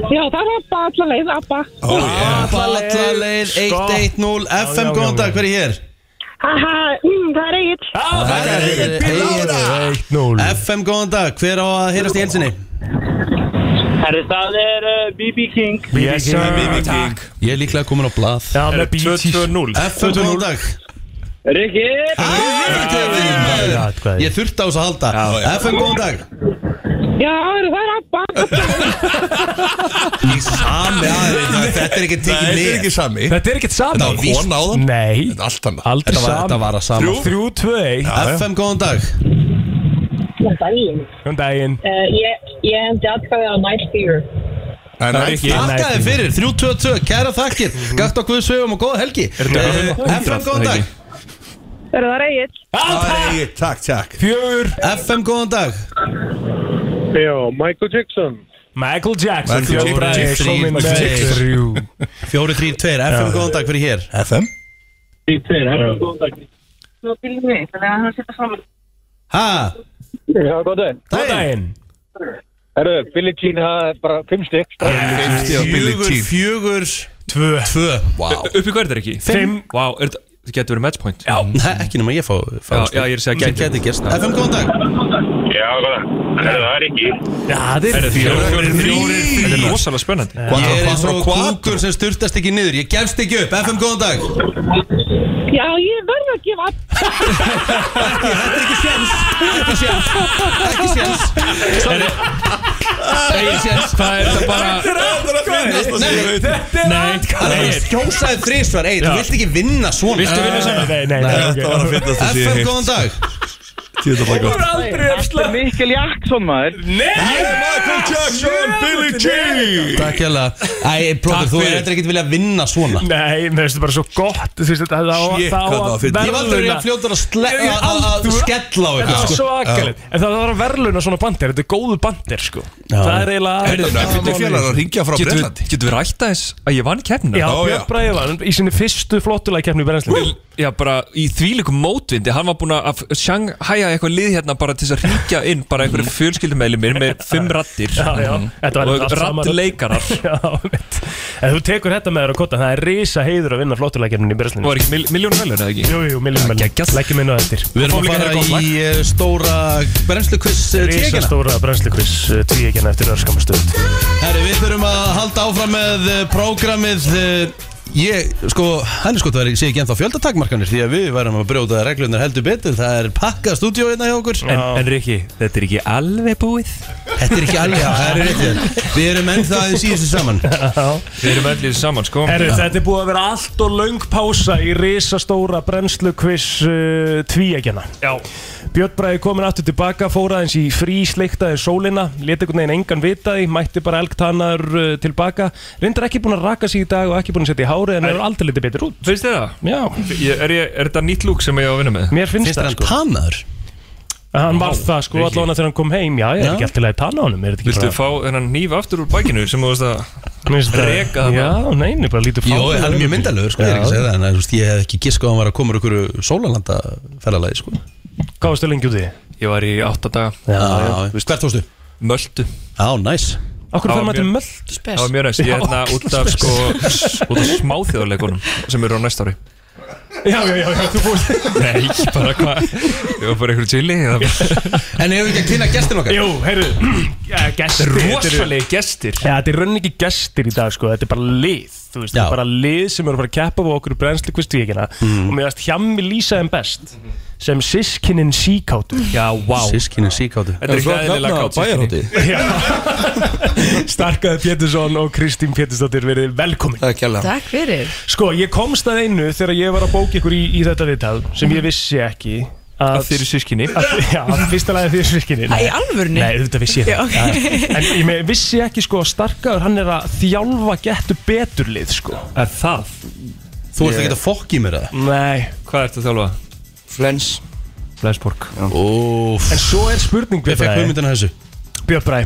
Speaker 6: Já, það er abba allan leið, abba.
Speaker 2: Alla leið
Speaker 3: Sko.
Speaker 2: 110 FM,
Speaker 3: já,
Speaker 2: góðan
Speaker 3: já,
Speaker 2: dag,
Speaker 3: já.
Speaker 2: hver er hér?
Speaker 6: Haha, mm, það er eitt.
Speaker 3: Það er
Speaker 2: Heyri, heyri.
Speaker 3: 0
Speaker 2: FM, góðan dag, hver á að heyrast í helsinni?
Speaker 8: Herri, það er uh, BB King
Speaker 3: Yes sir Takk
Speaker 2: Ég er líklega komin á blað
Speaker 3: Já, með bítís
Speaker 9: 2-2-0
Speaker 2: FM, góðan dag
Speaker 8: Rikki Ah!
Speaker 2: Ég þurfti á þess að halda FM, góðan dag
Speaker 6: Já, það er abba.
Speaker 2: Í sami aðeins Þetta er ekki
Speaker 10: Nei,
Speaker 2: tekið
Speaker 10: þetta er
Speaker 2: með
Speaker 10: ekki sami
Speaker 3: Þetta er ekkert
Speaker 10: Þetta
Speaker 3: saman
Speaker 10: var von áðan
Speaker 3: Nei,
Speaker 10: Þetta er allt annað
Speaker 3: aldrei
Speaker 2: Þetta var- þetta
Speaker 3: saman
Speaker 2: var að sama
Speaker 3: 3, 2, 1
Speaker 2: FM, góðan dag
Speaker 6: Góðan daginn.
Speaker 3: Góðan daginn
Speaker 6: Uh, ég, ég hefndi atkvæðið á Night Fever.
Speaker 10: Það
Speaker 9: Það
Speaker 10: er
Speaker 9: er
Speaker 10: ekki
Speaker 9: ekki
Speaker 2: Takkaði fyrir, 322, kæra þakkir Gakt á Guð sögum og góða helgi
Speaker 9: bara
Speaker 2: Eh, FM, góðan dag
Speaker 6: Er það eitt?
Speaker 10: Æ, Takk, takk
Speaker 3: Fjögur
Speaker 2: FM, góðan dag
Speaker 7: Já, Michael Jackson
Speaker 3: Michael Jackson
Speaker 10: Michael
Speaker 3: Björn Bragi
Speaker 2: Jackson.
Speaker 3: kominn
Speaker 2: Michael
Speaker 3: með
Speaker 2: Jackson.
Speaker 3: þrjú.
Speaker 2: 432, FM, góðan dag, hver er hér?
Speaker 10: FM
Speaker 6: Nú byrjum við, þannig að hann setja saman.
Speaker 2: Ha?
Speaker 7: Já, góð dag
Speaker 3: Góðan daginn
Speaker 7: Herru, Billie Jean, það er bara fimm stykk
Speaker 10: Fifty og Billie
Speaker 2: Fjögur,
Speaker 10: Jean.
Speaker 2: fjögur
Speaker 3: Tvö
Speaker 2: Tvö, wow
Speaker 9: Uppi hvað er þetta ekki?
Speaker 3: Fimm
Speaker 9: Vá, er þetta þetta getur verið match point
Speaker 3: Já
Speaker 2: Nei, ekki nema ég fá, fá
Speaker 9: Já, já, ég er að segja gæti.
Speaker 2: Gæti gerst FM, góðan dag
Speaker 7: Já, góð dag Herru, það er ekki
Speaker 3: Já, það er
Speaker 9: Fjórir,
Speaker 3: fjögur
Speaker 9: fjórir, fjórir Þetta er rosalega spennandi
Speaker 2: Ég er eins
Speaker 10: Quattro,
Speaker 2: og
Speaker 10: quattro
Speaker 2: kúkur sem styrtast ekki niður Ég gefst ekki upp, FM, góðan dag
Speaker 6: Já, ég verð að gefa abba.
Speaker 2: Ekki séns, ekki séns Sorry Ekki séns
Speaker 9: Það er þetta bara
Speaker 2: Nei,
Speaker 3: Þetta er
Speaker 2: það er
Speaker 3: atkvæðið
Speaker 2: bara skjósaði þrísvar Ey, þú
Speaker 3: Já.
Speaker 2: vilt ekki vinna svona
Speaker 9: Viltu vinna saman?
Speaker 3: Nei, nei, nei,
Speaker 10: Þetta var að
Speaker 3: ok.
Speaker 10: finna þess að
Speaker 2: FM,
Speaker 10: ég
Speaker 2: góðan dag
Speaker 10: Þetta var
Speaker 11: gott.
Speaker 3: aldrei
Speaker 11: Þetta er Mikkel Jackson maður
Speaker 9: Nei,
Speaker 10: Michael Jackson, Billy Jean
Speaker 2: Takk hérlega Æ, plóður,
Speaker 3: Takk
Speaker 2: þú
Speaker 3: fyrir.
Speaker 2: er ekkert vilja vinna svona
Speaker 3: Nei, mér finnst þetta bara svo gott Þú veist þetta, það á
Speaker 2: Shit,
Speaker 3: það á
Speaker 2: hvað það var
Speaker 3: að
Speaker 2: fyndið. Ég var aldrei
Speaker 3: verðlauna-
Speaker 2: jafn fljótur að sle-
Speaker 3: Ég- ég
Speaker 2: að- að- að
Speaker 3: aldrei-
Speaker 2: skella á ykkur,
Speaker 3: Þetta var
Speaker 2: sko.
Speaker 3: svo akkalegt En það var að verðluna svona bandir, þetta er góðu bandir sko Það er eiginlega
Speaker 9: Heyrðu,
Speaker 3: það er
Speaker 9: fyrir
Speaker 3: málið.
Speaker 9: félagar að hringja frá Getum við- Bretlandi. getum við rætt aðeins að ég vann keppnina?
Speaker 3: Já,
Speaker 9: Já, já.
Speaker 3: Björn Bræði vann í sinni fyrstu flottulega keppni í brennslinu
Speaker 9: Já, bara í þvílikum mótvindi Hann var búinn að sjanghæja eitthvað lið hérna bara til þess að ringja inn bara einhverju fjölskyldumæli mér með fimm rattir
Speaker 3: Mm. Já, já, þetta var
Speaker 9: og rattleikarar
Speaker 3: Já, mitt En þú tekur þetta með þér á kotta, það er risa heiður að vinna flottuleikjarnin í Breslinu
Speaker 9: Var ekki mil, miljónu velun eða ekki?
Speaker 3: Jú, jú, miljónu velun Leggjum inn á eftir
Speaker 2: Við erum að fara í eh, stóra eh, brennslukviss
Speaker 3: Risa
Speaker 2: tíkina
Speaker 3: stóra brennslukviss tíkina eh, eftir örskamastund
Speaker 2: Herri, við þurfum að halda áfram með eh, prógramið eh, Ég, sko, hann er sko, það er, sé ekki ennþá fjöldatakmarkanir Því að við værum að brjóta reglunir heldur betur Það er pakkað stúdíó hérna hjá okkur
Speaker 9: En, en Riki, þetta er ekki alveg búið
Speaker 2: Þetta er ekki alveg, já, það er rétt Við erum ennþá aðeins í þessu saman
Speaker 9: Við erum öll í þessu saman, sko
Speaker 3: Herru, þetta er búið að vera allt og löng pása í risastóra brennslukviss uh, tvíækjana. Já. Björn Bræði komin aftur tilbaka, fór aðeins í frí sliktaði sólina, leti einhvern veginn engan vita því, mætti bara elgtannar uh, tilbaka, reyndar ekki búin að raka sig í dag og ekki búin að setja í hárið en er aldrei litið betur út.
Speaker 9: Finnst þið það?
Speaker 3: Já.
Speaker 9: Ég, er, ég, er þetta nýtt lúk sem ég á að vinna með?
Speaker 3: Mér finnst, það sko.
Speaker 2: tannaður?
Speaker 3: Hann var
Speaker 9: Vá,
Speaker 3: það sko
Speaker 9: Riki.
Speaker 3: allavega þegar hann kom heim, já, ég er
Speaker 9: Já.
Speaker 3: ekki alltaf leið tanna á honum, er þetta
Speaker 9: Viltu
Speaker 3: ekki
Speaker 9: fá þennan nýf aftur úr bækinu sem þú veist að
Speaker 3: Mér finnst það-
Speaker 9: reka það
Speaker 3: Já, nei, nei, bara lítið
Speaker 2: Jó, hann er mjög myndalögur, sko, ég er ekki að segja
Speaker 3: Já.
Speaker 2: það En þú veist, ég hef ekki giskað að hann var að koma úr ykkur sólalanda ferðalagi, sko
Speaker 3: Hvað varstu lengi út í?
Speaker 9: Ég var í átta daga
Speaker 2: Já, já. Hvert fórstu?
Speaker 9: Möldu
Speaker 2: Já, næs
Speaker 3: Akkur
Speaker 9: Það
Speaker 3: fer
Speaker 9: var
Speaker 3: maður til
Speaker 9: mjög-
Speaker 3: möldu
Speaker 9: Það var mjög næst, ég er hérna út af sko út af smáþjóðleikunum sem eru á næsta ári
Speaker 3: Já, já, já, já, þú búið
Speaker 9: Nei, bara hvað Ég var bara einhverjum chili En
Speaker 2: hefur ekki að kynna gestin
Speaker 3: Jú, heyrðu, ja, gestir
Speaker 9: Rosalegi gestir
Speaker 3: Já, þetta er raunin ekki gestir í dag sko, þetta er bara lið Þú veist, þetta er bara lið sem eru að fara að keppa á okkur brennslu kvistvíkina og mér veist hjammi lýsa þeim best sem sískinin síkátur
Speaker 9: Já, vá
Speaker 2: Sískinin síkátu
Speaker 3: Þetta er ekki eðlilega kátt systkini. Starkaði Pétursson og Kristín Pétursdóttir verið velkomin
Speaker 10: Takk
Speaker 12: Takk fyrir
Speaker 3: Sko, ég komst að einu þegar ég var að bóka ykkur í, í þetta viðtal sem
Speaker 12: Mhm.
Speaker 3: ég vissi ekki Að
Speaker 9: þeir eru sískinni
Speaker 3: Já, að fyrsta lagi því svirkinni
Speaker 12: Æ, í alvörunni?
Speaker 3: Nei, auðvitað vissi ég
Speaker 12: Já,
Speaker 3: það
Speaker 12: ok.
Speaker 3: Já, En ég me- vissi ekki sko að starkaður hann er að þjálfa getur betur lið sko Er það?
Speaker 2: Þú ert ekki að fokki mér það
Speaker 3: Nei
Speaker 9: Hvað ertu að þjálfa?
Speaker 3: Flens Flensborg
Speaker 2: Óf
Speaker 3: En svo er spurning
Speaker 2: Ég fekk hugmyndina þessu
Speaker 3: Björn Bræ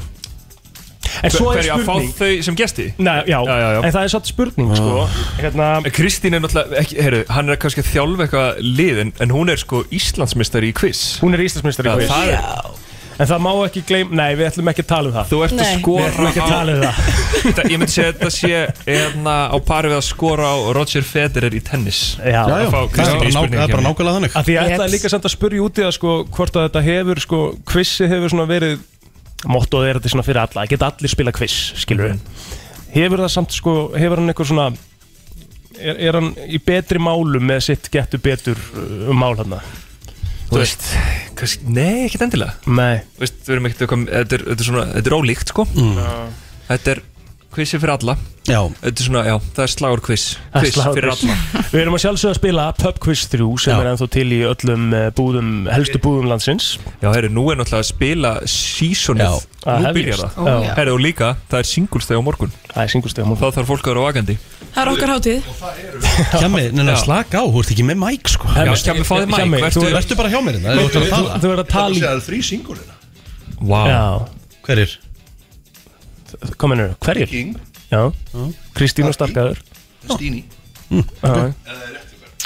Speaker 3: En svo er
Speaker 9: Hverju að fá
Speaker 3: spurning
Speaker 9: þau sem gesti?
Speaker 3: Nei, já, en það er satt spurning
Speaker 9: Ah.
Speaker 3: sko hérna...
Speaker 9: Kristín er náttúrulega ekki, heyru, hann er kannski að þjálfa eitthvað lið en, en hún er sko Íslandsmeistari í quiz
Speaker 3: Hún er Íslandsmeistari í quiz.
Speaker 9: Það er
Speaker 3: En það má ekki gleym Nei, við ætlum ekki að tala um það
Speaker 9: Þú ert að skora
Speaker 3: Við ætlum ekki að tala um það
Speaker 9: Þetta- Ég myndi segja að þetta sé hérna á pari við að skora á Roger Federer í tennis
Speaker 3: Já,
Speaker 9: Að fá Kristín í spurningu hjá mér.
Speaker 2: þannig
Speaker 3: Af Því ég ætlaði
Speaker 9: Jeps.
Speaker 3: líka samt að spurja út í það sko, hvort að þetta hefur, sko, kvissi hefur svona verið mottoð er þetta svona fyrir alla, geta allir spila kviss, skilur Mm. Hefur það samt, sko, hefur hann eitthvað svona er, er hann í betri málum með sitt getur betur uh, mál hann
Speaker 9: Þú veist, kannski, nei, ekkert endilega
Speaker 3: Nei
Speaker 9: Þú veist, við erum ekkert eitthvað, þetta er, þetta er svona, þetta er ólíkt sko
Speaker 3: Mm.
Speaker 9: Þetta er kvissi fyrir alla
Speaker 2: Já
Speaker 9: Þetta er svona, já, það er slagur kviss
Speaker 3: Það er
Speaker 9: Kviss
Speaker 3: slagur
Speaker 9: fyrir
Speaker 3: quiz.
Speaker 9: alla
Speaker 3: Við erum að sjálfsögða að spila Pub Quiz 3 sem er ennþá til í öllum eh, búðum, helstu búðum landsins Ah,
Speaker 9: Já, herri, nú er náttúrulega að spila seasonið
Speaker 3: Já.
Speaker 9: Nú
Speaker 3: Að hefjast.
Speaker 9: byrjar
Speaker 3: Ó,
Speaker 9: það
Speaker 3: já.
Speaker 9: Herri, og líka, það er singulsteg á morgun
Speaker 3: Það er singulsteg á morgun
Speaker 9: Það þarf fólk að vera vakandi
Speaker 12: Það er okkar hátíð
Speaker 2: Hjami, neina
Speaker 9: Já.
Speaker 2: slaka á, þú ert ekki með mæk sko
Speaker 9: Já, Hjami, fáðu mæk,
Speaker 2: Hjami,
Speaker 9: vertu-
Speaker 2: þú verður bara hjá mér hérna
Speaker 9: Þú-
Speaker 2: Þú ert að
Speaker 9: þú-
Speaker 2: tala
Speaker 3: Þú verður að tala í
Speaker 10: Það er þrý singulina
Speaker 9: Vá
Speaker 2: Hverjir?
Speaker 3: Kominur, hverjir?
Speaker 10: King.
Speaker 3: Já, Kristín og Starkaður
Speaker 10: Stíni
Speaker 3: Já.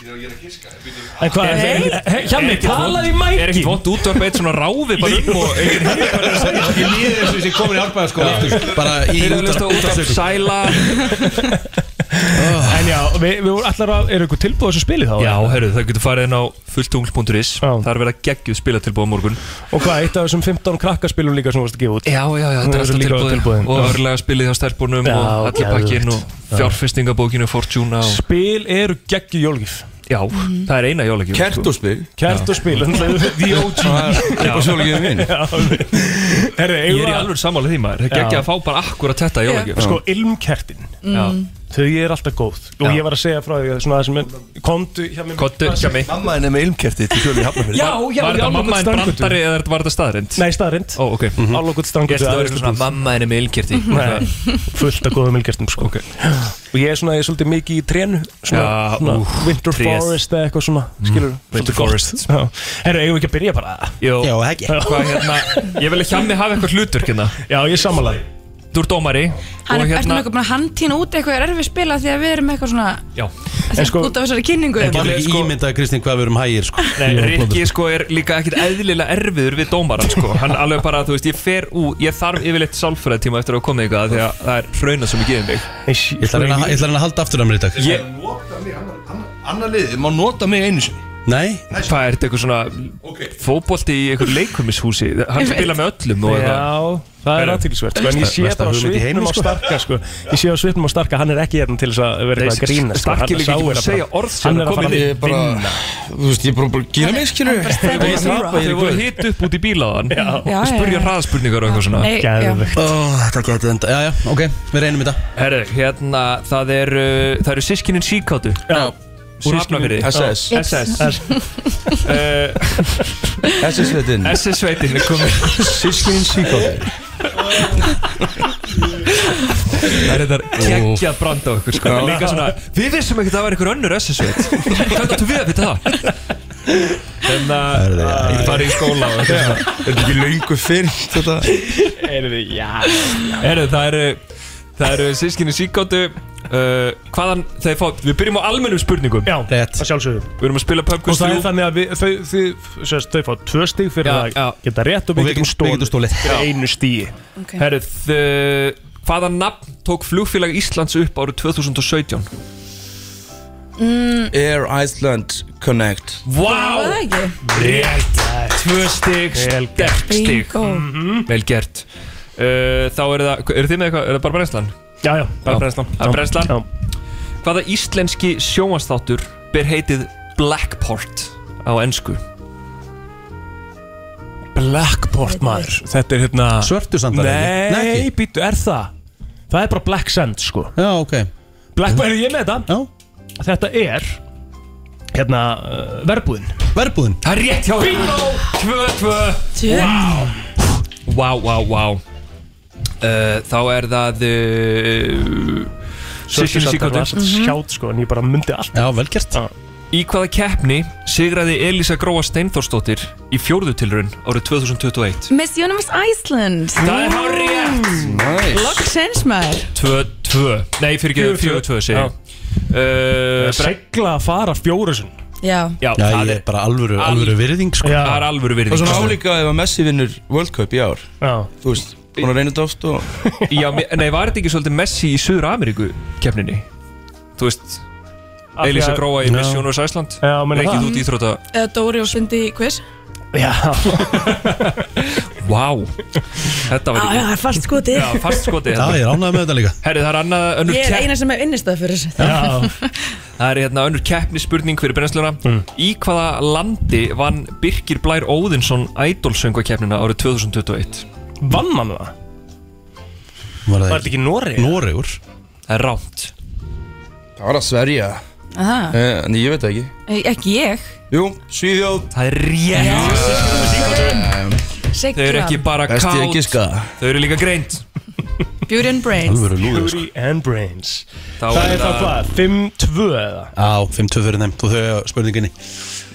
Speaker 3: En hvað,
Speaker 9: Er-
Speaker 3: hey, hey, hjá mig,
Speaker 9: er ekkert
Speaker 3: talaði í
Speaker 9: vont-
Speaker 3: mækin
Speaker 9: Er ekkert vond útvarp eitt svona ráfi bara um og Ég
Speaker 2: líði þessu sem komin í árbæðaskóla Bara í
Speaker 9: útvarp sæla
Speaker 3: En já, við, við vorum allar að, eru ykkur tilbúið þessu spili þá?
Speaker 9: Já, herru, það getur farið inn á fulltungl.is Það er verið að geggjuð spilatilbúð á morgun
Speaker 3: Og hvað, eitt af þessum 15 krakkaspilum líka sem þú varst að gefa út?
Speaker 9: Já, já, já, þetta er alltaf tilbúðin, Og örlega spilið hjá stærpunum
Speaker 3: Já,
Speaker 9: og allir pakkin
Speaker 3: geðveikt.
Speaker 9: og fjárfestingabókinu Fortuna og
Speaker 3: Spil eru geggju jólgif
Speaker 9: Já, það er eina
Speaker 3: sko.
Speaker 9: jólagjöf
Speaker 10: Kertóspil
Speaker 3: Kertóspil, the OG
Speaker 9: Upp á
Speaker 10: jólagjöfin mín
Speaker 3: Herri,
Speaker 9: Ég er í alveg samanlega því maður Það er
Speaker 3: Já.
Speaker 9: ekki að fá bara akkurat þetta í jólagjöf
Speaker 3: Sko, ilmkertin
Speaker 9: Mm.
Speaker 3: Þau er alltaf góð Og
Speaker 9: Já.
Speaker 3: ég var að segja frá því að svona það sem er Kondu hjá mig
Speaker 9: Komdu hjá mig.
Speaker 10: Mamma henni með ilmkerti til kjölu í Hafnarfjörði
Speaker 3: Já, já,
Speaker 9: Var
Speaker 3: já,
Speaker 9: þetta
Speaker 3: alveg
Speaker 9: mamma en
Speaker 3: strangugötu.
Speaker 9: brandari eða var þetta staðrind?
Speaker 3: Nei, Mhm. staðrind
Speaker 9: Ó, ok
Speaker 3: Alveg strangur
Speaker 9: Ég ætla að vera svona mamma henni með ilmkerti
Speaker 3: Nei, fullt af góðum ilgertum sko. Og ég er svona, ég er svolítið mikið í trénu svona,
Speaker 9: Já,
Speaker 3: svona
Speaker 9: úff,
Speaker 3: Winter
Speaker 9: tréð.
Speaker 3: Forest eða eitthvað svona Skilur,
Speaker 9: Winter Forest.
Speaker 3: Herru, eigum við ekki að byrja bara
Speaker 9: Jó,
Speaker 3: Já, ekki.
Speaker 9: Hvað, hérna, Ég vil ekki að mig hafa eitthvað hlutur hérna
Speaker 3: Já, ég samanlega
Speaker 9: Þú ert dómari
Speaker 12: Hann er
Speaker 9: og
Speaker 12: hérna, eitthvað búin að handtína út eitthvað er erfið spila því að við erum eitthvað svona
Speaker 9: Já
Speaker 12: því,
Speaker 9: sko-
Speaker 3: sko,
Speaker 12: út af þessari kynningu
Speaker 2: Ég get ekki ímyndað Kristín hvað við erum hægir sko.
Speaker 9: Nei, Rikki sko er líka ekkert eðlilega erfiður við dómaran sko Hann alveg bara, þú veist, ég fer ú Ég þarf yfirleitt sálfræðtíma eftir að koma eitthvað Því að það er hrauna sem ég gefið mig
Speaker 3: Ég
Speaker 2: ætla að reyna ég ætla að reyna að halda aftur af mér í dag
Speaker 9: Ég-
Speaker 10: Annar liðið, má nota mig einu sinni sko.
Speaker 2: Nei
Speaker 9: Það er eitthvað svona okay. fótbolti í eitthvað leikumishúsi Hann
Speaker 3: Ég veit.
Speaker 9: spila með öllum og
Speaker 3: Já, það er
Speaker 9: Herru,
Speaker 3: aðtýrlisvert sko, En ég
Speaker 9: versta-
Speaker 3: sé
Speaker 9: versta
Speaker 3: bara á
Speaker 9: hugmynd í heimi,
Speaker 3: svipnum á
Speaker 9: sko.
Speaker 3: starka sko. Ég sé á svipnum á starka, hann er ekki hérna til þess að vera eitthvað að grína sko.
Speaker 9: Starki
Speaker 3: Hann
Speaker 9: líka
Speaker 3: sá
Speaker 9: ekki búin
Speaker 3: er
Speaker 9: að segja
Speaker 3: bara-
Speaker 9: orð sem
Speaker 3: Hann er að fara
Speaker 10: Ég
Speaker 3: að
Speaker 10: er bara,
Speaker 3: vinna
Speaker 10: þú veist, ég er bara búin að gera mig skilur
Speaker 9: Þau voru hitt upp út í bílaðan
Speaker 12: Já,
Speaker 9: og
Speaker 12: já, já.
Speaker 9: spurja hraðspurningar og eitthvað svona
Speaker 12: Nei, já. Geðveikt.
Speaker 2: oh, Þetta getur enda Já, já, ok, við reynum þetta
Speaker 9: Herru, hérna, það eru það eru sískinin síkátu
Speaker 3: Já
Speaker 9: Úr hafnafyrði
Speaker 10: SS.
Speaker 9: SS
Speaker 10: SS-sveitin
Speaker 9: SS-sveitin er komin
Speaker 10: Sískinin síkóði
Speaker 9: Það er þetta kekkja brand á okkur sko.
Speaker 10: Já.
Speaker 9: Líka svona, við vissum ekki að það var einhver önnur SS-sveit Hvernig áttu við að vita það? En að
Speaker 10: Ég
Speaker 9: Ég fari í skóla og
Speaker 10: Er þetta ekki löngu fyrr þetta?
Speaker 3: Heyrðu, já
Speaker 9: Herru, það eru Það eru sískinni síkáttu uh, Hvaðan þau fá Við byrjum á almennum spurningum
Speaker 3: Já,
Speaker 2: Rétt.
Speaker 3: að sjálfsögðu
Speaker 9: Við erum að spila pub
Speaker 3: Og
Speaker 9: quiz
Speaker 3: það er
Speaker 9: 3
Speaker 3: þannig að við, þau, þau, þau, þau fá tvö stíg fyrir
Speaker 9: Já,
Speaker 3: það
Speaker 9: já.
Speaker 3: geta rétt og
Speaker 2: Og
Speaker 3: við
Speaker 2: við
Speaker 3: getum
Speaker 2: getum- við getum
Speaker 3: stólið
Speaker 2: stólið.
Speaker 3: fyrir einu stígi
Speaker 12: Ok.
Speaker 9: Herru, þ- uh, hvaða nafn tók flugfélag Íslands upp árið 2017?
Speaker 12: mm,
Speaker 10: Air Iceland Connect
Speaker 12: Það var
Speaker 9: Vá!
Speaker 12: það ekki
Speaker 9: Rétt Tvö stig,
Speaker 3: Vel
Speaker 9: sterk stig Mhm.
Speaker 12: Bingo.
Speaker 9: Vel gert uh, Þá eru það, eru þið með eitthvað, er það bara brennslan?
Speaker 3: Já, já, bara brennslan
Speaker 9: Það er brennslan
Speaker 3: Já.
Speaker 9: Hvaða íslenski sjónvastáttur ber heitið Blackport á ennsku?
Speaker 3: Blackport maður Þetta er hérna
Speaker 2: Svörtu sandar
Speaker 3: Nei,
Speaker 2: Nei
Speaker 3: Nei
Speaker 2: ekki.
Speaker 3: býttu, er það? Það er bara Black Sand sko
Speaker 2: Já, ok
Speaker 3: Blackport, er ég með þetta? Já Þetta er Hérna, uh, verbúðin
Speaker 2: Verbúðin
Speaker 9: Það er rétt hjá Bingo! Tvö, tvö
Speaker 12: Tjö.
Speaker 9: Vá Vá, vá, vá uh, Þá er það uh, Sissinu
Speaker 3: Sandar var
Speaker 9: síkóti
Speaker 3: satt sjátt sko En ég bara myndi allt
Speaker 2: Já, velgjert
Speaker 9: Í hvaða keppni sigraði Elisa Gróa Steinþórsdóttir í fjórðu tilraun árið 2021?
Speaker 12: Miss Universe Iceland
Speaker 9: Það er hár rétt!
Speaker 12: Loksens maður
Speaker 9: 2-2 Nei, fyrir ekki 4-2 segi
Speaker 3: Já. Eh,
Speaker 9: ég. uh, Bre-
Speaker 3: Segla að fara fjórusun
Speaker 12: Já,
Speaker 9: Já,
Speaker 2: Já,
Speaker 9: það
Speaker 2: ég
Speaker 9: er
Speaker 2: er bara alvöru,
Speaker 9: Al-
Speaker 2: alvöru virðing sko.
Speaker 9: Það er alvöru
Speaker 10: Og
Speaker 9: virðing
Speaker 10: svona álíka ef að Messi vinnur World Cup í ár
Speaker 3: Já
Speaker 10: Þú veist, hún er reynið oft og
Speaker 9: Já, mér- Nei, var þetta ekki svolítið Messi í Suður Ameríku keppninni? Þú veist,
Speaker 3: Af því
Speaker 9: Elisa
Speaker 3: að-
Speaker 9: Gróa í
Speaker 3: Já.
Speaker 9: Miss Universe Iceland
Speaker 3: Já, meina
Speaker 9: Reykjum
Speaker 3: það.
Speaker 9: þú dýþróta
Speaker 12: eða Dóri og Sundi í quiz
Speaker 3: Já
Speaker 9: Vá, þetta var
Speaker 12: Já, já, það er fast skoti
Speaker 9: Já, fast skoti
Speaker 2: Já, ég er ánægð með þetta líka
Speaker 9: Herri, það er annað önnur
Speaker 12: Ég er
Speaker 9: kepp
Speaker 12: eina sem hef innistað fyrir þessu
Speaker 3: Já
Speaker 9: Það er hérna önnur keppnisspurning fyrir brennsluna
Speaker 3: Mm.
Speaker 9: Í hvaða landi vann Birgir Blær Óðinsson Idol-söngvakeppnina árið 2021?
Speaker 3: Vann hann það?
Speaker 2: Var
Speaker 3: Var
Speaker 2: það
Speaker 3: þetta ekki Nóri?
Speaker 2: Noregur
Speaker 9: Það er rámt
Speaker 10: Það var að sverja
Speaker 12: Aha,
Speaker 10: Eh, En ég veit það ekki
Speaker 12: Ekki ég
Speaker 10: Jú, Svíðjóð
Speaker 9: Það er rétt Þau eru
Speaker 12: Siglan,
Speaker 9: ekki bara
Speaker 10: Best ég að
Speaker 9: kátt
Speaker 10: giska
Speaker 9: Þau eru líka greint
Speaker 12: Beauty and Brains
Speaker 2: Alvöru lúður sko.
Speaker 3: Beauty and Brains
Speaker 9: Þá
Speaker 3: Það
Speaker 9: er
Speaker 3: er það hvað? 5-2 eða?
Speaker 2: Já, 5-2 fyrir þeim Þú þau hafa spurninginni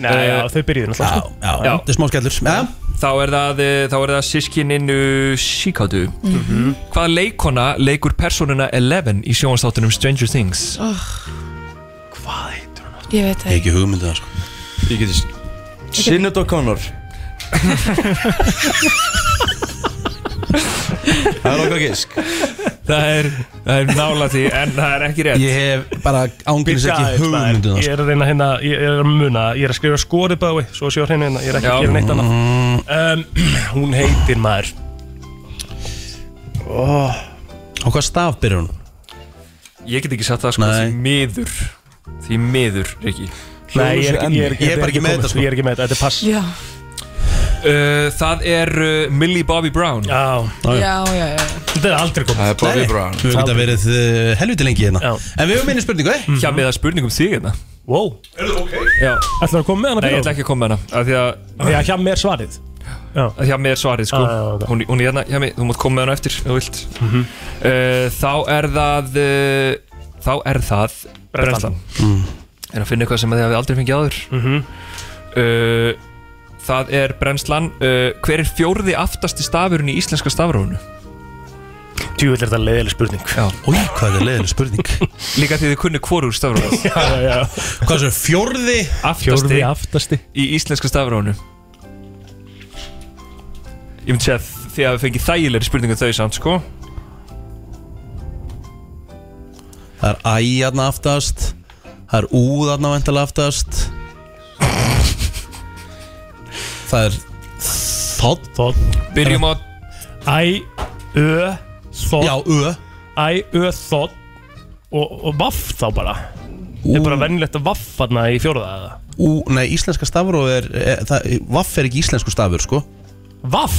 Speaker 3: Nei, já, þau byrjuðu
Speaker 2: Já,
Speaker 3: náttúrulega sko.
Speaker 9: Já.
Speaker 2: já, þetta er smá skellur Já,
Speaker 9: Þá er það, eh, þá er það sískininu Shikadu
Speaker 3: Mhm.
Speaker 9: Hvaða leikona leikur persónuna Eleven í sjónastáttunum Stranger Things?
Speaker 3: Hvað heitur hann?
Speaker 12: Ég veit
Speaker 2: ég hef
Speaker 12: það
Speaker 2: ekki hugmyndu það sko
Speaker 10: Ég geti Sinnet O'Connor Það er okkar gisk
Speaker 9: Það er, það er nála því en það er ekki rétt
Speaker 2: Ég hef bara ángurins ekki hugmyndu það
Speaker 3: Ég
Speaker 2: sko.
Speaker 3: er að reyna hérna, ég er að muna Ég er að skrifa skori bæði, svo sjá hérna hérna Ég er ekki
Speaker 9: Já.
Speaker 3: að gera neitt
Speaker 2: Mm-hmm.
Speaker 3: annað um, Hún heitir maður oh,
Speaker 2: Á hvað staf byrjar hún?
Speaker 9: Ég get ekki sagt það sko
Speaker 2: Nei.
Speaker 9: því miður Því miður, Riki
Speaker 3: Nei, ég er, ekki- ég er,
Speaker 9: Ég er bara ekki með þetta, sko.
Speaker 3: Ég er ekki með þetta, þetta er pass
Speaker 12: Já,
Speaker 9: Uh, það er uh, Millie Bobby Brown
Speaker 3: Já,
Speaker 12: já, já, já.
Speaker 3: Þetta er aldrei komið
Speaker 9: Það er Bobby
Speaker 2: Nei,
Speaker 9: Brown.
Speaker 2: Við höfum þetta verið
Speaker 3: eh,
Speaker 2: uh, helviti lengi hérna En við höfum minni spurningu, eh?
Speaker 9: Hjá með að spurningum þig hérna
Speaker 3: Wow Ætlar að koma með hana
Speaker 9: Nei, ég ætla ekki að koma með hana af Því að
Speaker 3: Því að hjá mér svarið
Speaker 9: að Hjá mér svarið sko
Speaker 3: Já, já, ok. Mhm.
Speaker 9: hún, hún er hérna, hjá mér, þú mátt koma með hana eftir ef Þú vilt uh, Þá er það uh, Þá er það
Speaker 3: Brennslan. Mm.
Speaker 9: Brennslan En að finna eitthvað sem þið hafið aldrei fengið áður
Speaker 3: Mhm.
Speaker 9: uh, Það er brennslan uh, Hver er fjórði aftasti stafurinn í íslenska stafrónu?
Speaker 3: Tjúvill er þetta leiðileg spurning
Speaker 9: Já
Speaker 2: Új, hvað er leiðileg spurning?
Speaker 9: Líka því þið kunni hvorur stafrónu
Speaker 3: Já, já, já
Speaker 2: Hvað er fjórði
Speaker 3: Fjórði
Speaker 9: aftasti
Speaker 3: aftasti
Speaker 9: í íslenska stafrónu Ég myndi segja að þið hafi fengið þægilegri spurningu en þau samt sko
Speaker 2: Það er æ aðna aftast Það er ú aðna vantala aftast Það er þótt
Speaker 3: Þótt
Speaker 9: Byrjum á
Speaker 3: Æ, ö, þótt
Speaker 2: Já, ö
Speaker 3: Æ, ö, þótt og, og vaff þá bara Er bara venjulegt að vaff þarna í fjórða eða
Speaker 2: Ú, nei, íslenska stafur er, er það, Vaff er ekki íslensku stafur, sko
Speaker 3: Vaff?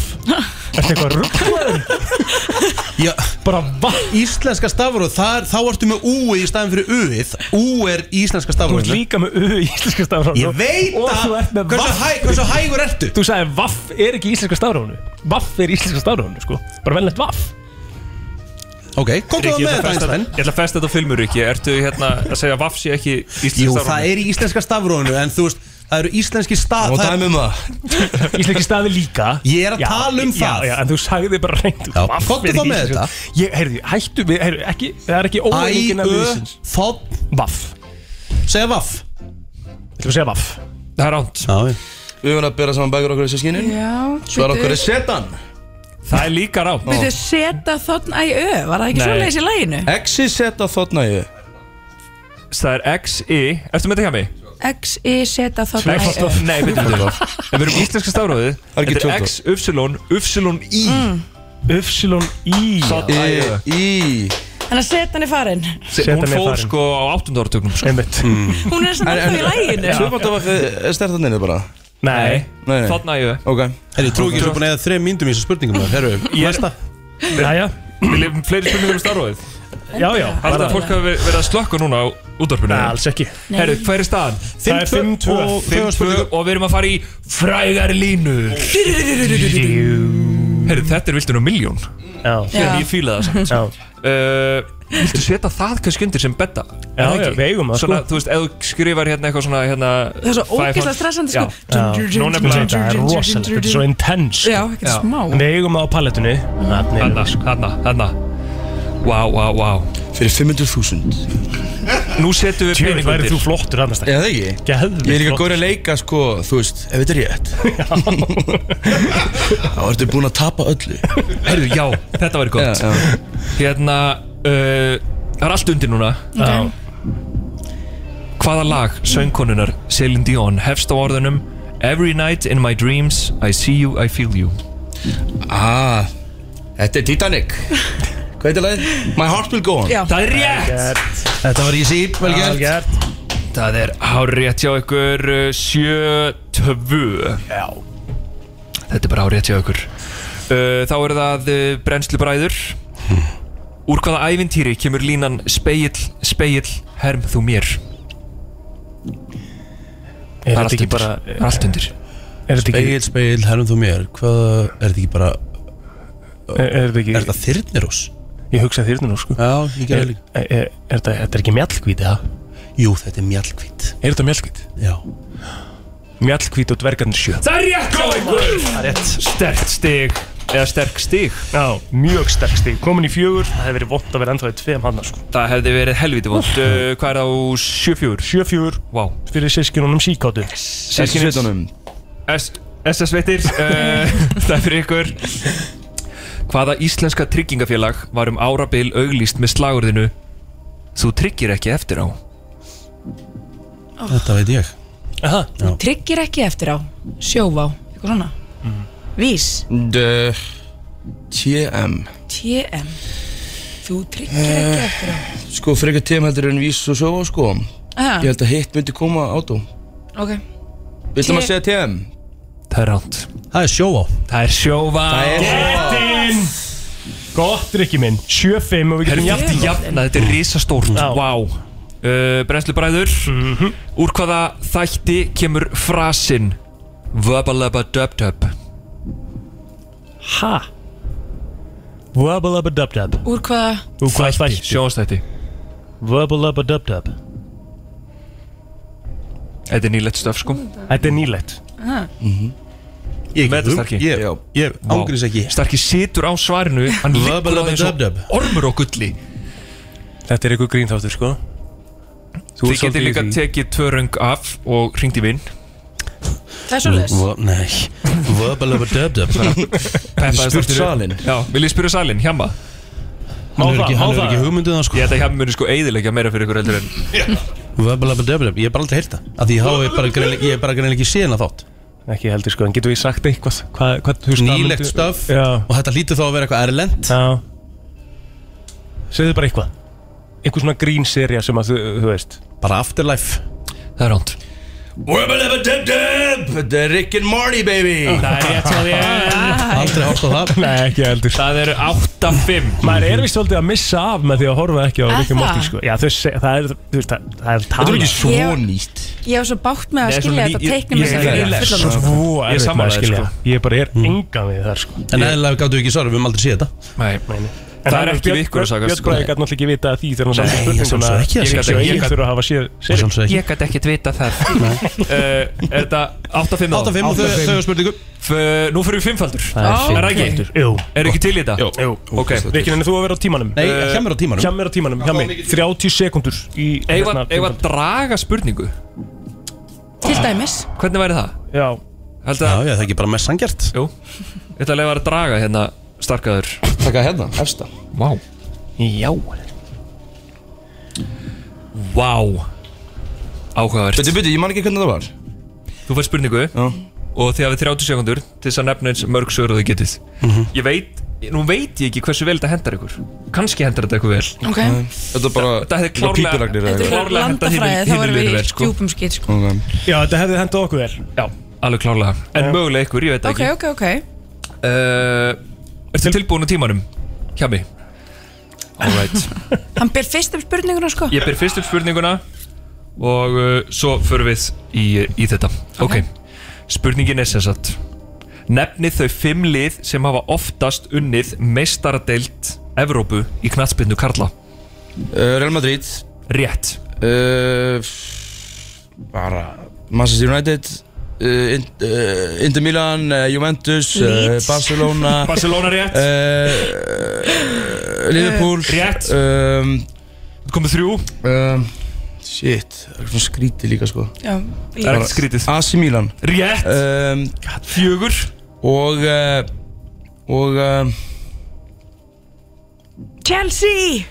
Speaker 3: Ertu eitthvað rugglaður?
Speaker 2: Já
Speaker 3: Bara vaff
Speaker 2: Íslenska stafur, þar, þá ertu með ú í staðin fyrir u-ið Ú er íslenska
Speaker 3: Þú
Speaker 2: stafur
Speaker 3: ert líka með ö í íslenska stafrónu
Speaker 2: Ég veit
Speaker 3: Og
Speaker 2: það.
Speaker 3: þú ert með
Speaker 2: Hversu
Speaker 3: vaff
Speaker 2: hæ- hversu hægur ertu?
Speaker 3: Þú sagði vaff er ekki í íslenska stafrónu Vaff er í íslenska stafrónu sko Bara venjulegt vaff
Speaker 2: Ok, komdu
Speaker 9: Riki, ég
Speaker 2: það með
Speaker 9: ætla að
Speaker 2: þetta
Speaker 9: festa-
Speaker 2: Einstein
Speaker 9: Ég ætla að festa þetta á filmur, Riki Ertu hérna að segja að Vafsi ekki íslensk
Speaker 2: Jú, það er í íslenska stafrónu En þú veist, það eru íslenski
Speaker 10: Ah,
Speaker 2: stað
Speaker 9: Og dæmi um
Speaker 2: það
Speaker 3: Íslenski staði líka
Speaker 2: Ég er að tala um
Speaker 3: já,
Speaker 2: það.
Speaker 3: Já, en þú sagði bara reynd
Speaker 2: Já, komdu þá með þetta.
Speaker 3: Ég, heyrðu, hættu við, heyrðu, ekki Það er ekki óæðingin að liðsins
Speaker 2: Þótt
Speaker 3: Vaff
Speaker 2: Segja vaff
Speaker 3: Þú segja vaff
Speaker 9: Það er ánt
Speaker 10: Við verðum að bera saman bækur okkur í sískinin
Speaker 12: Já,
Speaker 10: Svo er
Speaker 12: bíddu.
Speaker 10: okkur í setan
Speaker 9: Það er líka rátt
Speaker 12: Við þau seta þotn æ ö, var það ekki
Speaker 10: Nei.
Speaker 12: svoleiðis í læginu?
Speaker 10: Exi seta þotna ég
Speaker 9: Það er XI Ertu með þetta hjá mig?
Speaker 12: X, I, seta þotn æ ö.
Speaker 9: Nei, við erum Við erum íslenska stafróðið
Speaker 10: er ekki
Speaker 9: Þetta er X,
Speaker 10: tvöfalt.
Speaker 9: Upsilon, Upsilon I
Speaker 3: Upsilon I
Speaker 9: Sotna í ö.
Speaker 10: Í
Speaker 12: Þannig að setan er farin.
Speaker 10: Setan
Speaker 9: Hún
Speaker 10: er
Speaker 9: fór
Speaker 10: farin.
Speaker 9: sko á 8. áratögnum sko.
Speaker 3: Einmitt
Speaker 10: Mm.
Speaker 12: Hún er samt alltaf í læginu.
Speaker 10: Tvöfaldavaffið er stertan niður bara
Speaker 3: Nei,
Speaker 10: Nei, nei.
Speaker 9: Þarna ég
Speaker 10: Ok
Speaker 2: Herri, trú ekki svo búin að eða þrejum myndum í þessu spurningum Herru, næsta
Speaker 3: Jæja
Speaker 9: Við lifum fleiri spurningum um stafróðið
Speaker 3: Já, já
Speaker 9: Alltaf að fólk hafi verið verið að slökka núna á útdorpinu
Speaker 3: Nei, alls ekki
Speaker 9: Herru, hvað er staðan?
Speaker 3: Það er 5-2
Speaker 9: og 5-2 og við erum að fara í frægar línur Herru, þetta er viltun og miljón
Speaker 3: Já
Speaker 9: Hérna, ég fíla það
Speaker 3: Já
Speaker 9: samt uh, Viltu setja það kannski undir sem betta?
Speaker 3: Já, já, við eigum það,
Speaker 9: Svona,
Speaker 3: sko.
Speaker 9: þú veist, ef þú skrifar hérna eitthvað svona hérna,
Speaker 12: Það er svo
Speaker 9: 500
Speaker 12: ógeðslega stressandi, sko.
Speaker 9: Já. Nú nefnilega
Speaker 3: Þetta er rosalegt, þetta er svo intense sko.
Speaker 12: Já, ekkert Já. smá.
Speaker 3: En Við eigum það á palettunni Hanna,
Speaker 9: hanna, hanna Vá, vá, vá
Speaker 10: Fyrir 500.000
Speaker 9: Nú setjum við
Speaker 3: Tjöfn
Speaker 9: pening
Speaker 3: væri
Speaker 9: undir
Speaker 3: þú flottur annars
Speaker 10: Eða það ekki?
Speaker 3: Geðvikt
Speaker 10: Ég er líka
Speaker 3: flottur.
Speaker 10: góður að leika sko, þú veist, ef þetta er rétt Þá ertu búin að tapa öllu
Speaker 9: Herru, já, þetta væri gott
Speaker 10: Já, já.
Speaker 9: Hérna, uh, það er allt undir núna
Speaker 3: Já.
Speaker 9: Hvaða lag söngkonunar Celine Dion hefst á orðunum Every night in my dreams I see you, I feel you
Speaker 10: Ah, þetta er Titanic Hvað heitir lagið? My heart will go on
Speaker 12: Já.
Speaker 9: Það er rétt
Speaker 2: Þetta var easy, vel
Speaker 3: Vel
Speaker 2: gert
Speaker 3: gert
Speaker 9: Það er hárétt hjá ykkur uh, 7-2
Speaker 3: Já
Speaker 9: Þetta er bara hárétt hjá ykkur uh, Þá eru það uh, brennslubræður Úr hvaða ævintýri kemur línan Speill, speill, herm þú mér
Speaker 3: Er
Speaker 9: Það
Speaker 3: þetta ekki bara
Speaker 9: Það
Speaker 2: eh,
Speaker 9: er allt undir
Speaker 3: Er þetta ekki
Speaker 2: Egil, speil, herrum þú mér Hvað, er þetta ekki bara
Speaker 3: Er
Speaker 2: Eh,
Speaker 3: er þetta ekki
Speaker 2: Er þetta þyrnirós?
Speaker 3: Ég hugsa þyrnur sko
Speaker 2: Já, ég
Speaker 3: Er
Speaker 2: gerði
Speaker 3: er-
Speaker 2: líka
Speaker 3: er- er þetta þetta er ekki mjallkvíti það?
Speaker 2: Jú, þetta er mjallkvít
Speaker 3: Er þetta mjallkvíti?
Speaker 2: Já
Speaker 3: Mjallkvíti og dvergarnir sjö
Speaker 9: Það er rétt hjá ykkur
Speaker 3: Það er rétt
Speaker 9: Sterkt stig Eða sterk stig
Speaker 3: Já, mjög sterk stík Komin í fjögur, það hefði verið vont að vera ennþá í tveim hann sko.
Speaker 9: Það hefði verið helviti vond uh, Hvað er það á 7-4?
Speaker 3: 7-4
Speaker 9: Vá
Speaker 3: fyrir sískinunum síkáttu
Speaker 9: Systkinin- S- SS Veitir uh, Það er fyrir ykkur Hvaða íslenska tryggingafélag var um árabil auglýst með slagurðinu Þú tryggir ekki eftir á
Speaker 2: Þetta veit ég
Speaker 3: Aha,
Speaker 12: Tryggir ekki eftir á. Sjóvá. Eitthvað svona. Vís.
Speaker 10: The TM
Speaker 12: TM. Þú tryggir
Speaker 9: Eh.
Speaker 12: ekki eftir á.
Speaker 10: Sko, frekar TM heldur en vís og sjóa sko
Speaker 12: Aha.
Speaker 10: Ég held að hitt myndi koma átó
Speaker 12: Ok
Speaker 10: Viltum að segja TM?
Speaker 9: Það er ránt
Speaker 2: Það er sjóvá
Speaker 9: Það er sjóvá
Speaker 3: Gettin Gott, Rikki minn 7-5 og við
Speaker 9: Herru,
Speaker 3: getum
Speaker 9: þetta er
Speaker 3: jafnt
Speaker 9: jafna, þetta er risastórt Vá wow. uh, Brennslubræður
Speaker 3: Mhm.
Speaker 9: Úr hvaða þætti kemur frasin Vöbalabadubdub
Speaker 3: Ha Wubbalabadubdub
Speaker 12: Úr hvaða
Speaker 3: Úr hvað þætti?
Speaker 9: Sjónstætti
Speaker 3: Wubbalabadubdub
Speaker 9: Þetta er nýlegt stöf sko
Speaker 3: Þetta er nýlegt
Speaker 12: Ah.
Speaker 9: Ég
Speaker 2: ekki
Speaker 9: Meta
Speaker 2: hugmynd.
Speaker 9: Starki
Speaker 2: Mhm. Ég- ég ángríns ekki.
Speaker 9: Starki situr á svarinu Hann liggur á þessu
Speaker 2: Vöbalabadubdub.
Speaker 9: ormur og gulli
Speaker 3: Þetta er eitthvað grínþáttur sko
Speaker 9: Þið
Speaker 3: ert
Speaker 9: getur
Speaker 3: svolítið í
Speaker 9: líka
Speaker 3: því.
Speaker 9: tekið tvö röng af og hringt í vinn
Speaker 12: Það er svolítið
Speaker 2: Vö- Nei Vöbalabadöbdöb
Speaker 9: Peppaði
Speaker 2: Spurt salinn
Speaker 9: Já, vil ég spyrja um salin, hjama
Speaker 2: Hann hefur ekki, hann hefur ekki hugmyndið það sko
Speaker 9: Ég ætla að hjama muni sko eigðilegja meira fyrir ykkur heldur en
Speaker 2: Vöbalabadöbdöb Ég hef bara aldrei heyrt það Af Því ég hafi bara greinlega- ég hef bara greinlega ekki séð það þátt
Speaker 3: Ekki heldur sko En getum við sagt eitthvað Hvað, hvað þú veist, hvað
Speaker 2: Nýlegt
Speaker 3: myndu-
Speaker 2: stöf
Speaker 3: Já
Speaker 2: Og þetta hlýtur þá að vera eitthvað erlend
Speaker 3: Já Segðu bara eitthvað Eitthvað svona grínserja sem að þú, þú veist
Speaker 2: Bara Afterlife
Speaker 9: Það er ránt
Speaker 10: Wubbalabadubdub Þetta er Rick and Morty baby
Speaker 3: Það er rétt á því
Speaker 2: Aldrei hort á það
Speaker 3: Nei, ekki heldur
Speaker 9: Það eru 8-5
Speaker 3: Maður er vist svolítið að missa af með því að horfa ekki á
Speaker 12: Er
Speaker 3: Rick and Morty
Speaker 12: það?
Speaker 3: sko Já, þau seg, það er, þú veist, það, það er tala
Speaker 10: Þetta er ekki svo
Speaker 12: Ég-
Speaker 10: nýtt
Speaker 12: Ég hef svo bátt með að skilja þetta teiknum
Speaker 3: Ég er
Speaker 12: þess að
Speaker 3: svo erfitt með að
Speaker 9: sammála þér,
Speaker 3: skilja Mm.
Speaker 9: sko.
Speaker 3: Ég bara er engan við þar sko
Speaker 2: En eðlilega gáttu við ekki svarið Við höfum aldrei séð þetta
Speaker 9: Nei,
Speaker 3: Nei, nei.
Speaker 9: Það er ekki við ykkur að sagast,
Speaker 3: Björn Bræði
Speaker 9: sko.
Speaker 3: gæti náttúrulega ekki vita að því þegar hann
Speaker 9: Nei,
Speaker 3: sagði
Speaker 2: ég
Speaker 3: Ég gæti ekki
Speaker 2: sjálfsögðu ekki, ég sjálfsögðu ekki.
Speaker 3: Ég þurfa að hafa séð
Speaker 2: Ég
Speaker 3: serið
Speaker 2: sjálfsögðu ekki.
Speaker 9: Ég gæti ekkert vita það uh,
Speaker 3: Eh,
Speaker 9: Er þetta 8-5 á?
Speaker 2: 8-5 og þau þau hafa spurningu
Speaker 9: F- Nú fyrir við fimmfaldur
Speaker 3: Það er
Speaker 9: Er það ekki?
Speaker 3: fimmfaldur. Jú.
Speaker 9: Er ekki til í þetta?
Speaker 3: Jú.
Speaker 9: Ok
Speaker 3: Rikkin, en þú að vera á tímanum
Speaker 2: Nei, hjá mér á tímanum.
Speaker 3: Hjá mér Eh, á tímanum, hjá mér 30 sekundur í
Speaker 9: Eigum
Speaker 3: hérna,
Speaker 9: að- eigum að
Speaker 3: fimmfaldur.
Speaker 9: draga spurningu Ah,
Speaker 12: Til dæmis
Speaker 9: Hvernig væri það?
Speaker 3: Já
Speaker 9: Held
Speaker 2: Já,
Speaker 9: að
Speaker 2: já, það er ekki bara mest sangjart
Speaker 9: Jú Ég ætla að leifa að draga hérna Starkaður
Speaker 10: Takka hérna, efsta
Speaker 9: Vá
Speaker 3: Já
Speaker 9: Vá Áhugavert
Speaker 10: Byrju, byrju, ég man ekki hvernig það var
Speaker 9: Þú fær spurningu Já Og þið hafið 30 sekundur Til þess að nefna eins mörg sögur og þið getið
Speaker 2: Mhm.
Speaker 9: Ég veit Nú veit ég ekki hversu vel þetta hendar ykkur Kanski hendar þetta ykkur vel
Speaker 12: Ok
Speaker 10: Þetta er bara
Speaker 9: Þetta hefði
Speaker 10: bara
Speaker 9: klárlega
Speaker 10: pípulagnir eða
Speaker 12: Þetta er
Speaker 9: Klárlega henda
Speaker 12: landafræði, þá
Speaker 9: hinum-
Speaker 12: varum við
Speaker 9: hinum liðinu
Speaker 12: í
Speaker 9: vel, sko.
Speaker 12: djúpum skýt sko.
Speaker 10: eitthvað.
Speaker 3: Já, þetta hefði hendað okkur vel
Speaker 9: Já, alveg klárlega En mögulega ykkur, ég veit það
Speaker 12: Ok, ok, ok
Speaker 9: ekki uh, Ertu tilbúin á tímanum? Hjami Alright
Speaker 12: Hann ber fyrst upp spurninguna sko
Speaker 9: Ég ber fyrst upp spurninguna Og uh, svo förum við í, í þetta Ok, spurningin er sem sagt Nefnið þau fimm lið sem hafa oftast unnið meistaradeild Evrópu í knatsbyrnu Karla
Speaker 10: Uh, Real Madrid
Speaker 9: Rétt
Speaker 10: uh, f- Bara Manchester United uh, In- uh, Inter Milan uh, Juventus uh,
Speaker 12: Leeds.
Speaker 10: Barcelona
Speaker 9: Barcelona rétt, uh,
Speaker 10: uh, Liverpool
Speaker 9: Rétt.
Speaker 10: um,
Speaker 9: komið þrjú
Speaker 10: um, Shit Það er svona skrítið líka sko
Speaker 12: Já,
Speaker 9: Það er ekkert skrítið
Speaker 10: AC Milan
Speaker 9: Rétt,
Speaker 2: Eh,
Speaker 10: um,
Speaker 9: fjögur
Speaker 10: Og uh, Og um,
Speaker 12: Chelsea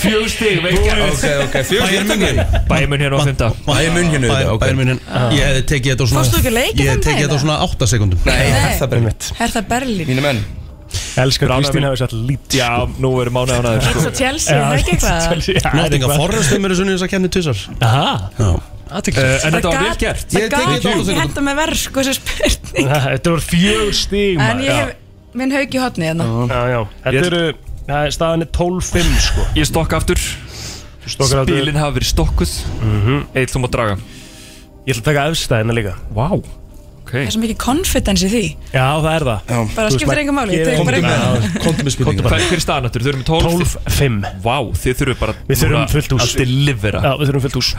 Speaker 9: Fjögur stig,
Speaker 10: Ok, ok Fjögur
Speaker 2: Bayern München
Speaker 10: hérna
Speaker 9: Bæmun hérna á fymta
Speaker 10: Bayern München auðvitað, ok. Ah.
Speaker 2: Bæjar munnin hérna. Ég hefði tekið þetta á svona
Speaker 12: Fórstu ekki að leika
Speaker 2: Ég hefði
Speaker 12: þann
Speaker 2: tekið
Speaker 12: daginn,
Speaker 2: þetta á svona 8 sekundum
Speaker 10: Nei,
Speaker 12: Nei.
Speaker 10: það bara mitt
Speaker 12: Er það Berlín?
Speaker 10: Mínu menn
Speaker 3: Elskar
Speaker 9: Ránaði
Speaker 3: Kristín
Speaker 9: minn.
Speaker 3: hefði satt lít
Speaker 9: Já, nú verður mánuðan aður sko.
Speaker 12: Leeds og Chelsea, það er ekki eitthvað
Speaker 2: Nottinga Forrest þeim eru svona þess að kemni tussar
Speaker 3: Aha
Speaker 2: Já
Speaker 9: uh, En þetta var vel
Speaker 12: gat-
Speaker 9: gert
Speaker 10: Ég
Speaker 12: Það gat
Speaker 10: hef tekið þetta á
Speaker 12: ekki
Speaker 10: þessum.
Speaker 12: henda með verð sko þessi spurning
Speaker 3: Þetta voru fjögur stig
Speaker 12: En
Speaker 3: maður.
Speaker 12: ég hef minn haug í hotni hérna
Speaker 3: Já, já Þetta
Speaker 9: Ég-
Speaker 3: eru það er- Staðan er 12-5 sko
Speaker 9: Ég stokk aftur
Speaker 3: Þú stokkar aldrei- Mhm.
Speaker 9: Spilin hafa verið stokkuð Eitt þú má draga
Speaker 3: Ég ætla að taka efstæðina líka
Speaker 9: Vá Ok
Speaker 12: Það er svo mikið confidence í því
Speaker 3: Já, það er það
Speaker 12: Bara
Speaker 3: Þú veist,
Speaker 12: skiptir
Speaker 3: maður
Speaker 12: enga máli
Speaker 3: gerir
Speaker 12: þetta er
Speaker 3: engum-
Speaker 12: bara eitthvað-
Speaker 10: Kontum með spurningu
Speaker 9: Hvað er hver staðan aftur? Þau eru með 12
Speaker 3: 12-5
Speaker 9: Vá, þið þurfum bara
Speaker 3: Við þurfum
Speaker 9: núna
Speaker 3: fullt hús.
Speaker 9: Að delivera
Speaker 3: Já, við þurfum fyllt hús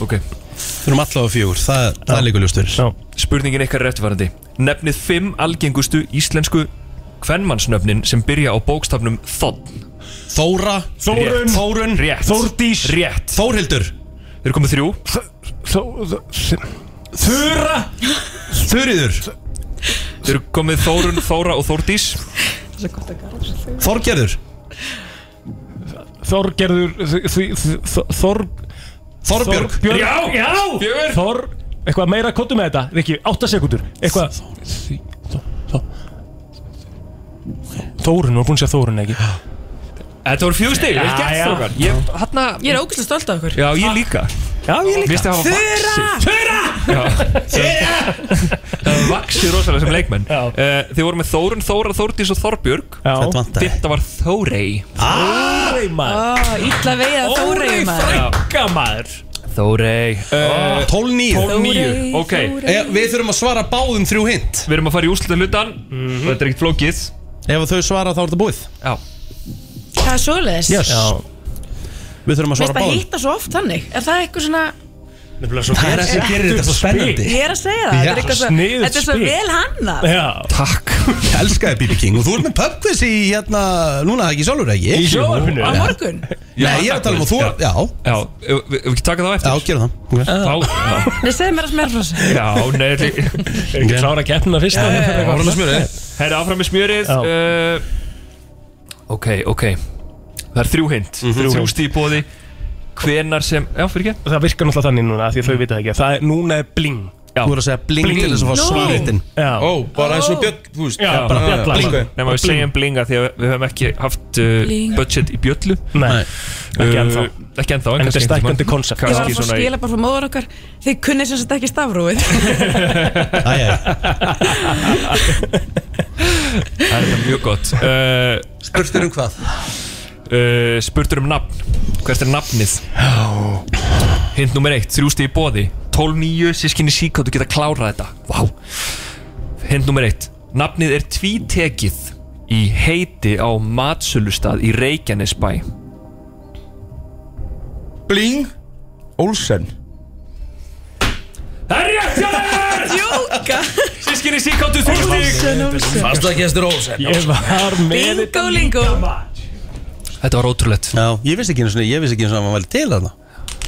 Speaker 9: Ok
Speaker 2: Þurfum allavega fjögur Það, það er líka ljóst fyrir
Speaker 3: Já
Speaker 9: Spurningin ykkar er réttvarandi Nefnið 5 algengustu íslensku Kvenmannsnöfnin sem byrja á bókstafnum Þótt
Speaker 2: Þóra
Speaker 3: Þórunn.
Speaker 2: Þórun
Speaker 9: Rétt
Speaker 3: Þórdís.
Speaker 9: Rétt
Speaker 2: Þórhildur
Speaker 9: Þeir komið þrjú
Speaker 3: Þura
Speaker 2: Þurriður
Speaker 9: Þeir komið Þórun, Þóra og Þórdís
Speaker 2: Þorgerður
Speaker 3: Þorgerður Þ- Þ- Þ- Þ- Þor
Speaker 2: Þorbjörg
Speaker 3: Þorbjörg Já, já
Speaker 9: Fjögur.
Speaker 3: Þor Eitthvað meira kóttu með þetta Rikki, 8 sekundur Eitthvað Þi- Þó- Þó- Þórun, hún var búin að segja Þórun ekki
Speaker 9: Þetta voru fjögur stig, vel
Speaker 3: Já,
Speaker 9: gert
Speaker 3: já.
Speaker 9: þrókar Ég, hann
Speaker 12: Ég er ógæslega stolt af okkur
Speaker 9: Já, ég líka
Speaker 3: Já, ég líka
Speaker 9: Vistu að hafa vaxið Þura! Það vaxið rosalega sem leikmenn uh, Þið voru með Þórun, Þóra, Þórdís og Þorbjörg
Speaker 3: Þetta vantaði.
Speaker 9: Þetta var Þórei
Speaker 3: Þórei maður
Speaker 12: Ítla veið að Þórei maður
Speaker 3: frænka maður Ah,
Speaker 9: Þórei uh,
Speaker 2: 12-9
Speaker 9: 12-9, ok
Speaker 2: Eh, Við þurfum að svara báðum þrjú hint
Speaker 9: Við erum að fara í úslutan hlutan
Speaker 3: Mhm.
Speaker 9: Þetta er ekkert flókið
Speaker 2: Ef þau svara þá er þetta búið
Speaker 9: Já
Speaker 12: Það er svoleiðis
Speaker 2: Yes Við þurfum
Speaker 12: Mér
Speaker 2: að svara
Speaker 12: finnst að
Speaker 2: báðum
Speaker 12: hitta svo oft þannig Er það eitthvað svona
Speaker 2: Það er það sem gerir þetta svo spennandi
Speaker 12: Ég er að segja það
Speaker 2: Já,
Speaker 12: Þetta er eitthvað svo-
Speaker 2: sniðugt
Speaker 12: Þetta er svo
Speaker 2: spil.
Speaker 12: vel hanna
Speaker 2: Takk Ég elska þið BB King Og þú ert með pubquiz í hérna Núna ekki sjálfur ekki
Speaker 9: Í sjónvarpinu?
Speaker 12: Á
Speaker 2: Já.
Speaker 12: morgun
Speaker 2: Nei, ég er að tala um að þú Já
Speaker 9: Já, ef ef- ef við ekki taka það á eftir
Speaker 2: Já, gera það
Speaker 9: Þá, já
Speaker 12: Nei, segðu mér að smerra frá sig
Speaker 9: Já, nei Er ekki
Speaker 3: klára keppnina fyrst
Speaker 9: Já, já, já.
Speaker 3: Áfram með
Speaker 9: smjörið Herra, áfram með smjörið uh, Ok, ok Það er þrjú
Speaker 3: Mhm.
Speaker 9: hint mm -hmm. Þrjú stíð bóði Hvenar sem Já, fyrir ekki
Speaker 3: Það virkar náttúrulega þannig núna því að þau vita það ekki Það er, núna er bling
Speaker 9: Já.
Speaker 2: Þú er að segja bling til þess að fá svarréttin.
Speaker 3: Já
Speaker 10: Ó, bara eins og björn, þú veist
Speaker 3: Já, bara bjalla.
Speaker 10: blinga.
Speaker 9: Nei, maður
Speaker 3: Bling.
Speaker 9: segja um blinga Því að við höfum ekki haft uh,
Speaker 12: Bling.
Speaker 9: budget í bjöllu
Speaker 3: Nei, ekki ennþá.
Speaker 9: uh, Ekki ennþá
Speaker 3: En þetta er
Speaker 9: kannski einhvern
Speaker 3: stækkandi
Speaker 9: tímann.
Speaker 3: konsept.
Speaker 12: Ég var að
Speaker 9: Kannski
Speaker 12: fá
Speaker 9: svona í
Speaker 12: skila bara frá móður okkar Þið kunnið sem sagt ekki stafrúið
Speaker 9: Það er þetta mjög gott uh,
Speaker 2: Spurtur um hvað?
Speaker 9: Uh, spurtur um nafn Hvert er nafnið? Hint nummer eitt, þrjústi í bóði 12-9, sískinni síkóttu geta klárað þetta Vá Hint nummer eitt, nafnið er tvítekið Í heiti á matsölustad í Reykjanesbæ
Speaker 10: Bling Olsen
Speaker 9: Það er rétt hjá þér!
Speaker 12: Jóka
Speaker 9: Sískinni síkóttu þrjú
Speaker 12: Olsen, Olsen.
Speaker 9: stík
Speaker 2: Fastagestur Olsen
Speaker 3: Ég var með
Speaker 12: Bingo lingo
Speaker 9: Þetta var ótrúlegt
Speaker 2: Já, ég vissi ekki einu sinni Ég vissi ekki einu sinni að maður væri til þarna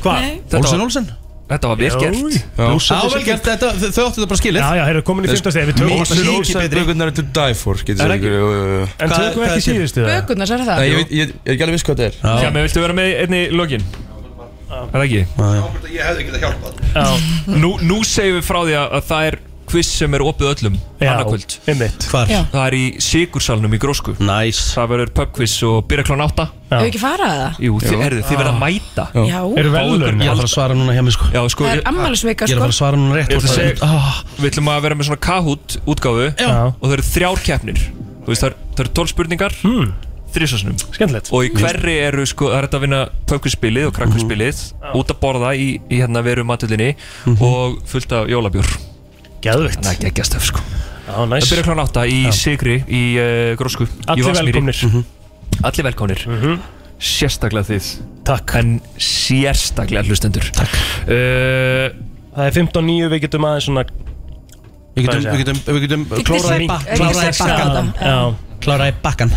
Speaker 3: Hvað?
Speaker 12: Nei.
Speaker 9: Þetta
Speaker 2: Olsen
Speaker 9: var-
Speaker 2: Olsen
Speaker 9: Þetta var vel gert
Speaker 2: Já, vel gert þetta Þau þau áttu þetta bara skilið
Speaker 3: Já, já, heyrðu, komin í fyrsta stegi, við tökum
Speaker 2: Mikið
Speaker 3: alltaf síðustu.
Speaker 2: mikið betri
Speaker 10: Bökurnar er to die for getur
Speaker 3: Er
Speaker 10: sagt,
Speaker 3: ekki-
Speaker 10: jú, jú, jú.
Speaker 3: En
Speaker 10: Hvað-
Speaker 3: tökum
Speaker 10: hvað
Speaker 3: ekki
Speaker 10: er til?
Speaker 3: síðustu það
Speaker 12: Bökurnar, sér það
Speaker 10: Nei, ég veit- ég ég er ekki alveg viss hvað þetta
Speaker 9: Já, mér viltu vera með einni í lokin Er það ekki?
Speaker 2: Ég hefði ekki það hjálpað
Speaker 9: Nú, nú segjum við frá því að að það er quiz sem er opið öllum
Speaker 3: Já,
Speaker 9: annarkvöld
Speaker 3: einmitt
Speaker 2: Hvar?
Speaker 12: Já.
Speaker 9: Það er í Sigursalnum í Grósku
Speaker 2: Næs
Speaker 9: Það verður pubquiz og byrja klán átta
Speaker 12: Hefur ekki farað að það?
Speaker 9: Jú, þið, herðu, þið verða að mæta
Speaker 12: Já
Speaker 3: Eru
Speaker 9: Fá ykkur
Speaker 3: velun?
Speaker 2: Ég er að fara að svara núna hjá mig sko
Speaker 9: Já, sko,
Speaker 12: Það er
Speaker 9: við,
Speaker 12: ammælisveika
Speaker 2: Ég er að
Speaker 12: sko
Speaker 2: fara að svara núna rétt
Speaker 9: Ég ætla að
Speaker 2: Það er-
Speaker 9: segja-
Speaker 2: Ah,
Speaker 9: við ætlum að vera með svona Kahoot útgáfu
Speaker 3: Já.
Speaker 9: og það eru þrjár keppnir Þú veist, það eru- það eru tólf spurningar hmm. þrísasunum
Speaker 3: Skemmtilegt
Speaker 9: og í hverri eru sko, það er þetta að vinna pubquizspilið og krakkvizspilið
Speaker 3: Mhm.
Speaker 9: út að borða í, í hérna veru matillinni og fullt af jólabjór
Speaker 3: Gæðvitt
Speaker 9: Þannig að gegja stöf sko
Speaker 3: Já, næs
Speaker 9: Það byrja klán átta í Sigri í uh, Grósku í
Speaker 3: Allir
Speaker 9: Vatnsmýri.
Speaker 3: velkomnir Mhm.
Speaker 9: Allir velkomnir Sérstaklega þið
Speaker 3: Takk
Speaker 9: En sérstaklega hlustendur Takk uh,
Speaker 3: Það er 15.9, við getum aðeins svona
Speaker 2: Við getum, við getum, við getum Klóraði
Speaker 12: sleppa-
Speaker 2: bakkan Klóraði
Speaker 12: ekki sleppa
Speaker 2: bakkan
Speaker 12: þetta.
Speaker 3: Já
Speaker 2: Klóraði bakkan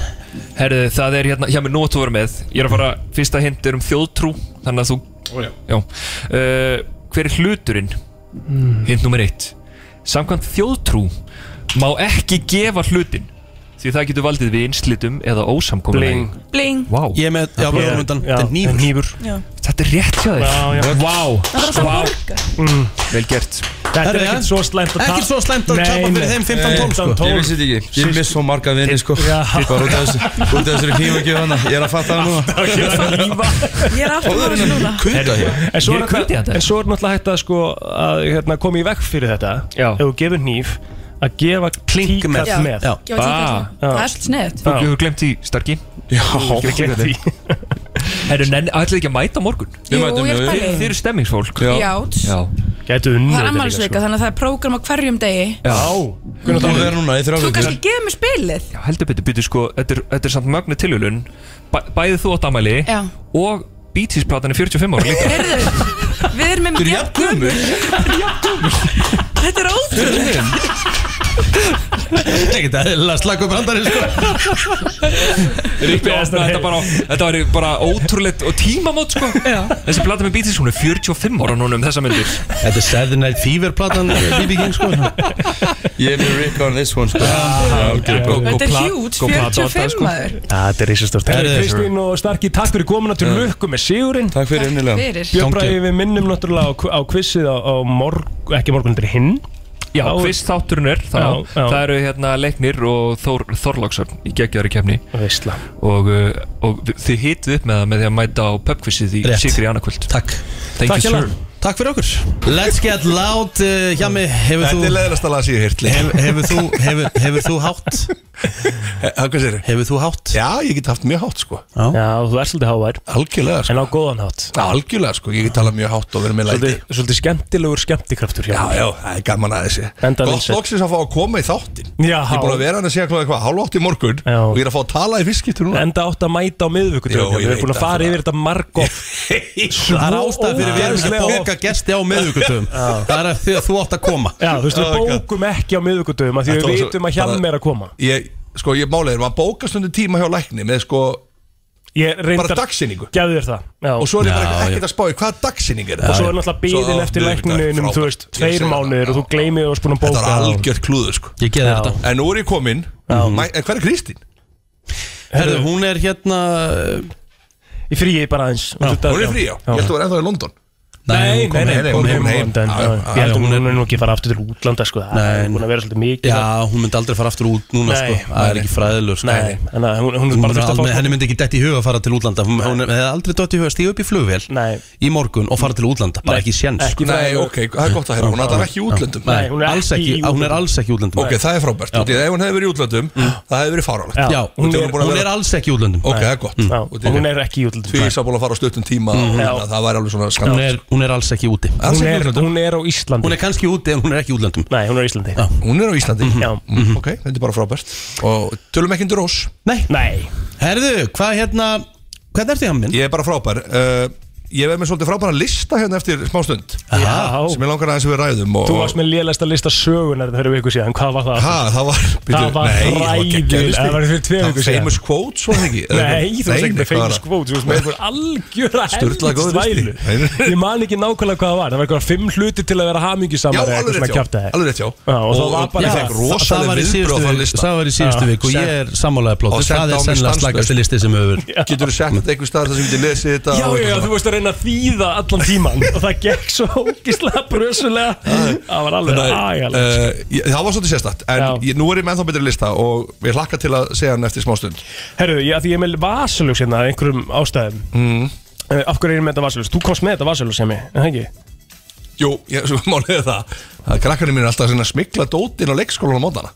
Speaker 9: Herðu það er hérna Hjá mér nú að þú vera með Ég er að fara Fyrsta hint er um þjóðtrú Þannig að þú
Speaker 10: já.
Speaker 9: já. Uh, Hver er hluturinn?
Speaker 2: Hmm.
Speaker 9: Hint nummer eitt Samkvæmt þjóðtrú Má ekki gefa hlutin Því það getur valdið við einslitum eða ósamkomulegi
Speaker 3: Bling.
Speaker 12: Bling
Speaker 9: Vá
Speaker 2: Ég er með, já, við erum undan
Speaker 3: Já,
Speaker 2: Þetta er nýfur
Speaker 3: hnífur
Speaker 12: Já.
Speaker 9: Þetta er rétt hjá þér
Speaker 3: Já, já.
Speaker 9: Vá
Speaker 12: Það var það borga
Speaker 9: Vel gert
Speaker 3: Þetta er
Speaker 2: Herra,
Speaker 3: ekkert
Speaker 2: já.
Speaker 3: svo slæmt að
Speaker 2: Ekkert svo slæmt að
Speaker 3: Nei,
Speaker 2: tapa
Speaker 3: nei.
Speaker 2: fyrir þeim 15-12 sko.
Speaker 3: 15-12.
Speaker 10: Ég vissi þetta ekki, ég miss svo marga vini sko
Speaker 3: Já.
Speaker 10: Bara út af þessu, út af þessari hnífagjöf hana Ég er að fatta það núna
Speaker 12: Ég er aftur
Speaker 10: Fáður
Speaker 12: bara
Speaker 10: henni
Speaker 12: núna
Speaker 10: kuta hér
Speaker 3: En svo,
Speaker 9: Ég
Speaker 3: er
Speaker 9: er hvetjandi
Speaker 3: náttúrulega-
Speaker 9: þetta.
Speaker 3: en svo er náttúrulega hægt að, sko, að hérna, koma í veg fyrir þetta
Speaker 9: Já.
Speaker 3: Ef þú gefur hníf Að gefa
Speaker 2: Klink með.
Speaker 3: tíkall með
Speaker 2: Já.
Speaker 12: Ég var
Speaker 9: Ah.
Speaker 12: tíkall Það er svolítið sniðut
Speaker 9: Þú hefur glemt í starki
Speaker 10: Já,
Speaker 3: Ég gleymdi því.
Speaker 9: Herru, nenni, ætlaði ekki að mæta á morgun
Speaker 10: Við
Speaker 12: Jú,
Speaker 10: mætum
Speaker 12: ég er
Speaker 10: við.
Speaker 9: Þið, þið
Speaker 12: bælið
Speaker 9: eru stemmingsfólk
Speaker 12: Játs
Speaker 9: Já
Speaker 12: Það er
Speaker 3: Gætu unnið þetta líka, sko.
Speaker 12: ammælisveika þannig að það er prógram á hverjum degi
Speaker 3: Já
Speaker 10: Þú erum það núna í
Speaker 12: Þú
Speaker 10: þrjá vikur
Speaker 12: kannski gefur mér spilið
Speaker 9: Já, heldur betur, betur sko, þetta er, þetta er samt mögnu tilhjulun Bæ, Bæðið þú átt amæli
Speaker 12: Já.
Speaker 9: Og bítisplatan er 45 ára líka
Speaker 12: Heyrðu, við erum með
Speaker 10: Þú er jafn gömur
Speaker 12: Þetta er ótrúlega
Speaker 2: Þetta er ekkert eðlilega slakku brandari sko.
Speaker 9: Ríkti opnaði þetta bara á- Þetta var bara ótrúlegt og tímamót sko Já. Þessi plata með bítis, hún er 45 ára núna um þessa myndir
Speaker 2: Þetta er Saturday Night Fever platan BB King sko
Speaker 10: Ég er með Rick on this one sko Já, ok,
Speaker 9: Góð- góð
Speaker 12: Þetta er
Speaker 9: plat-
Speaker 12: hjút,
Speaker 9: góð plata á þetta,
Speaker 12: 45
Speaker 9: sko.
Speaker 12: maður
Speaker 3: Þetta er risastórt Herri,
Speaker 2: Herri,
Speaker 3: Kristín og Starki, takk fyrir komuna til lukku með Sigurinn
Speaker 10: Takk fyrir innilega
Speaker 12: Fyrir
Speaker 3: Björn
Speaker 2: Gangi.
Speaker 3: Bræði, við minnum náttúrulega á, á quizið á, á morgun, ekki morgun, þetta er hinn
Speaker 9: Já,
Speaker 3: Þá-
Speaker 9: hvist þátturinn er þá,
Speaker 3: Já, já.
Speaker 9: Það eru hérna leiknir og Þór, Þorláksson í geggjari kefni
Speaker 3: Veistla
Speaker 9: og, uh, og þið hitið upp með það með því að mæta á pubquizið í
Speaker 2: Rétt.
Speaker 9: Sigri annarkvöld
Speaker 2: Takk
Speaker 9: Thank
Speaker 3: Takk
Speaker 9: you
Speaker 3: hérlega.
Speaker 9: sir
Speaker 2: Takk fyrir okkur Let's get loud uh, Hjami, hefur þú
Speaker 13: Þetta er leðilegsta lag sem ég hef
Speaker 2: hef, Hefur þú, hefur, hefur þú hátt? Hefur þú hátt?
Speaker 13: Já, ég get haft mjög hátt sko
Speaker 2: Já,
Speaker 3: þú ert svolítið hávær
Speaker 13: Algjörlega sko
Speaker 3: En á góðan hátt
Speaker 13: Já, algjörlega sko, ég get talað mjög hátt og verið með læti
Speaker 3: Svolítið, svolítið skemmtilegur skemmtikraftur hjá
Speaker 13: Já,
Speaker 3: þér.
Speaker 13: já, það er gaman að þessi
Speaker 3: Enda
Speaker 13: Gott
Speaker 3: vinsæll.
Speaker 13: loksins að fá að koma í þáttin
Speaker 3: Já.
Speaker 13: Ég er búin að vera hann að segja hvað, hvað, hálf átt í morgun já. Og ég er að fá að tala í fiskittu núna
Speaker 3: Enda átt að mæta á miðvikutöfum
Speaker 13: Jó, ég
Speaker 3: Við erum búin
Speaker 13: veit
Speaker 3: að fara
Speaker 13: það.
Speaker 3: yfir þetta margótt
Speaker 2: Það er ástæð fyrir við erum ekki að bóka gesti á miðvíkutum Það er að því að þú átt að koma
Speaker 3: Já, þú veist,
Speaker 13: Oh
Speaker 3: við
Speaker 13: my God.
Speaker 3: bókum ekki á miðvikutöfum Því við
Speaker 13: Þetta var svo-
Speaker 3: vitum að hjálm
Speaker 13: bara-
Speaker 3: er að koma
Speaker 13: Ég, sko, ég málega er maður bókast undir tíma hjá lækni Með sko,
Speaker 3: Ég
Speaker 13: bara
Speaker 3: reyndar-
Speaker 13: dagsinningu
Speaker 3: Gæðu þér það já.
Speaker 13: Og svo er ég bara
Speaker 3: Já,
Speaker 13: ekkert að spá í hvaða dagsinning er
Speaker 3: Og svo er náttúrulega bíðin eftir lækninum Þú veist, tveir mánuðir og þú gleymið og spúin að bóka
Speaker 13: Þetta var algjör klúður sko
Speaker 2: Ég geði þetta
Speaker 13: En nú er ég kominn Mæ- En hver er Kristín?
Speaker 2: Herðu, hún er hérna
Speaker 3: Í fríi bara aðeins
Speaker 13: Hún er frí, já Ég held að hún er ennþá í London
Speaker 3: Nei, nei, nei, hún er heim
Speaker 13: Já, já,
Speaker 3: Ég held að hún er nú ekki að fara aftur til útlanda sko. Það er búin að vera svolítið mikið
Speaker 2: Já, hún myndi aldrei fara aftur út núna
Speaker 3: Nei,
Speaker 2: sko. Það er ekki fræðilur sko.
Speaker 3: Nei, en að hún- hún er bara
Speaker 2: myndi
Speaker 3: þurft að fá-
Speaker 2: aldrei- Henni myndi ekki dætt í huga að fara til útlanda Hún, hún hefði aldrei dætt í huga að stíða upp í flugvél
Speaker 3: Nei.
Speaker 2: Í morgun og fara til útlanda Bara
Speaker 13: Nei,
Speaker 2: ekki séns sko.
Speaker 13: ekki Nei, fræðilegur. ok, það er gott að heyra. Hún er allavega ekki í útlöndum.
Speaker 2: Nei,
Speaker 13: Nei, hún er
Speaker 2: alls
Speaker 13: ekki
Speaker 2: ekki,
Speaker 13: í
Speaker 2: hún er alls ekki í útlöndum
Speaker 13: Ok, það er frábært Því að ef hún hefði verið í útlöndum Það hefði verið faralegt
Speaker 2: Já, hún er, hún er alls ekki í útlöndum Mm.
Speaker 13: Ok, það er gott
Speaker 3: Já, og hún er ekki í útlöndum. Mhm.
Speaker 13: Því ég sá búin að fara á stuttum tíma
Speaker 2: Já.
Speaker 13: og hérna, Það væri alveg svona
Speaker 2: hún
Speaker 13: skandal
Speaker 2: er, hún er alls ekki úti
Speaker 13: Alls
Speaker 3: hún
Speaker 13: ekki í
Speaker 3: er, hún er á Íslandi
Speaker 2: Hún er kannski úti en hún er ekki í útlöndum
Speaker 3: Nei, hún er á Íslandi
Speaker 13: Hún er á Íslandi
Speaker 3: Mhm. Já
Speaker 13: Mm, Ok, þetta er bara frábært Og tölum ekki undir ós
Speaker 2: Nei
Speaker 3: Nei
Speaker 2: Herðu, hvað hérna Hvernig ertu hjá minn?
Speaker 13: Ég er bara frábær uh, Ég verð með svolítið frábæra lista hérna eftir smá stund
Speaker 3: Já.
Speaker 13: Sem ég langar aðeins að við ræðum og,
Speaker 3: Þú varst með lélægsta lista sögunar fyrir viku síðan, hvað var það?
Speaker 13: Ha, það var
Speaker 3: Það var ræðil, það var fyrir tvei viku síðan
Speaker 13: Famous quotes var það ekki
Speaker 3: Nei, þú varst ekki með
Speaker 13: hvað var
Speaker 3: famous
Speaker 13: það?
Speaker 3: quotes, þú varst með einhver algjöra
Speaker 13: Sturla góður listi.
Speaker 3: helvitsvælu Ég man ekki nákvæmlega hvað það var, það var einhver fimm hluti til að vera
Speaker 13: Já,
Speaker 3: hamingjusamar
Speaker 13: alveg rétt hjá, alveg rétt hjá
Speaker 3: Já, og það var bara
Speaker 13: ég fekk
Speaker 2: það
Speaker 13: rosalega
Speaker 2: var í síðustu
Speaker 13: viðbröð á þann
Speaker 2: viku-
Speaker 13: lista
Speaker 2: það var í síðustu viku og ég er sammálega
Speaker 13: Og
Speaker 2: plótur
Speaker 13: sent
Speaker 2: það
Speaker 13: á
Speaker 2: er
Speaker 13: mig
Speaker 2: sennilega
Speaker 13: stanslaust.
Speaker 2: slagasti listi sem hefur verið.
Speaker 13: Getur þú sett þetta einhver staðar þar sem getur lesið þetta
Speaker 3: Já, já,
Speaker 13: og eitthvað
Speaker 3: já, þú varst að reyna að þýða allan tíman og það gekk svo ógislega brösulega Það var alveg
Speaker 13: Þannig,
Speaker 3: agalegt
Speaker 13: uh, ég- það var svolítið sérstætt En ég, nú er ég með ennþá betri lista Og ég hlakka til að segja hann eftir smá stund
Speaker 3: Herru, já, því ég er með vasaljós hérna af einhverjum ástæðum mm. Af hverju er ég með þetta vasaljós? Þú komst með þetta vasaljós hjá mig, en það ekki?
Speaker 13: Jú, ég, svo málið er það að Krakkarnir mín er alltaf svona að smikla dótin á leikskólanum á mótana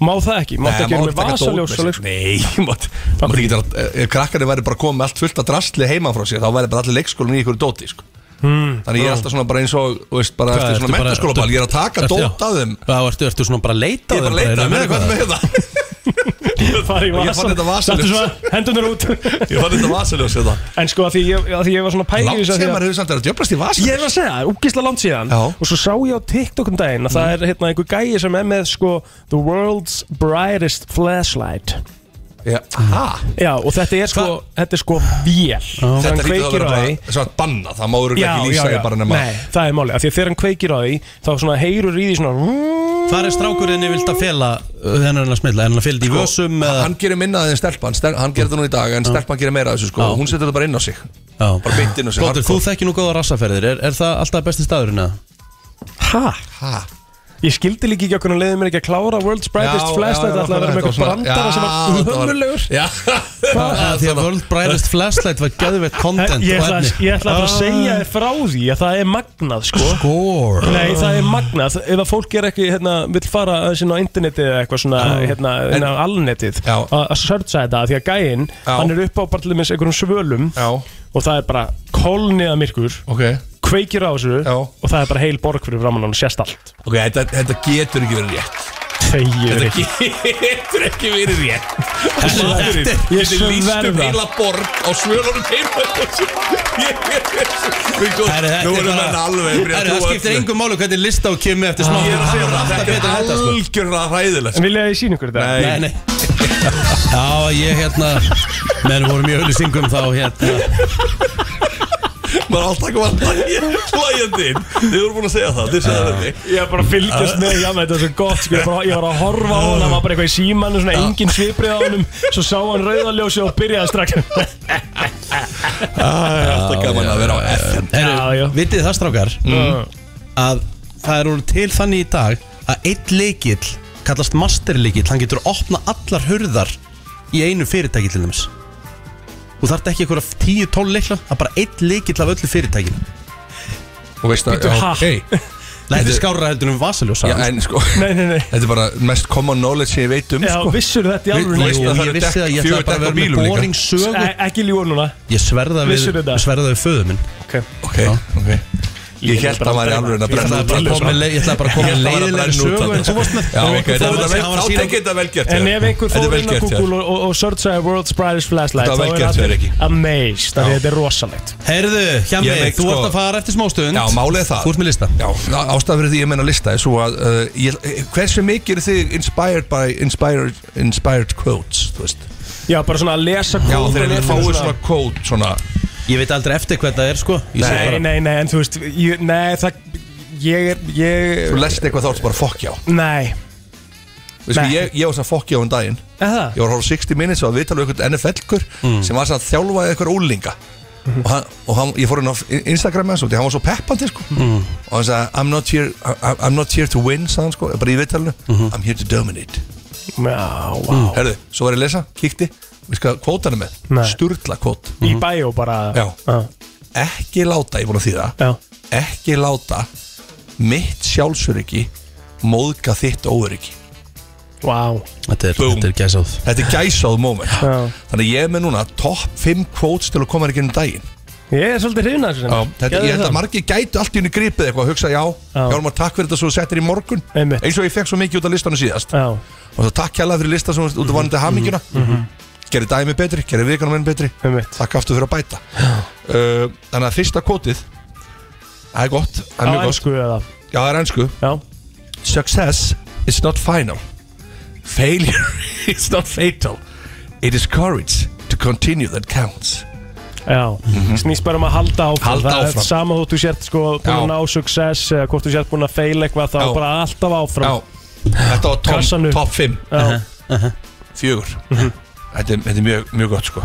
Speaker 3: Má það ekki? Máttu ekki vera með vasaljós á leikskólanum?
Speaker 13: Nei, máttu mátt ekki vera- Ef krakkarnir væri bara komið með allt fullt af drastli heima frá sér Þá væri bara allir leikskólanum í ykkur dóti sko.
Speaker 2: Mm.
Speaker 13: Þannig ég er alltaf svona bara eins og þú veist, bara
Speaker 2: Hvað,
Speaker 13: eftir svona
Speaker 2: ertu bara-
Speaker 13: mentaskóla Ég er að taka
Speaker 2: Ertu-
Speaker 13: dót af þeim
Speaker 2: Hvað, ertu, ertu svona bara að leita
Speaker 13: Ég er bara
Speaker 2: að
Speaker 13: að leita, meina, hvað er með það?
Speaker 3: Fara í
Speaker 13: Ég fann
Speaker 3: vasaljós
Speaker 13: þetta vasaljós.
Speaker 3: Þetta svo hendunar út
Speaker 13: Ég fann þetta hérna. vasaljós þetta
Speaker 3: En sko, af því ég, af því ég var svona pæli
Speaker 13: Langt sem maður hefur samt verið að djöflast í vasaljós.
Speaker 3: Ég er að segja, úgisla langt síðan Og svo sá ég á TikTok um daginn að
Speaker 13: Mm.
Speaker 3: það er hérna einhver gæi sem er með sko The world's brightest flashlight
Speaker 13: Já, ha?
Speaker 3: Já, og þetta er sko, þetta er sko vél Þegar hann
Speaker 13: Þetta hlýtur að
Speaker 3: kveikir
Speaker 13: vera
Speaker 3: á því-
Speaker 13: bara svona banna Það má örugglega
Speaker 3: Já,
Speaker 13: ekki
Speaker 3: já,
Speaker 13: lýsa
Speaker 3: já.
Speaker 13: því bara nema
Speaker 3: Nei, það er málið, af því að þegar hann kveikir á því þá svona heyrur í því svona
Speaker 2: Hvar er strákurinn ég vilt að fela hennar hann að smilla, hennar að fela
Speaker 13: Sko,
Speaker 2: þetta í vösum eða
Speaker 13: Hann gerir minnaðið en stelpan stel, Hann gerir þetta nú í dag En stelpan gerir meira af þessu sko
Speaker 2: Já.
Speaker 13: Hún setur þetta bara inn á sig Bara beint inn á sig
Speaker 2: Plótur, þú þekkir nú góða rassaferðir, er, er það alltaf besti staðurinn eða?
Speaker 3: Hæ? Ég skildi líka ekki okkur og leiði mér ekki að klára World's Brightest Flashlight ætlaði að vera með eitthvað brandara sem var ömurlegur
Speaker 13: Já
Speaker 2: Að Því að World Brightest Flashlight var gæðveitt content
Speaker 3: Ég
Speaker 2: og
Speaker 3: ætla,
Speaker 2: efni
Speaker 3: ég ætla bara að
Speaker 2: Ah.
Speaker 3: segja þér frá því að það er magnað sko
Speaker 2: Score
Speaker 3: Nei, það er magnað Ef að fólk er ekki, hérna, vill fara aðeins inn á internetið eða eitthvað svona, hérna, inn á alnetið að að searcha þetta, því að gæinn hann er upp á bara til dæmis einhverjum svölum
Speaker 13: Já.
Speaker 3: og það er bara kolniða myrkur
Speaker 13: okay.
Speaker 3: kveikir á þessu Já. og það er bara heil borg fyrir framann og sérst allt
Speaker 13: Ok, þetta, þetta getur ekki verið rétt
Speaker 3: Þegar
Speaker 13: Þetta getur ekki verið rétt Maðurinn,
Speaker 3: Þetta- ég
Speaker 13: Þetta er lýst
Speaker 3: sver
Speaker 13: upp
Speaker 3: það.
Speaker 13: heila borg Á svölunum heima
Speaker 2: Herri,
Speaker 13: Ég-
Speaker 2: þetta
Speaker 13: Nú
Speaker 2: er
Speaker 13: erum
Speaker 2: bara-
Speaker 13: við alveg
Speaker 2: Herri, það skiptir engum málu hvernig list á kemur eftir smá
Speaker 13: Ég er að segja
Speaker 2: Það
Speaker 13: það,
Speaker 2: alltaf
Speaker 13: þetta er
Speaker 2: betra en þetta, sko.
Speaker 13: algjörlega hræðilegt
Speaker 3: En vilja að ég sína ykkur þetta?
Speaker 2: Nei, nei Já, ég hérna Menn vorum í auðlýsingum þá hérna
Speaker 13: Maður er alltaf ekki var hlægjandi inn Þið voru búin að segja það, þið segja þetta
Speaker 3: Ég er bara að fylgjast með, já, með þetta er svo gott sko, ég, var bara, ég var að horfa á hann, það var bara eitthvað í símanu svona engin sviprið á honum, svo sá hann rauðaljósi og byrjaði strax
Speaker 13: Það er alltaf gaman að vera á FM
Speaker 2: Herru, vitið það strákar
Speaker 13: Mm.
Speaker 2: Að það er orðið til þannig í dag Að einn leikill Kallast masterleikill Hann getur að opna allar hurðar Í einu fyrirtæki til dæmis Þú þarft ekki eitthvað 10-12 leikla Það er bara einn leikill af öllu fyrirtækinu
Speaker 13: og veist að
Speaker 2: Bíddu, ha?
Speaker 13: Þetta er skárra heldur um vasaljósa Já, en sko
Speaker 3: Nei, nei, nei
Speaker 13: Þetta er bara mest common knowledge sem ég veit um
Speaker 3: Já,
Speaker 13: sko.
Speaker 3: vissur þetta í
Speaker 13: Vi-
Speaker 3: alvöru
Speaker 13: Þú veist að það eru dekk, fjögur dekk á bílum líka
Speaker 3: E Ekki ljúa núna
Speaker 2: Ég sverða við,
Speaker 3: Vissirðu þetta?
Speaker 2: sverða við föðu minn
Speaker 3: Ok,
Speaker 13: ok, ok Ég held að hann væri alveg að brenna út þarna.
Speaker 2: Ég ætlaði bara að koma með
Speaker 13: Ég ætlaði bara að
Speaker 2: leiðilegri
Speaker 13: brenna út
Speaker 2: sögu
Speaker 13: þarna.
Speaker 2: en þú varst með
Speaker 13: Já, ok,
Speaker 2: Það var- það var
Speaker 13: þá
Speaker 2: að sýna-
Speaker 13: tekið þetta vel gert
Speaker 3: En
Speaker 13: já.
Speaker 3: ef einhver
Speaker 13: Þetta er
Speaker 3: fór inn
Speaker 13: vel
Speaker 3: á
Speaker 13: gert, já.
Speaker 3: Google og, og, og searchaði World's Brightest Flashlight
Speaker 13: Þetta var vel
Speaker 3: þá
Speaker 13: gert hjá
Speaker 3: er
Speaker 13: þér, Rikki.
Speaker 3: amazed Það er þetta er rosalegt
Speaker 2: Heyrðu, Hjami,
Speaker 13: Ég meik,
Speaker 2: þú
Speaker 13: sko-
Speaker 2: ert að fara eftir smástund
Speaker 13: Já, málið er það
Speaker 2: Þú ert með lista
Speaker 13: Já, ástæðan fyrir því ég menna lista er svo að uh, ég, Hversu mikið er þig inspired by inspired, inspired quotes, þú veist
Speaker 3: Já, bara svona að lesa
Speaker 13: Já,
Speaker 3: kóð
Speaker 13: þegar þið fáið svona quote svona
Speaker 2: Ég veit aldrei eftir hvað það er, sko Ég segi
Speaker 3: Nei,
Speaker 2: bara-
Speaker 3: nei, nei, en þú veist ég, Nei, það Ég er ég...
Speaker 13: Þú lest eitthvað þá ertu bara fokk já
Speaker 3: Nei
Speaker 13: Við sko,
Speaker 3: Nei.
Speaker 13: ég, ég var svo fokk já um daginn
Speaker 3: Eða?
Speaker 13: Ég var að horfa á 60 minutes og að viðtala við eitthvað NFL-kur
Speaker 3: Mm.
Speaker 13: sem var að þjálfaði eitthvað úlinga
Speaker 3: Mhm.
Speaker 13: og, hann, og hann, ég fór inn á Instagram hans og því hann var svo peppandi sko.
Speaker 3: Mm.
Speaker 13: og hann sagði I'm not here, I- I'm not here to win sagði hann sko, bara í viðtalinu I'm here to dominate
Speaker 3: Mhm. Já, wow.
Speaker 13: Herðu, svo var ég að lesa, kíkti við sko kvótanum með,
Speaker 3: Nei.
Speaker 13: sturla kvót
Speaker 3: Í bæjó bara
Speaker 13: Já. ekki láta, ég er búin að þýða ekki láta mitt sjálfsöryggi móðga þitt óöryggi
Speaker 3: Vá
Speaker 2: Þetta er, þetta er gæsáð
Speaker 13: Þetta er gæsáð moment
Speaker 3: Já.
Speaker 13: Þannig að ég er með núna top 5 quotes til að koma þér ekki um daginn
Speaker 3: Ég er svolítið hrifin að þessu
Speaker 13: Já, þetta, Ég held að margir gætu allt í henni gripið eitthvað að hugsa já, já. Hjálmar takk fyrir þetta svo þú settir í morgun
Speaker 3: Einmitt.
Speaker 13: eins og ég fekk svo mikið út af listanum síðast
Speaker 3: já. Mm-hmm.
Speaker 13: og það takk hérlega fyrir listan sem þú- út af vanandi haminguna gerir dæmi betri, gerir vikanum enn betri
Speaker 3: Einmitt.
Speaker 13: takk aftur fyrir að bæta uh, Þannig að fyrsta kvotið það er gott,
Speaker 3: Á
Speaker 13: það er mjög gott
Speaker 3: ensku eða
Speaker 13: Já, það er ennsku
Speaker 3: Já.
Speaker 13: Success is not final Failure is not fatal It is courage to continue that counts Mhm.
Speaker 3: Já, snýst bara um að halda áfram
Speaker 13: Halda
Speaker 3: Það er
Speaker 13: áfram.
Speaker 3: Sama þótt þú sért sko búin að
Speaker 13: Já.
Speaker 3: ná success eða hvort þú sért búin að feila eitthvað þá
Speaker 13: Já.
Speaker 3: bara alltaf áfram
Speaker 13: Já, þetta var
Speaker 3: Kassan
Speaker 13: tom,
Speaker 3: upp.
Speaker 13: top 5
Speaker 3: Já.
Speaker 13: Fjögur Þetta er, þetta er mjög, mjög gott sko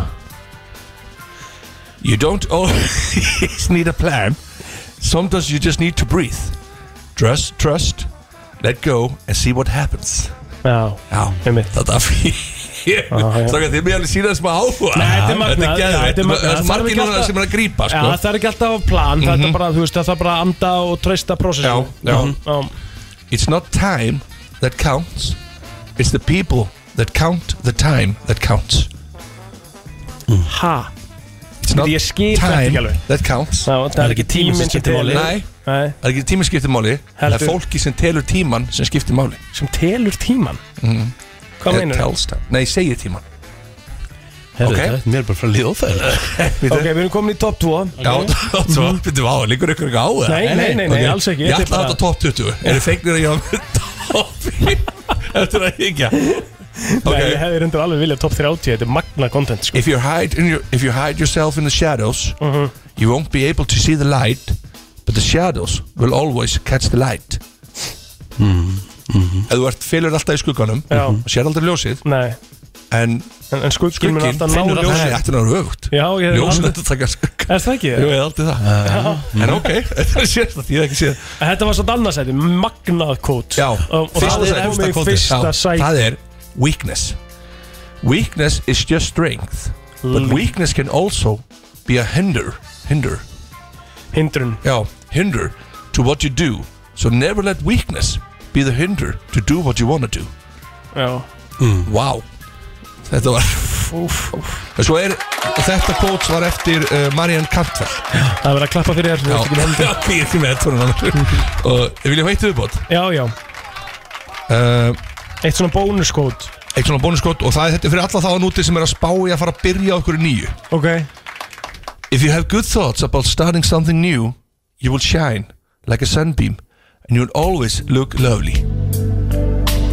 Speaker 13: You don't always need a plan Sometimes you just need to breathe Trust, trust Let go and see what happens
Speaker 3: Já,
Speaker 13: Já,
Speaker 3: einmitt
Speaker 13: Þetta er fyrir Strákar, þið mér alveg síðan smá áhuga
Speaker 3: Nei, þetta er magnað
Speaker 13: Þetta er
Speaker 3: já,
Speaker 13: geðveikt.
Speaker 3: magnað.
Speaker 13: Það er svo
Speaker 3: þarf
Speaker 13: margir
Speaker 3: ekki
Speaker 13: núna
Speaker 3: alltaf-
Speaker 13: sem er að grípa sko. Mhm.
Speaker 3: Já, það er ekki alltaf að plan Þetta er bara, þú veist, það er bara að anda og treysta Mhm. prósessum
Speaker 13: Já, já.
Speaker 3: já.
Speaker 13: It's not time that counts It's the people that count the time that counts
Speaker 3: Ha?
Speaker 13: It's not
Speaker 3: Ég skil þetta ekki
Speaker 13: time
Speaker 3: alveg
Speaker 13: that counts
Speaker 3: Já, það er ekki tíminn sem skiptir máli.
Speaker 13: Nei,
Speaker 3: Nei.
Speaker 13: það er ekki tíminn sem skiptir máli Það er
Speaker 3: Heldur.
Speaker 13: fólki sem telur tíman sem skiptir máli
Speaker 3: Sem telur tíman?
Speaker 13: Mhm.
Speaker 3: Hvað
Speaker 13: Eh,
Speaker 3: meinarðu?
Speaker 13: tells time. Nei, segir tíman
Speaker 2: Herðu, þetta er mér bara frá
Speaker 13: ljóðfæðilega
Speaker 3: Ok, við erum komin í top 2
Speaker 13: Já, þú byrjuðu á, líkur ykkur ekki á eða?
Speaker 3: Mhm. Nei, nei, nei, nei,
Speaker 13: Ok.
Speaker 3: alls ekki,
Speaker 13: Ég
Speaker 3: þetta er
Speaker 13: ætla
Speaker 3: bara-
Speaker 13: þetta top 20 Eru feignir að ég hafa með top 5 Eftir að higgja
Speaker 3: Nei, ég hefði reyndar alveg viljað top 30 Þetta er magna content sko.
Speaker 13: If you hide, in your, if you hide yourself in the shadows
Speaker 3: Mhm.
Speaker 13: You won't be able to see the light But the shadows will always catch the light
Speaker 2: Hmm.
Speaker 13: Ef þú ert fylgur alltaf í skugganum
Speaker 3: Já.
Speaker 13: og sér aldrei ljósið
Speaker 3: Nei.
Speaker 13: En,
Speaker 3: en, en skugginn mun alltaf ná
Speaker 13: finnur
Speaker 3: ljósið.
Speaker 13: Nei, þetta er náður öfugt
Speaker 3: Já, ég hefði
Speaker 13: Ljósið
Speaker 3: alveg-
Speaker 13: þetta taka skugga
Speaker 3: Er það ekki?
Speaker 13: Jú, ég hef aldrei það En ok, þetta er sérst að því ekki séð
Speaker 3: En Þetta var svo dannarsæti, magnað kót
Speaker 13: Já,
Speaker 3: og, og það er komið í fyrsta sæti
Speaker 13: Það er weakness Weakness is just strength But
Speaker 3: Lí-
Speaker 13: weakness can also be a hinder Hinder
Speaker 3: Hindrun
Speaker 13: Já, hinder to what you do So never let weakness be the hinder to do what you want to do
Speaker 3: Já
Speaker 13: Wow Mm. Þetta var
Speaker 3: Úf, úf.
Speaker 13: Svo er Þetta quote var eftir uh, Marian Kantvel
Speaker 3: Það er verið að klappa fyrir þér
Speaker 13: Já,
Speaker 3: þú ert ekki með hendi.
Speaker 13: já, ég er ekki með tónum Og vil ég veitu uppbót
Speaker 3: Já, já
Speaker 13: uh,
Speaker 3: Eitt svona bónuskót
Speaker 13: Eitt svona bónuskot og það er þetta er fyrir alla þá núti sem er að spá í að fara að byrja okkur nýju
Speaker 3: Ok
Speaker 13: If you have good thoughts about starting something new You will shine like a sunbeam And you will always look lovely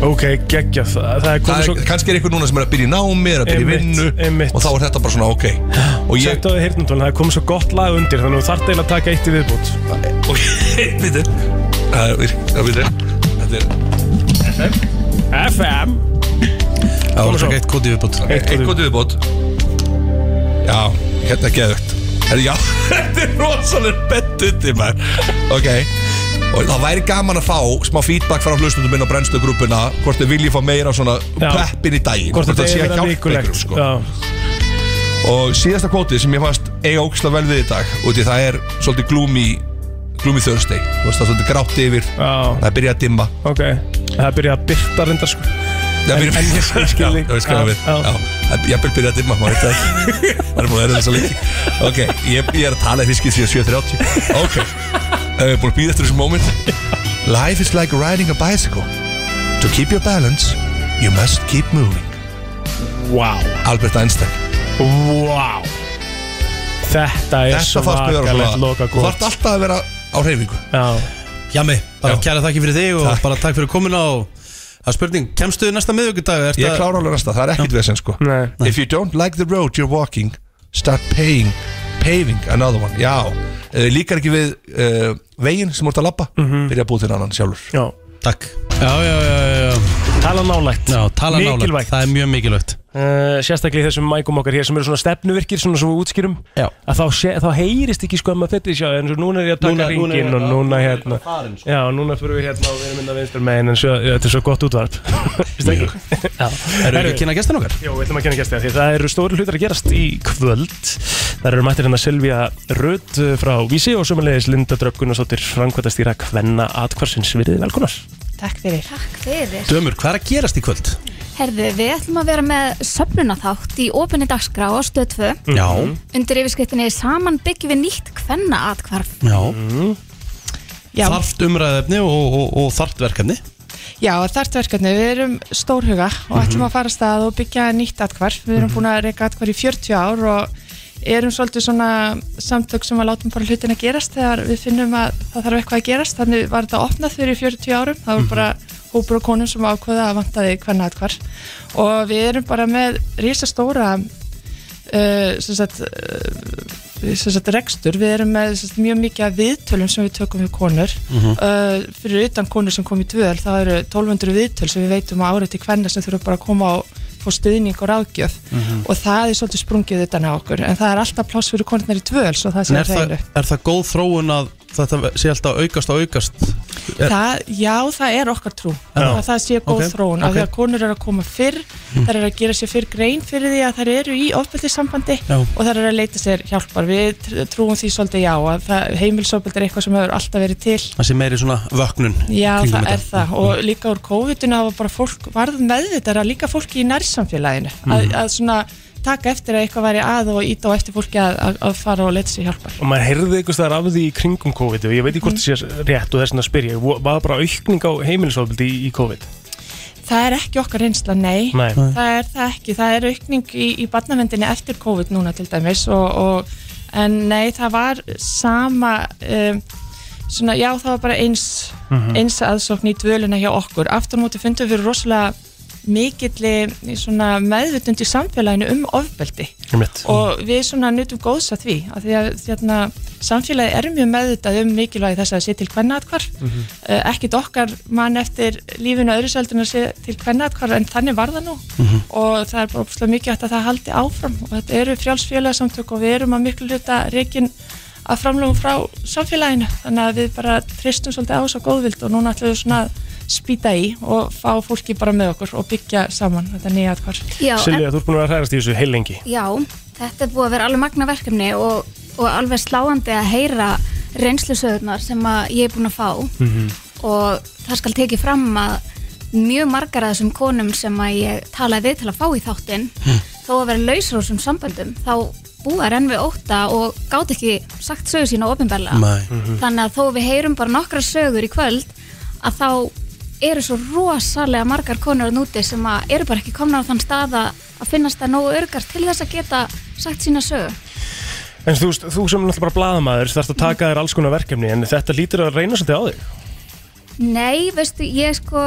Speaker 3: Ok, geggja það Það er
Speaker 13: Það
Speaker 3: komið
Speaker 13: er,
Speaker 3: svo
Speaker 13: kannski er eitthvað núna sem er að byrja í námi er að byrja í
Speaker 3: Einmitt,
Speaker 13: vinnu
Speaker 3: einmitt.
Speaker 13: og þá er þetta bara svona ok og ég,
Speaker 3: Sett á því hirtnatón, það er komið svo gott lag undir Þannig að þú þarf eiginlega að taka eitt í viðbútt
Speaker 13: og ég við þér það er það við þér þetta er
Speaker 3: FM FM
Speaker 2: Það var svona eitt kóti viðbútt
Speaker 13: Ok, eitt gott viðbót já, hérna er geðvögt herri já, þetta er rosalega bett undir maður ok og það væri gaman að fá smá feedback frá hlustundum minn á brennstögrúpuna hvort þið viljið fá meira svona
Speaker 3: Já.
Speaker 13: peppin í daginn
Speaker 3: Hvort þetta
Speaker 13: það
Speaker 3: er
Speaker 13: sé að
Speaker 3: verið
Speaker 13: hjálpa
Speaker 3: vikulegt
Speaker 13: ykkur, sko.
Speaker 3: Já,
Speaker 13: og síðasta kvóti sem ég fannst eiga ógislega vel við í dag og því það er svolítið glúmi Gloomy Thursday Þú veist það er svolítið grátt yfir
Speaker 3: Já.
Speaker 13: Það byrja að dimma
Speaker 3: Ok, það byrja að byrta reyndar sko
Speaker 13: Það
Speaker 3: En-
Speaker 13: byrja
Speaker 3: en ég skil- skil þig.
Speaker 13: Já, ég skil
Speaker 3: Já,
Speaker 13: við
Speaker 3: já.
Speaker 13: Já, það byrja að byrja að dimma maður veit það ekki Það er búin að erða þessa leiki Ok, ég, ég er að tala í fiskið síðan 7.30 Ok, við erum búin að býða eftir þessu moment Life is like riding a bicycle To keep your balance You must keep moving
Speaker 3: Wow
Speaker 13: Albert Einstein
Speaker 3: Wow Þetta er
Speaker 13: Þetta fannst mér vera
Speaker 3: svakalegt
Speaker 13: svona
Speaker 3: loka
Speaker 13: Þú þarft alltaf að vera á hreyfingu
Speaker 2: Já Jami, bara kæra þakki fyrir þig og bara takk fyrir komuna og það er spurning, kemstu þið næsta miðvikudag?
Speaker 13: Ég klára alveg næsta, það er ekkert vesen sko
Speaker 3: Nei.
Speaker 13: If you don't like the road you're walking Start paying, paving another one Já, uh, líkar ekki við uh, veginn sem úr að labba Byrja að búa til annan sjálfur
Speaker 3: Mhm. Já.
Speaker 2: Takk Já, já, já, já.
Speaker 3: Tala nálægt
Speaker 2: Já, tala nálægt.
Speaker 3: Mikilvægt.
Speaker 2: Það er mjög mikilvægt
Speaker 3: uh, sérstaklega í þessum mækum okkar hér sem eru svona stefnuvirkir svona sem við útskýrum
Speaker 2: Já.
Speaker 3: að þá, sé, þá heyrist ekki sko að maður þetta sjá en svo núna er ég að taka
Speaker 2: Núna- núna er-
Speaker 3: ringin og
Speaker 2: já,
Speaker 3: núna
Speaker 2: núna er
Speaker 3: hérna
Speaker 2: þetta farin, sko.
Speaker 3: já, núna fyrir við hérna og við erum inn að vinstur megin en svo, ja, þetta er svo gott útvarp Veistu ekki? Já.
Speaker 2: Erum við
Speaker 3: Herru,
Speaker 2: ekki að kynna gestina okkar?
Speaker 3: Jó, við ætlum að kynna gestina því það eru stóri hlutar að gerast í kvöld Það eru mættir hérna Silvía Rödd uh, frá Vísi og sömulegis Linda Drögg Gunnarsdóttir framkvæmtastýra Kvenna Atkvarsins Virðið velkonar
Speaker 14: Takk fyrir Takk fyrir
Speaker 2: Dömur, hvað er að gerast í kvöld?
Speaker 14: Herðu, við ætlum að vera með söfnunaþátt í ofinni dagskrá á stöð 2
Speaker 2: Já
Speaker 14: Undir yfirskriftinni saman byggjum við nýtt kvenna atkvarf
Speaker 2: Já,
Speaker 3: Mhm.
Speaker 12: Já.
Speaker 2: Þarft umræðefni og, og, og þarft verkefni
Speaker 12: Já, þart verkefni, við erum stórhuga og ætlum að fara af stað og byggja nýtt atkvarf. Við erum búin að reyka atkvarf í 40 ár og erum svolítið svona samtök sem að látum bara hlutina gerast þegar við finnum að það þarf eitthvað að gerast. Þannig var þetta opnað fyrir 40 árum, það voru
Speaker 15: Mhm.
Speaker 12: bara hópur og konum sem ákvöða að vantaði hvernig atkvarf. Og við erum bara með risastóra uh, sem sagt, uh, sem sagt rekstur, við erum með sem sagt, mjög mikið af viðtölum sem við tökum við konur
Speaker 15: Mhm.
Speaker 12: uh, fyrir utan konur sem kom í dvöl þá eru 1200 viðtöl sem við veitum á árið til hvernig sem þurfa bara að koma á fá stuðning og ráðgjöf
Speaker 2: Mhm.
Speaker 12: og það er svolítið sprungið utan á okkur en það er alltaf pláss fyrir konurnar í dvöl svo það
Speaker 2: En
Speaker 12: sé
Speaker 2: er, það,
Speaker 12: reylu
Speaker 2: er það góð þróun að þetta sé alltaf að aukast og aukast? Er,
Speaker 12: það, Já, það er okkar trú
Speaker 2: Já.
Speaker 12: að það sé góð
Speaker 2: Ok,
Speaker 12: þróun af
Speaker 2: ok.
Speaker 12: því að konur eru að koma fyrr
Speaker 2: Mm.
Speaker 12: þær eru að gera sér fyrr grein fyrir því að þær eru í ofbeldissambandi
Speaker 2: Já.
Speaker 12: og þær eru að leita sér hjálpar við tr- trúum því svolítið já að það- heimilisofbeldi er eitthvað sem hefur alltaf verið til
Speaker 2: það sé meiri svona vöknun
Speaker 12: Já,
Speaker 2: kringum
Speaker 12: það
Speaker 2: þetta.
Speaker 12: er það og líka úr COVID-una var bara fólk varð meðvitaðra líka fólki í nærsamfélaginu að,
Speaker 2: Mm.
Speaker 3: Mhm.
Speaker 12: að svona taka eftir að eitthvað væri að og íta á eftir fólki að, að, að fara og leta sér hjálpar
Speaker 3: og maður heyrði einhvers staðar af því í kringum COVID og ég veit ekki
Speaker 2: Mhm.
Speaker 3: hvort það sé rétt og þess vegna spyr ég, vo- var bara aukning á heimilisofbildi í, í COVID?
Speaker 12: Það er ekki okkar reynsla, nei,
Speaker 3: Nei.
Speaker 12: það er það ekki, það er aukning í, í barnavendinni eftir COVID núna til dæmis og, og en nei, það var sama um, svona, já, það var bara eins
Speaker 15: Mhm.
Speaker 12: eins aðsókn í dvöluna hjá okkur aftur á móti fundum við rosalega mikilli svona meðvutund í samfélaginu um ofbeldi
Speaker 3: Einmitt.
Speaker 12: og við svona nutum góðs að því að því að þérna, samfélagi er mjög meðvitað um mikilvægi þess að sé til hvernig atkvarf mm
Speaker 15: Mhm.
Speaker 12: ekkit okkar mann eftir lífinu öðru seldurinn að sé til hvernig atkvarf en þannig var það nú
Speaker 15: Mhm.
Speaker 12: og það er bara opslega mikið að það haldi áfram og þetta eru frjálsfélagsamtök og við erum að miklu hluta reikin að framlögum frá samfélaginu þannig að við bara tristum svolítið á þess að góðvild og núna ætlum við svona að spýta í og fá fólki bara með okkur og byggja saman þetta nýja atkvarf
Speaker 14: Já,
Speaker 3: Silvið, þú ert búin að vera að hræðast í þessu heilengi
Speaker 14: Já, þetta er búið að vera alveg magna verkefni og, og alveg sláandi að heyra reynslusöðurnar sem að ég er búin að fá og það skal tekið fram að mjög margar af þessum konum sem að ég talaði við til að fá í þáttinn þó að vera lausur úr þessum samböndum þá búar enn við óta og gátt ekki sagt sögur sína ofinbarlega
Speaker 15: Nei. Mhm.
Speaker 14: þannig að þó við heyrum bara nokkra sögur í kvöld að þá eru svo rosalega margar konur að núti sem að eru bara ekki komna á þann stað að að finnast það nógu örgar til þess að geta sagt sína sögur
Speaker 3: En þú, veist, þú sem er náttúrulega bara blaðamaður þarfst að
Speaker 12: Mhm.
Speaker 3: taka þér alls konar verkefni en þetta lítur að reyna svolítið á þig
Speaker 14: Nei, veistu, ég sko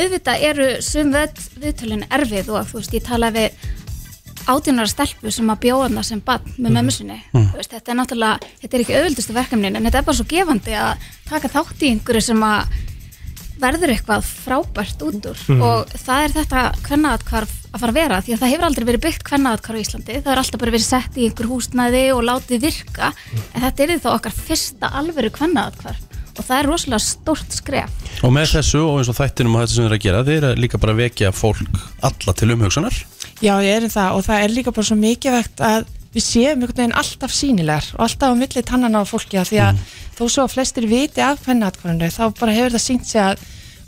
Speaker 14: auðvitað eru sum völd viðtölin erfið og þú veist, ég tala við átjónara stelpu sem að bjóða hana sem bann með mömmu sinni
Speaker 15: Mhm.
Speaker 14: Þú veist, þetta er náttúrulega, þetta er ekki auðvildustu verkefnin en þetta er bara svo gefandi að taka þátt í einhverju sem að verður eitthvað frábært út úr
Speaker 15: Mhm.
Speaker 14: og það er þetta kvennaatkvarf að fara að vera því að það hefur aldrei verið byggt kvennaatkvarf í Íslandi það er alltaf bara verið sett í einhver húsnæði og látið virka en þetta er þá okkar fyrsta alveru kvennaatkvarf og það er rosalega stórt skref
Speaker 2: Og með þessu og eins og þættinum og þetta sem þið er að gera þið er að líka bara að vekja fólk alla til umhugsunar
Speaker 12: Já, ég er það og það er líka bara svo mikilvægt að við séum einhvern veginn alltaf sínilegar og alltaf á milli tannana á fólki af því að þó svo að flestir viti af pennaatkoninu þá bara hefur það sínt sig að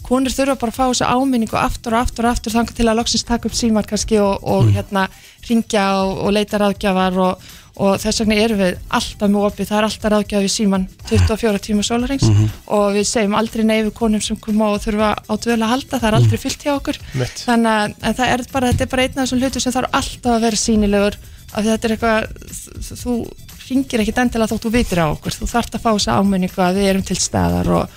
Speaker 12: konur þurfa bara að fá þessa áminningu aftur og aftur og aftur þangar til að loksins taka upp símar kannski og, og hérna ringja og, og leita ráðgjafar og, og þess vegna erum við alltaf mjög opið, það er alltaf ráðgjafar við síman 24 tíma sólarings
Speaker 15: Mhm.
Speaker 12: og við segjum aldrei nei við konum sem koma og þurfa á dvölu að halda, það er aldrei fyllt hjá okkur
Speaker 15: Mm. Mitt.
Speaker 12: þannig að en það er bara, þetta er bara einn af þessum hlutum sem þarf alltaf að vera sínilegur af því þetta er eitthvað þú- þú ringir ekkit endilega þótt þú vitir á okkur þú þarft að fá þessa ámenningu að við erum til staðar og,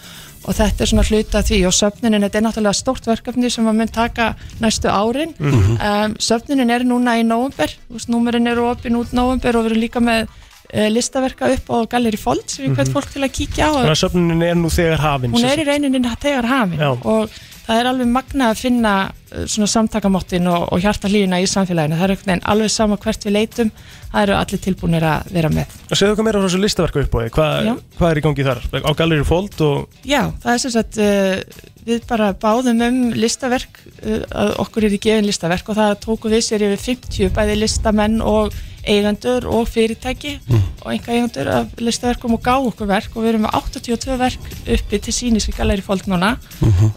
Speaker 12: og þetta er svona hluta því og söfnunin, þetta er náttúrulega stórt verkefni sem að mun taka næstu árin
Speaker 15: Mhm.
Speaker 12: um, söfnunin er núna í nóvumber númerin eru opinn út nóvumber og við erum líka með uh, listaverka upp á Galleri Fold sem við hvert
Speaker 3: Mhm.
Speaker 12: fólk til að kíkja á
Speaker 3: Þannig að söfnunin er nú þegar hafin
Speaker 12: hún er í reyninni tegar hafin
Speaker 3: Já.
Speaker 12: og það er alveg magna að finna uh, svona samtakamottin og, og hjartalífina í samfélaginu, það er einhvern veginn alveg sama hvert við leitum, það eru allir tilbúinir að vera með.
Speaker 3: Og segðu okkur meira frá þessu listaverku upp á því Hvað
Speaker 12: Já.
Speaker 3: hvað er í gangi þar? Á Gallery Fold og
Speaker 12: Já, það er sem sagt uh, við bara báðum um listaverk uh, að okkur er í gefin listaverk og það tóku við sér yfir 50 bæði listamenn og eigendur og fyrirtæki og einhver eigendur af listaverkum og gá okkur verk og við erum með 82 verk uppi til sínis í Galleri Fold núna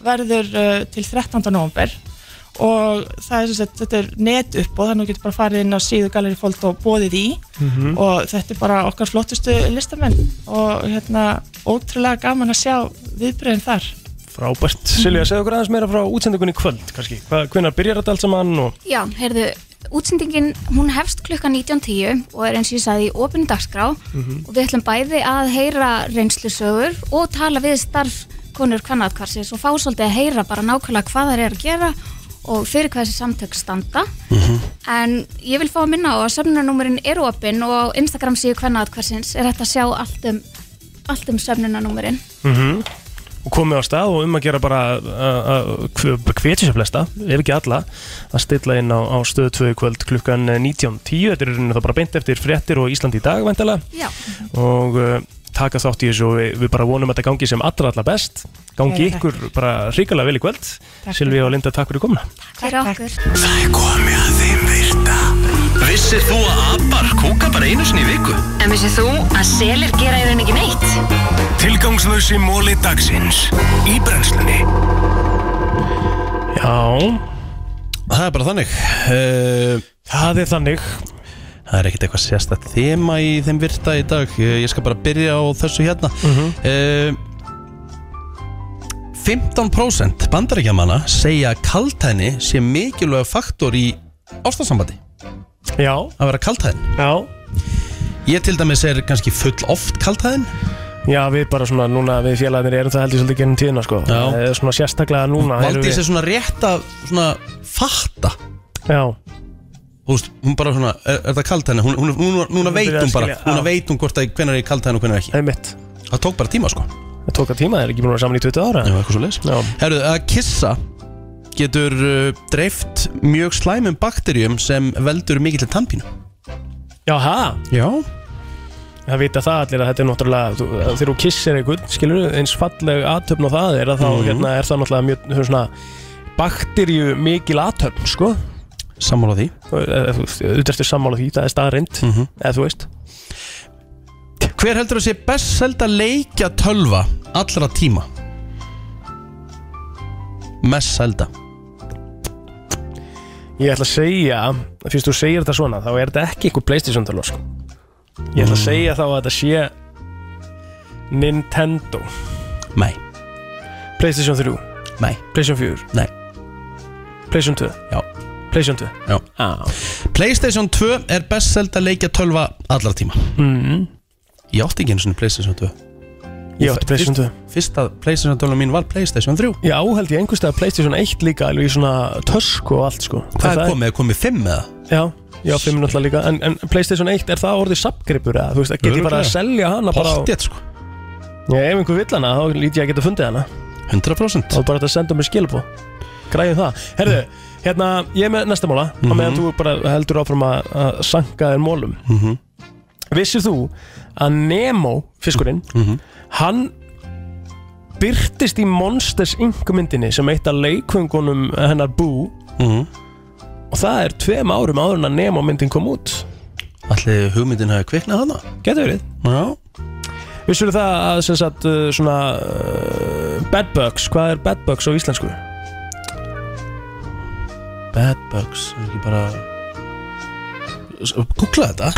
Speaker 12: verður uh, til 13. november og það er sem sagt, þetta er net upp og þannig að þú getur bara farið inn á síðu Galleri Fold og bóðið í
Speaker 15: Mhm.
Speaker 12: og þetta er bara okkar flottustu listamenn og hérna ótrúlega gaman að sjá viðbröðin þar
Speaker 3: frábært
Speaker 12: Mhm.
Speaker 3: Silja, segðu okkur aðeins meira frá útsendingunni í kvöld kannski Hvenar byrjar þetta allt saman og
Speaker 14: Já, heyrðu, útsendingin hún hefst klukkan 19.10 og er eins og ég sagði í opinu dagskrá
Speaker 15: Mhm.
Speaker 14: og við ætlum bæði að heyra reynslusögur og tala við starfkonur kvannatkvarsins og fá svolítið að heyra bara nákvæmlega hvað þær eru að gera og fyrir hvað þessi samtök standa
Speaker 9: Mhm.
Speaker 14: en ég vil fá að minna á að sömnunarnúmerin er opinn og á Instagram síðu kvannatkvarsins er hægt að sjá allt um, allt um sömnunarnúmerin
Speaker 3: Mhm. og komið á stað og um að gera bara hvetja sér flesta, ef ekki alla að stilla inn á, á stöðu 2 í kvöld klukkan 19.10, þetta er í rauninni þá bara beint eftir fréttir og Ísland í dag væntalega
Speaker 14: Já.
Speaker 3: og uh, taka þátt í þessu og við, við bara vonum að þetta gangi sem allra allra best gangi
Speaker 14: Kæra þakkir.
Speaker 3: ykkur bara ríkulega vel í kvöld Silvi og Linda, takk fyrir komna
Speaker 14: fyrir okkur
Speaker 1: Það er komið að þeim virta Vissir þú að abar kúka bara einu sinni í viku?
Speaker 16: En vissið þú að selir gera í rauninni ekki neitt?
Speaker 1: Tilgangslösi móli dagsins Í brennslunni
Speaker 3: Já Það er bara þannig uh, Það er þannig
Speaker 2: Eh, Það er ekkert eitthvað sérstætt þema í þeim virta í dag Eh, Ég skal bara byrja á þessu hérna
Speaker 3: Mhm.
Speaker 2: Eh, 15% bandaríkjamanna segja að kaltæðni sé mikilvæg faktor í ástarsambandi
Speaker 3: Já
Speaker 2: Að vera kaltæðin
Speaker 3: Já
Speaker 2: Ég til dæmis er kannski full oft kaltæðin
Speaker 3: Já, við bara svona núna, við félagarnir erum það held ég svolítið gennum tíðina sko Já Svona sérstaklega núna erum
Speaker 2: Valdís
Speaker 3: við-
Speaker 2: er svona rétt að svona fatta
Speaker 3: Já
Speaker 2: Þú veist, hún bara svona, er, er það kaltæðni? Hún, hún, hún, hún, hún
Speaker 3: Hún
Speaker 2: veit
Speaker 3: byrjar að
Speaker 2: hún bara,
Speaker 3: skilja,
Speaker 2: hún
Speaker 3: já.
Speaker 2: veit hún hvort að hvenær er kaltæðin og hvenær ekki
Speaker 3: Einmitt
Speaker 2: Það tók bara tíma sko
Speaker 3: Það tók að tíma, það er ekki búin að vera saman í 20 ára
Speaker 2: Já, eitthvað svo leis Herru, að kissa getur uh, dreift mjög slæmum bakterjum sem veldur mikill tannpínu
Speaker 3: Já, hæ?
Speaker 2: Já
Speaker 3: Það vita það allir að þetta er náttúrulega þú- þegar þú kissir einhvern, skilur eins falleg aðtöfn á það er að þá
Speaker 2: Mhm.
Speaker 3: hérna er það náttúrulega mjög þú veist, svona bakterju mikil aðtöfn sko
Speaker 2: Sammála því Mhm.
Speaker 3: Þú ertu sammála því, það er staðarind eða þú veist
Speaker 2: Hver heldur að sé best selda leikja tölva allra tíma? Mest selda
Speaker 3: Ég ætla að segja, fyrst þú segir þetta svona þá er þetta ekki einhver Playstation tölva sko. Ég ætla að segja þá að þetta sé Nintendo
Speaker 2: Nei
Speaker 3: Playstation 3
Speaker 2: Nei
Speaker 3: Playstation 4
Speaker 2: Nei
Speaker 3: Playstation 2
Speaker 2: Já
Speaker 3: Playstation 2
Speaker 2: Já
Speaker 3: ah.
Speaker 2: Playstation 2 er best selda leikja tölva allra tíma
Speaker 3: mm.
Speaker 2: Mm-hmm. Ég átti ekki einu svona Playstation 2
Speaker 3: Ég átti Playstation 2
Speaker 2: Fyrsta Playstation tölva mín var Playstation 3
Speaker 3: Já, held ég einhverstað að Playstation 1 líka alveg í svona tösku og allt sko
Speaker 2: Hvað er komið? Er komið 5 eða?
Speaker 3: Já, já, 5 náttúrulega líka en, en Playstation 1, er það orðið sapgripur eða? Þú veist, get ég bara að
Speaker 2: Örugglega.
Speaker 3: selja hana bara á-
Speaker 2: Pottþétt, sko.
Speaker 3: Já, ef einhver vill hana, þá lít ég að geta fundið hana
Speaker 2: 100%
Speaker 3: Þá er bara þetta að senda mér skilabó Græðum það Herðu, hérna, ég er með næsta mála mm
Speaker 2: Mhm.
Speaker 3: meðan þú bara heldur áfram að, að sanka þér mólum
Speaker 2: mm -hmm.
Speaker 3: Vissir þú að Nemo, fiskurinn
Speaker 2: Mhm.
Speaker 3: Hann byrtist í Monsters Inc. myndinni sem eitt af leikvöngunum hennar Boo
Speaker 2: mm -hmm.
Speaker 3: Og það er tveim árum áður en að Nemo myndin kom út
Speaker 2: Allir hugmyndin hafi kviknað hana
Speaker 3: Getur verið
Speaker 2: Já
Speaker 3: Vissur það að sem sagt uh, svona uh, Bad Bugs, hvað er Bad Bugs á íslensku?
Speaker 2: Bad Bugs, er ekki bara Kukla þetta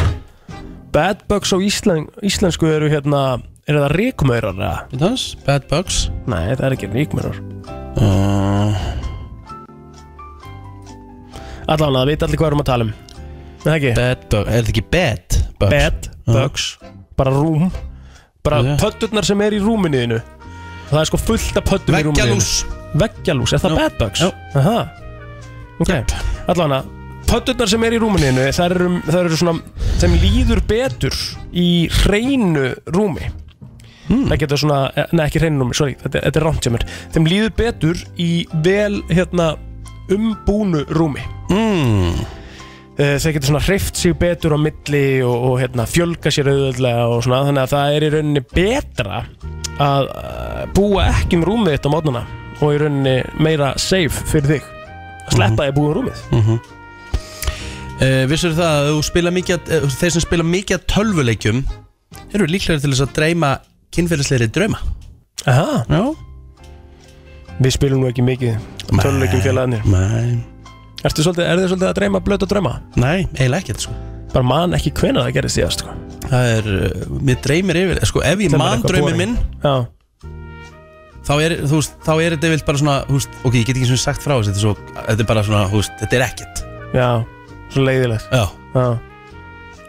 Speaker 3: Bad Bugs á íslen, íslensku eru hérna eru það ríkmaurar eða?
Speaker 2: Við þans, Bad Bugs
Speaker 3: Nei, það er ekki ríkmaurar
Speaker 2: uh,
Speaker 3: Allan að það veit allir hvað við erum að tala um Er það ekki?
Speaker 2: Bad Bugs, er þetta ekki Bad Bugs?
Speaker 3: Bed, Bugs, bara rúm bara yeah. pötturnar sem er í rúminu þínu það er sko fullt af pöttum í rúminu
Speaker 2: Veggjalús.
Speaker 3: þínu Veggjalús, er það
Speaker 2: Já.
Speaker 3: Bad Bugs? Já Aha. Ok, allavega pötturnar sem er í rúminu þínu það eru, það eru svona sem líður betur í hreinu rúmi það getur svona, eh, nei ekki hreinu rúmi, sorry þetta, þetta er rámt hjá mér, þeim líður betur í vel, hérna umbúnu rúmi mm eh, þeir getur svona hreift sig betur á milli og, og hérna, fjölga sér auðvöldlega og svona, þannig að það er í rauninni betra að eh, búa ekki um rúmið þitt á mótnuna og í rauninni meira safe fyrir þig að sleppa því að búa um rúmið
Speaker 2: mm -hmm. uh, Vissur það að þú spila mikið uh, þeir sem spila mikið af tölvuleikjum eru líklegri til þess að dreyma kynferðisleiri drauma
Speaker 3: Aha.
Speaker 2: Já
Speaker 3: Við spilum nú ekki mikið töluleikjum félagarnir
Speaker 2: Nei
Speaker 3: Ertu svolítið, er þið svolítið að dreyma blöta drauma?
Speaker 2: Nei, eiginlega ekkert sko
Speaker 3: Bara man ekki hvena það gerist síðast sko
Speaker 2: Það er, uh, mér dreymir yfir sko, ef ég
Speaker 3: Sem er
Speaker 2: man
Speaker 3: eitthvað
Speaker 2: draumi
Speaker 3: boring.
Speaker 2: minn
Speaker 3: Já.
Speaker 2: þá er, þú veist, þá er þetta yfirleitt bara svona þú veist, ok, ég get ekki svona sagt frá þessu þetta er, svo, þetta er bara svona, þú veist, þetta er ekkert
Speaker 3: Já, svo leiðilegt
Speaker 2: Já,
Speaker 3: Já.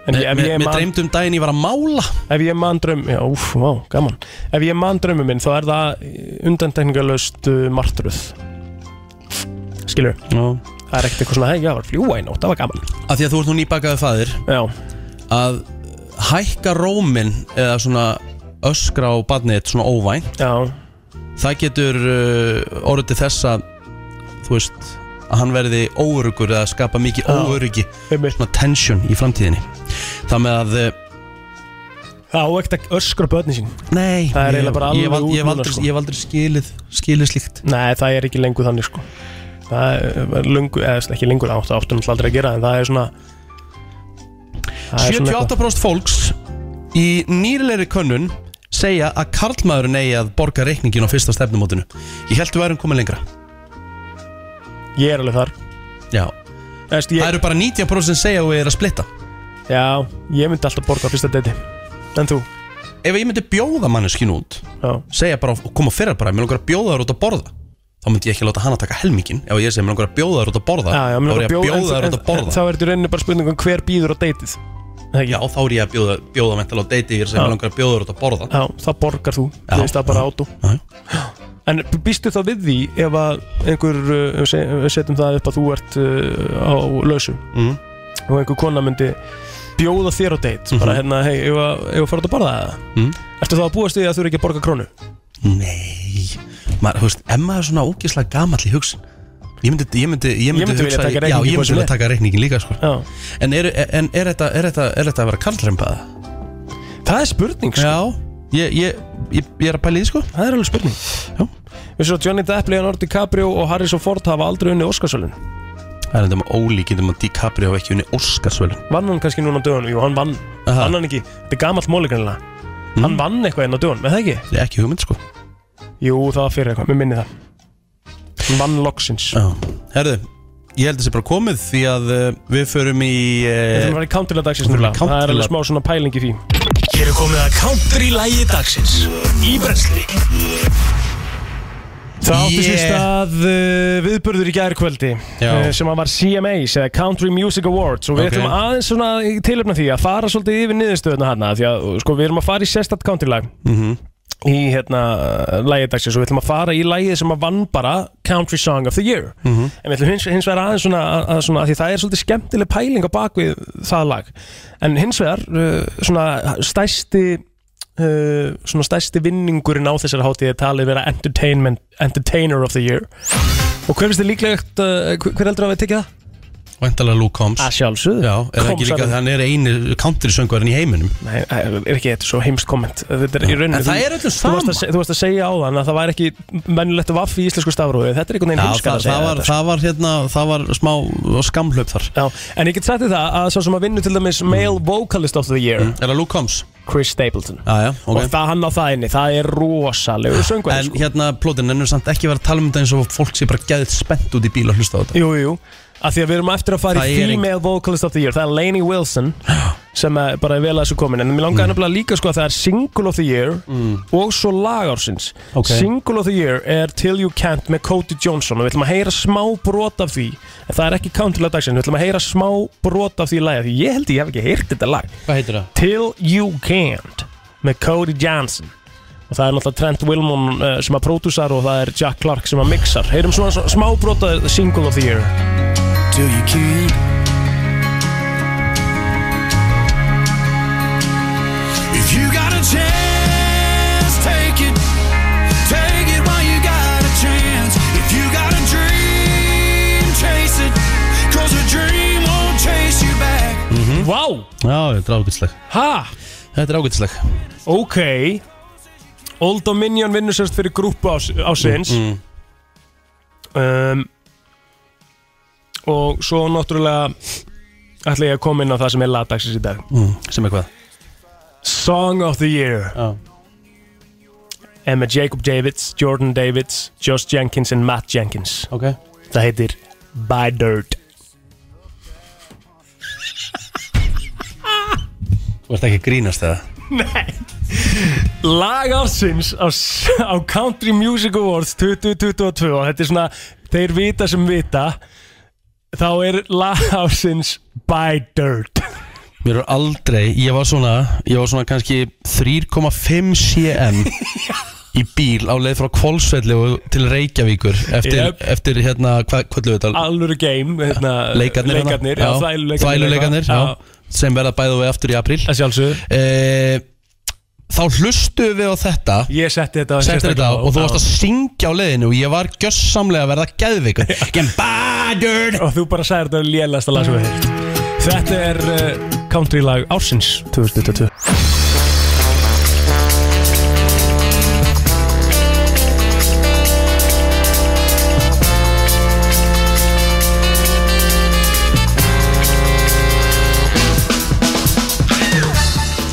Speaker 3: En
Speaker 2: Mér-
Speaker 3: ég- ef
Speaker 2: mér-
Speaker 3: ég
Speaker 2: mér
Speaker 3: man-
Speaker 2: dreymdi um daginn ég var að mála
Speaker 3: Ef ég man draum, já, úf, vá, gaman Ef ég man draumum minn, þá er það undantekningalöst uh, martruð Skilur
Speaker 2: Já
Speaker 3: Það er ekkert eitthvað svona, hei, já, var að fljúa í nótt, það var gaman
Speaker 2: að því að þú ert nú nýbakaðu fæðir
Speaker 3: Já.
Speaker 2: að hækka róminn eða svona öskra á barnið svona óvænt
Speaker 3: Já.
Speaker 2: það getur uh, orðið til þess að þú veist að hann verði óörugur eða skapa mikið
Speaker 3: Já.
Speaker 2: óörugi
Speaker 3: Einmitt.
Speaker 2: svona tension í framtíðinni það með að uh,
Speaker 3: Það á ekkert að öskra börni sín
Speaker 2: Nei
Speaker 3: Það er
Speaker 2: ég-
Speaker 3: eiginlega bara
Speaker 2: ég
Speaker 3: alveg út
Speaker 2: hef aldrei- ég hef
Speaker 3: núna,
Speaker 2: aldrei-
Speaker 3: sko.
Speaker 2: ég hef aldrei skilið, skilið slíkt
Speaker 3: Nei, það er ekki lengur þannig sko Það er- er lungu, eða ekki lengur átt Það áttu náttúrulega aldrei að gera, en það er svona það er svona eitthvað.
Speaker 2: 78% fólks í nýrilegri könnun segja að karlmaðurinn eigi að borga reikningin á fyrsta stefnumótinu ég held við værum komið lengra
Speaker 3: Ég er alveg þar
Speaker 2: Já
Speaker 3: Æst, ég...
Speaker 2: Það eru bara 90% sem segja að við erum að splitta
Speaker 3: Já, ég myndi alltaf borga á fyrsta deiti En þú?
Speaker 2: Ef ég myndi bjóða manneskinu út
Speaker 3: Já.
Speaker 2: segja bara, koma fyrir bara, mér langar að bjóða þær út að borða þá myndi ég ekki láta hana taka helmingin ef ég segi mér langar að bjóða þær út að borða
Speaker 3: Já, já,
Speaker 2: þá
Speaker 3: mig
Speaker 2: er
Speaker 3: langar
Speaker 2: ég að bjóða þær
Speaker 3: en-
Speaker 2: út
Speaker 3: en-
Speaker 2: að borða
Speaker 3: Þá er þetta í rauninni bara spurningum hver býður á deitið
Speaker 2: Já, þá er ég að bjóða, bjóða mentala á deiti ég er að segja
Speaker 3: Já.
Speaker 2: mér langar að bjóða þær út að borða
Speaker 3: Já, það borgar þú,
Speaker 2: Já.
Speaker 3: þú veist það bara átú En býstu þá við því ef að einhver, uh, se- uh, setjum það upp að þú ert uh, á lausu
Speaker 2: Mhm.
Speaker 3: og einhver kona myndi bjóða þér á date bara
Speaker 2: Mhm.
Speaker 3: hérna, hei, ef að ef að fara út að borða það
Speaker 2: Mhm.
Speaker 3: Ertu þá að búast því að þú eru ekki að borga krónu?
Speaker 2: Nei maður, þú veist, Emma er svona ógislega gamall í hugsun Ég myndi, ég myndi, ég myndi,
Speaker 3: Ég myndi vilja
Speaker 2: hugsa-
Speaker 3: taka
Speaker 2: Já,
Speaker 3: reikninginn hvort
Speaker 2: ég myndi
Speaker 3: sem
Speaker 2: vilja
Speaker 3: er.
Speaker 2: taka reikningin líka sko.
Speaker 3: En,
Speaker 2: er, en er, þetta, er, þetta, er þetta að vera kallrembaða?
Speaker 3: Það er spurning
Speaker 2: sko. Já, ég, ég, ég, ég er að pæla í því sko
Speaker 3: Það er alveg spurning
Speaker 2: Já.
Speaker 3: Við svo Johnny Depp, Leonardo DiCaprio og Harrison Ford hafa aldrei unni Óskarsvölin
Speaker 2: Það er þetta með ólíkindum að DiCaprio hafa ekki unni Óskarsvölin
Speaker 3: Vann hann kannski núna á dögun, jú, hann vann Vann hann ekki, þetta er gamalt móli grannlega
Speaker 2: Mm.
Speaker 3: Hann vann eitthvað inn á dögun, með það ekki?
Speaker 2: Það er ekki hugmynd sko
Speaker 3: Jú, það var fyrir eitthvað, mér minni það Hann vann loksins
Speaker 2: Já. Herðu, ég held að þessi bara komið því að uh, við förum í
Speaker 3: Við
Speaker 2: uh,
Speaker 3: þurfum að fara í countrilag dagsins
Speaker 2: Við þurfum
Speaker 3: núna Það
Speaker 2: í
Speaker 3: er
Speaker 2: countrylag.
Speaker 3: alveg smá svona pæling í því
Speaker 1: Hér er komið að country-lægi dagsins Í brensli
Speaker 3: Það átti sér
Speaker 1: Yeah.
Speaker 3: stað uh, viðburður í gærkvöldi
Speaker 1: Já.
Speaker 3: uh, sem að var CMAs eða Country Music Awards og við
Speaker 1: Ok.
Speaker 3: ætlum aðeins svona í tilöfna því að fara svolítið yfir niðurstöðuna hana því að uh, sko, við erum að fara í sérstætt countrylag
Speaker 2: Mhm.
Speaker 3: í hérna uh, lagið dagsins og við ætlum að fara í lagið sem að vann bara Country Song of the Year
Speaker 1: Mhm.
Speaker 3: en við ætlum hins, hins vegar aðeins svona, að, að svona að því það er svolítið skemmtileg pæling á bakvið það lag en hins vegar uh, svona stæsti uh, svona stæsti vinningurinn á þessari hátíð er talið vera entertainment entertainer of the year og hver finnst þið líklegt uh, hver hver heldur að við tekið það?
Speaker 2: Væntalega Luke Combs
Speaker 3: Að sjálfsögðu.
Speaker 2: Já, er það
Speaker 3: Combs
Speaker 2: ekki líka
Speaker 3: er-
Speaker 2: að hann er eini country söngvarinn í heiminum
Speaker 3: Nei, eh, er ekki þetta er svo heimst komment Þetta er í rauninni
Speaker 2: En það
Speaker 3: þú-
Speaker 2: er öllum
Speaker 3: Þú varst að, se- þú varst að segja á þann að það væri ekki mennulegt vaff í íslensku stafrófi Þetta er einhvern veginn
Speaker 2: Já,
Speaker 3: heimskar
Speaker 2: það,
Speaker 3: að segja
Speaker 2: það, var,
Speaker 3: þetta, sko.
Speaker 2: það var hérna, það var smá skamhlaup þar
Speaker 3: Já, en ég get sagt þér það að svo sem að vinnu til dæmis Male Vocalist of the Year
Speaker 2: Mm. Er það Luke Combs? Ah,
Speaker 3: Chris Stapleton
Speaker 2: Já, já, ok
Speaker 3: Og það hann á það inni, það er rosalegur söngu
Speaker 2: En hérna, plótin, ennum samt ekki vera að tala um þetta eins og fólk sé bara gæðið spennt út í bíl og hlusta á þetta
Speaker 3: Jú, jú, að því að við erum eftir að fara í
Speaker 2: Það er
Speaker 3: Female Vocalist of the Year, það er Lainey Wilson sem eh, bara er vel að þessu komin en mér langaði
Speaker 2: Mm.
Speaker 3: nefnilega líka sko að það er Single of the Year og svo lagársins
Speaker 2: Ok.
Speaker 3: Single of the Year er Till You Can't með Cody Johnson og við ætlum að heyra smá brot af því en það er ekki countrylað dagsinn, við ætlum að heyra smá brot af því lagi af því ég held ég hef ekki heyrt þetta lag
Speaker 2: Hvað heitir það?
Speaker 3: Till You Can't með Cody Johnson og það er náttúrulega Trent Wilmon uh, sem að pródúsar og það er Jack Clark sem að mixar heyrum svona, svona smá brota single of the year
Speaker 1: Till you can't If you got a chance, take it. Take it while you got a chance. If you got a dream, chase it. Cause a dream won't chase you back.
Speaker 2: mm -hmm.
Speaker 3: Vá!
Speaker 2: Já, þetta er ágætisleg
Speaker 3: Ha?
Speaker 2: Þetta er ágætisleg
Speaker 3: Ah! Ok Old Dominion vinnur sérst fyrir grúpu ás, ásins
Speaker 2: Mm,
Speaker 1: mm.
Speaker 3: um, Og svo náttúrulega ætla ég að koma inn á það sem er lagdagsins í dag
Speaker 2: mm, Sem er hvað?
Speaker 3: Song of the Year
Speaker 2: oh.
Speaker 3: Emma Jacob Davids, Jordan Davids, Josh Jenkins and Matt Jenkins
Speaker 2: Ok
Speaker 3: Það heitir By Dirt
Speaker 2: Þú ert ekki að grínast það
Speaker 3: Nei Lag ársins á, s- á Country Music Awards 2022 og þetta er svona þeir vita sem vita þá er lag ársins By Dirt
Speaker 2: Mér er aldrei, ég var svona Ég var svona kannski 3,5 cm Í bíl á leið frá Kvolsvelli og til Reykjavíkur Eftir,
Speaker 3: Jep.
Speaker 2: eftir hérna, hvað kvöldu þetta?
Speaker 3: Alvöru game hérna,
Speaker 2: leikarnir, hérna?
Speaker 3: leikarnir, já, þvæluleikarnir,
Speaker 2: þvæluleikarnir,
Speaker 3: eitthvað.
Speaker 2: já, sem verða bæðu við aftur í apríl Eh,
Speaker 3: að sjálfsögðu
Speaker 2: þá hlustu við á þetta
Speaker 3: ég setti þetta á
Speaker 2: setti þetta
Speaker 3: sérstaklega,
Speaker 2: á og þú
Speaker 3: já.
Speaker 2: varst að syngja á leiðinu og ég var gjössamlega að verða geðvikur Get battered
Speaker 3: og þú bara sagði þetta lélast að laga sem við heilt þetta er uh, country lag ársins 2022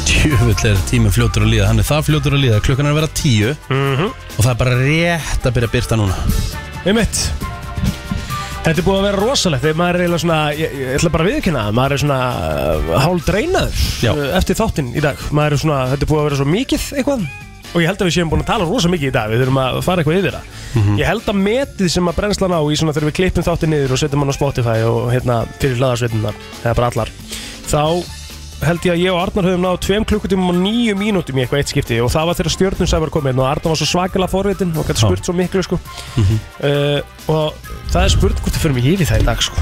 Speaker 2: Tjöfull er tíminn fljótur að líða, hann er það fljótur að líða klukkan er að vera tíu
Speaker 3: Mhm.
Speaker 2: og það er bara rétt að byrja að byrta núna
Speaker 3: Einmitt Þetta er búið að vera rosalegt Þegar maður er eiginlega svona Ég, ég ætla bara að viðkynna það Maður er svona uh, hálf
Speaker 2: Já.
Speaker 3: dreinaður Eftir þáttinn í dag Maður er svona Þetta er búið að vera svo mikið eitthvað Og ég held að við séum búin að tala rosa mikið í dag Við þurfum að fara eitthvað yfir það
Speaker 2: Mhm.
Speaker 3: Ég held að metið sem að brennslan á Í svona þegar við klippum þáttinn niður Og setjum hann á Spotify Og hérna fyrir hlaðarsveitunar Eða bara allar Þá held ég að ég og Arnar höfum náðu tveim klukkutímum og nýju mínútum í eitthvað eitt skipti og það var þegar stjörnum sæfar komið hérna og Arnar var svo svakalega forvitin og gæti
Speaker 2: Já.
Speaker 3: spurt svo miklu sko
Speaker 2: Mhm.
Speaker 3: uh, og það er spurt hvort við fyrir mig yfir það í dag sko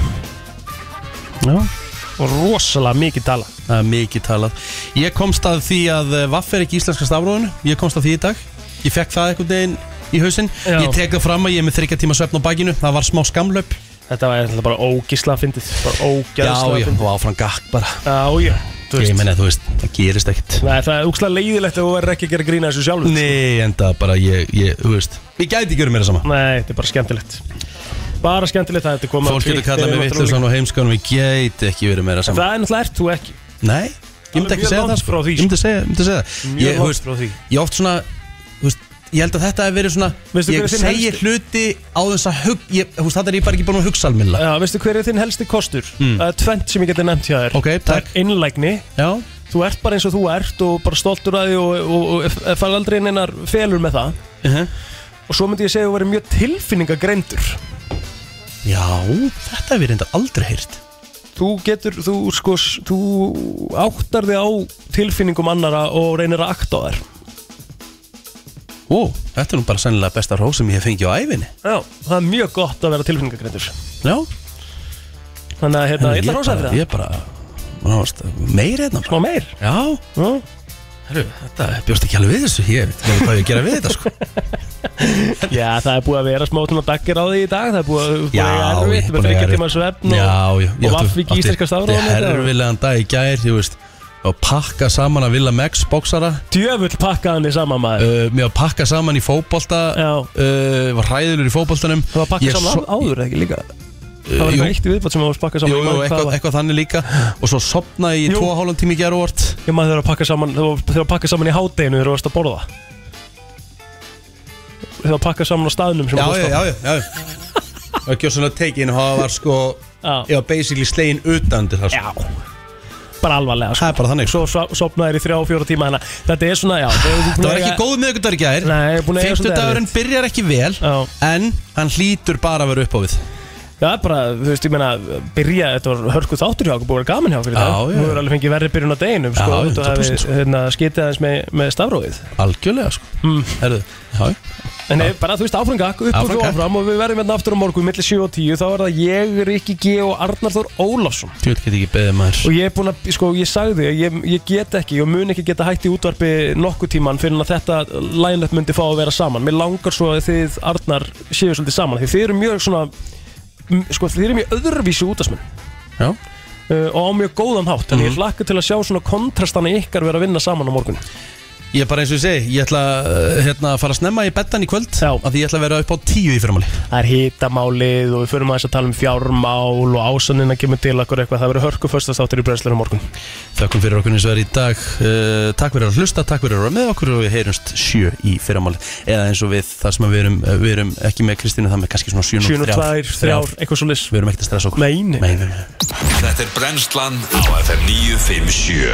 Speaker 2: Já.
Speaker 3: og rosalega mikið tala
Speaker 2: Það er mikið talað Ég komst að því að eh, Vaff er ekki í íslenska stafróðinu Ég komst að því í dag Ég fekk það einhvern veginn í hausinn
Speaker 3: Já.
Speaker 2: Ég tek það fram að ég er með þryggja tíma svefn á bakinu Það var smá skamlaup
Speaker 3: þetta var eitthvað bara ógísla fyndið bara
Speaker 2: Já,
Speaker 3: ógæðsla
Speaker 2: já,
Speaker 3: fyndið
Speaker 2: og áfram gakk bara
Speaker 3: Já, já, þú
Speaker 2: Ég
Speaker 3: veist
Speaker 2: meina, þú veist, það gerist ekkert
Speaker 3: Nei, það er úkslega leiðilegt að þú verður ekki að gera grína þessu sjálfur
Speaker 2: Nei, enda bara ég, ég, þú veist Ég gæti ekki verið meira sama
Speaker 3: Nei, þetta er bara skemmtilegt bara skemmtilegt að þetta koma á
Speaker 2: Fólk getur
Speaker 3: Twitter
Speaker 2: kallað
Speaker 3: og
Speaker 2: mig
Speaker 3: trúlega.
Speaker 2: vittlusan og heimskan Ég gæti ekki verið meira
Speaker 3: En
Speaker 2: sama
Speaker 3: það er náttúrulega ert þú ekki
Speaker 2: Nei, ég myndi
Speaker 3: Alveg
Speaker 2: ekki
Speaker 3: mjög
Speaker 2: segja
Speaker 3: langt
Speaker 2: það sko.
Speaker 3: frá því,
Speaker 2: Ég myndi segja, myndi segja það
Speaker 3: Mjög
Speaker 2: Ég,
Speaker 3: langt
Speaker 2: þú veist,
Speaker 3: frá því.
Speaker 2: Ég oft svona, þú veist Ég held að þetta hef verið svona
Speaker 3: Veistu hver
Speaker 2: Ég
Speaker 3: er þinn
Speaker 2: segi
Speaker 3: helsti-
Speaker 2: hluti á þess að hug ég, þú veist, Þetta er ég bara ekki búin að hugsa alminlega
Speaker 3: Já, veistu hver er þinn helsti kostur?
Speaker 2: Mm.
Speaker 3: Það er tvent sem ég geti nefnt hjá þér
Speaker 2: Ok,
Speaker 3: Það er innlægni
Speaker 2: Já
Speaker 3: Þú ert bara eins og þú ert og bara stoltur að því og, og, og, og fara aldrei inn einar felur með það
Speaker 2: -huh.
Speaker 3: Og svo myndi ég segja að þú verið mjög tilfinningagreindur
Speaker 2: Já, þetta hef ég reyndar aldrei heyrt
Speaker 3: Þú getur, þú sko, s- þú áttar þig á tilfinningum annara og reynir að akta á þær
Speaker 2: Ó, þetta er nú bara sennilega besta ró sem ég hef fengið á æfinni
Speaker 3: Já, það er mjög gott að vera tilfinningagreindur
Speaker 2: Já
Speaker 3: Þannig að hérna, ég ætla að rósa
Speaker 2: bara-
Speaker 3: fyrir það
Speaker 2: Ég bara, náast, meir hérna
Speaker 3: Smá meir
Speaker 2: Já
Speaker 3: Já
Speaker 2: Herru, þetta bjóst ekki alveg við þessu Ég veit ekki alveg hvað ég að gera við þetta sko
Speaker 3: Já, það er búið að vera smá svona dagir á því í dag Það er búið að búið
Speaker 2: Já,
Speaker 3: að eiga
Speaker 2: ég
Speaker 3: erfitt með þryggja
Speaker 2: er búin að eiga
Speaker 3: tíma svefn
Speaker 2: Já,
Speaker 3: og,
Speaker 2: já
Speaker 3: og vaff ekki íslenska stafra
Speaker 2: Þetta er herfilegan dag í gær, þú veist Og pakka saman að vilja Max bóksara
Speaker 3: Djöfull pakka hann í saman maður
Speaker 2: uh, Mér var pakka saman í fótbolta uh, Var hræðilur í fótboltanum Það var
Speaker 3: Pakka saman áður ekki líka Það var eitthvað eitt viðbátt sem það var pakkað saman
Speaker 2: Jú, jú, eitthvað, eitthvað þannig líka Og svo sopnaði ég í tvo hálfum tími í gerð óvart
Speaker 3: Ég maður þegar að pakka saman Þegar að pakka saman í hádeginu þegar þú varst að borða Þegar að pakka saman á staðnum sem
Speaker 2: Já,
Speaker 3: þú varst
Speaker 2: já,
Speaker 3: á.
Speaker 2: já, já, já. Það var gjóðsvöld tekin og það var sko Ég var basically slegin utan til það sko.
Speaker 3: Bara alvarlega sko.
Speaker 2: Það er bara þannig
Speaker 3: Svo svo- sopnaðir í þrjá, fjóra tíma hana Þetta er svona, já
Speaker 2: Það var ekki góð miðugundagur í gær
Speaker 3: Nei, búin að eiga svolítið
Speaker 2: Fimmtudagurinn byrjar ekki vel En hann hlýtur bara að vera upp á við
Speaker 3: Já, bara, þú veist, ég meina, byrja, þetta var hörku þáttur hjá okkur, búið að vera gaman hjá okkur í dag.
Speaker 2: Já, já.
Speaker 3: Þú hefur alveg fengið verri byrjun á deginum,
Speaker 2: Já,
Speaker 3: sko, þú
Speaker 2: 100%
Speaker 3: hefði hérna, skitið aðeins með, með stafróið.
Speaker 2: Algjörlega sko
Speaker 3: mm.
Speaker 2: Herðu, já
Speaker 3: En nei, bara, þú veist, áfram gakk, upp og
Speaker 2: Áfram
Speaker 3: þú
Speaker 2: gakk.
Speaker 3: áfram og við verðum hérna aftur á morgun, millir 7 og 10, þá er það ég, Rikki G og Arnar Þór Ólafsson.
Speaker 2: Þú veit ekki beðið maður
Speaker 3: Og ég er búin að, sko, ég sagði, að ég, ég get ekki, ég mun ekki geta hætt í útvarpi nokkuð tíman fyrir að þetta line-up myndi fá að vera saman. Mér langar svo að þið, Arnar, séu svolítið saman, því þið eru mjög svona, m- sko, þið eru mjög öðruvísi útasmenn.
Speaker 2: Já.
Speaker 3: og á mjög góðan hátt, en ég hlakka til að sjá svona kontrastana í ykkar vera að vinna saman á morgun.
Speaker 2: Ég er bara eins og ég segi, ég ætla uh, hérna, að fara að snemma í bettan í kvöld Já. Af því ég ætla að vera upp á tíu í fyrirmáli
Speaker 3: Það er hitamálið og við förum aðeins að tala um fjármál og ásanina kemur til okkur eitthvað, það verður hörku föstastáttir í brennslunum morgun.
Speaker 2: Þökkum fyrir okkur eins og er í dag uh, Takk fyrir að hlusta, takk fyrir að vera með okkur og við heyrumst sjö í fyrirmáli Eða eins og við það sem að við erum, eh, við erum ekki með Kristínu það með kannski svona
Speaker 3: 7 og 2, 3,
Speaker 2: 703
Speaker 3: eitthvað svo lis.
Speaker 2: Við erum ekkert að stressa okkur
Speaker 3: Meini.
Speaker 2: Meini.
Speaker 15: Þetta er brennslan á FM 957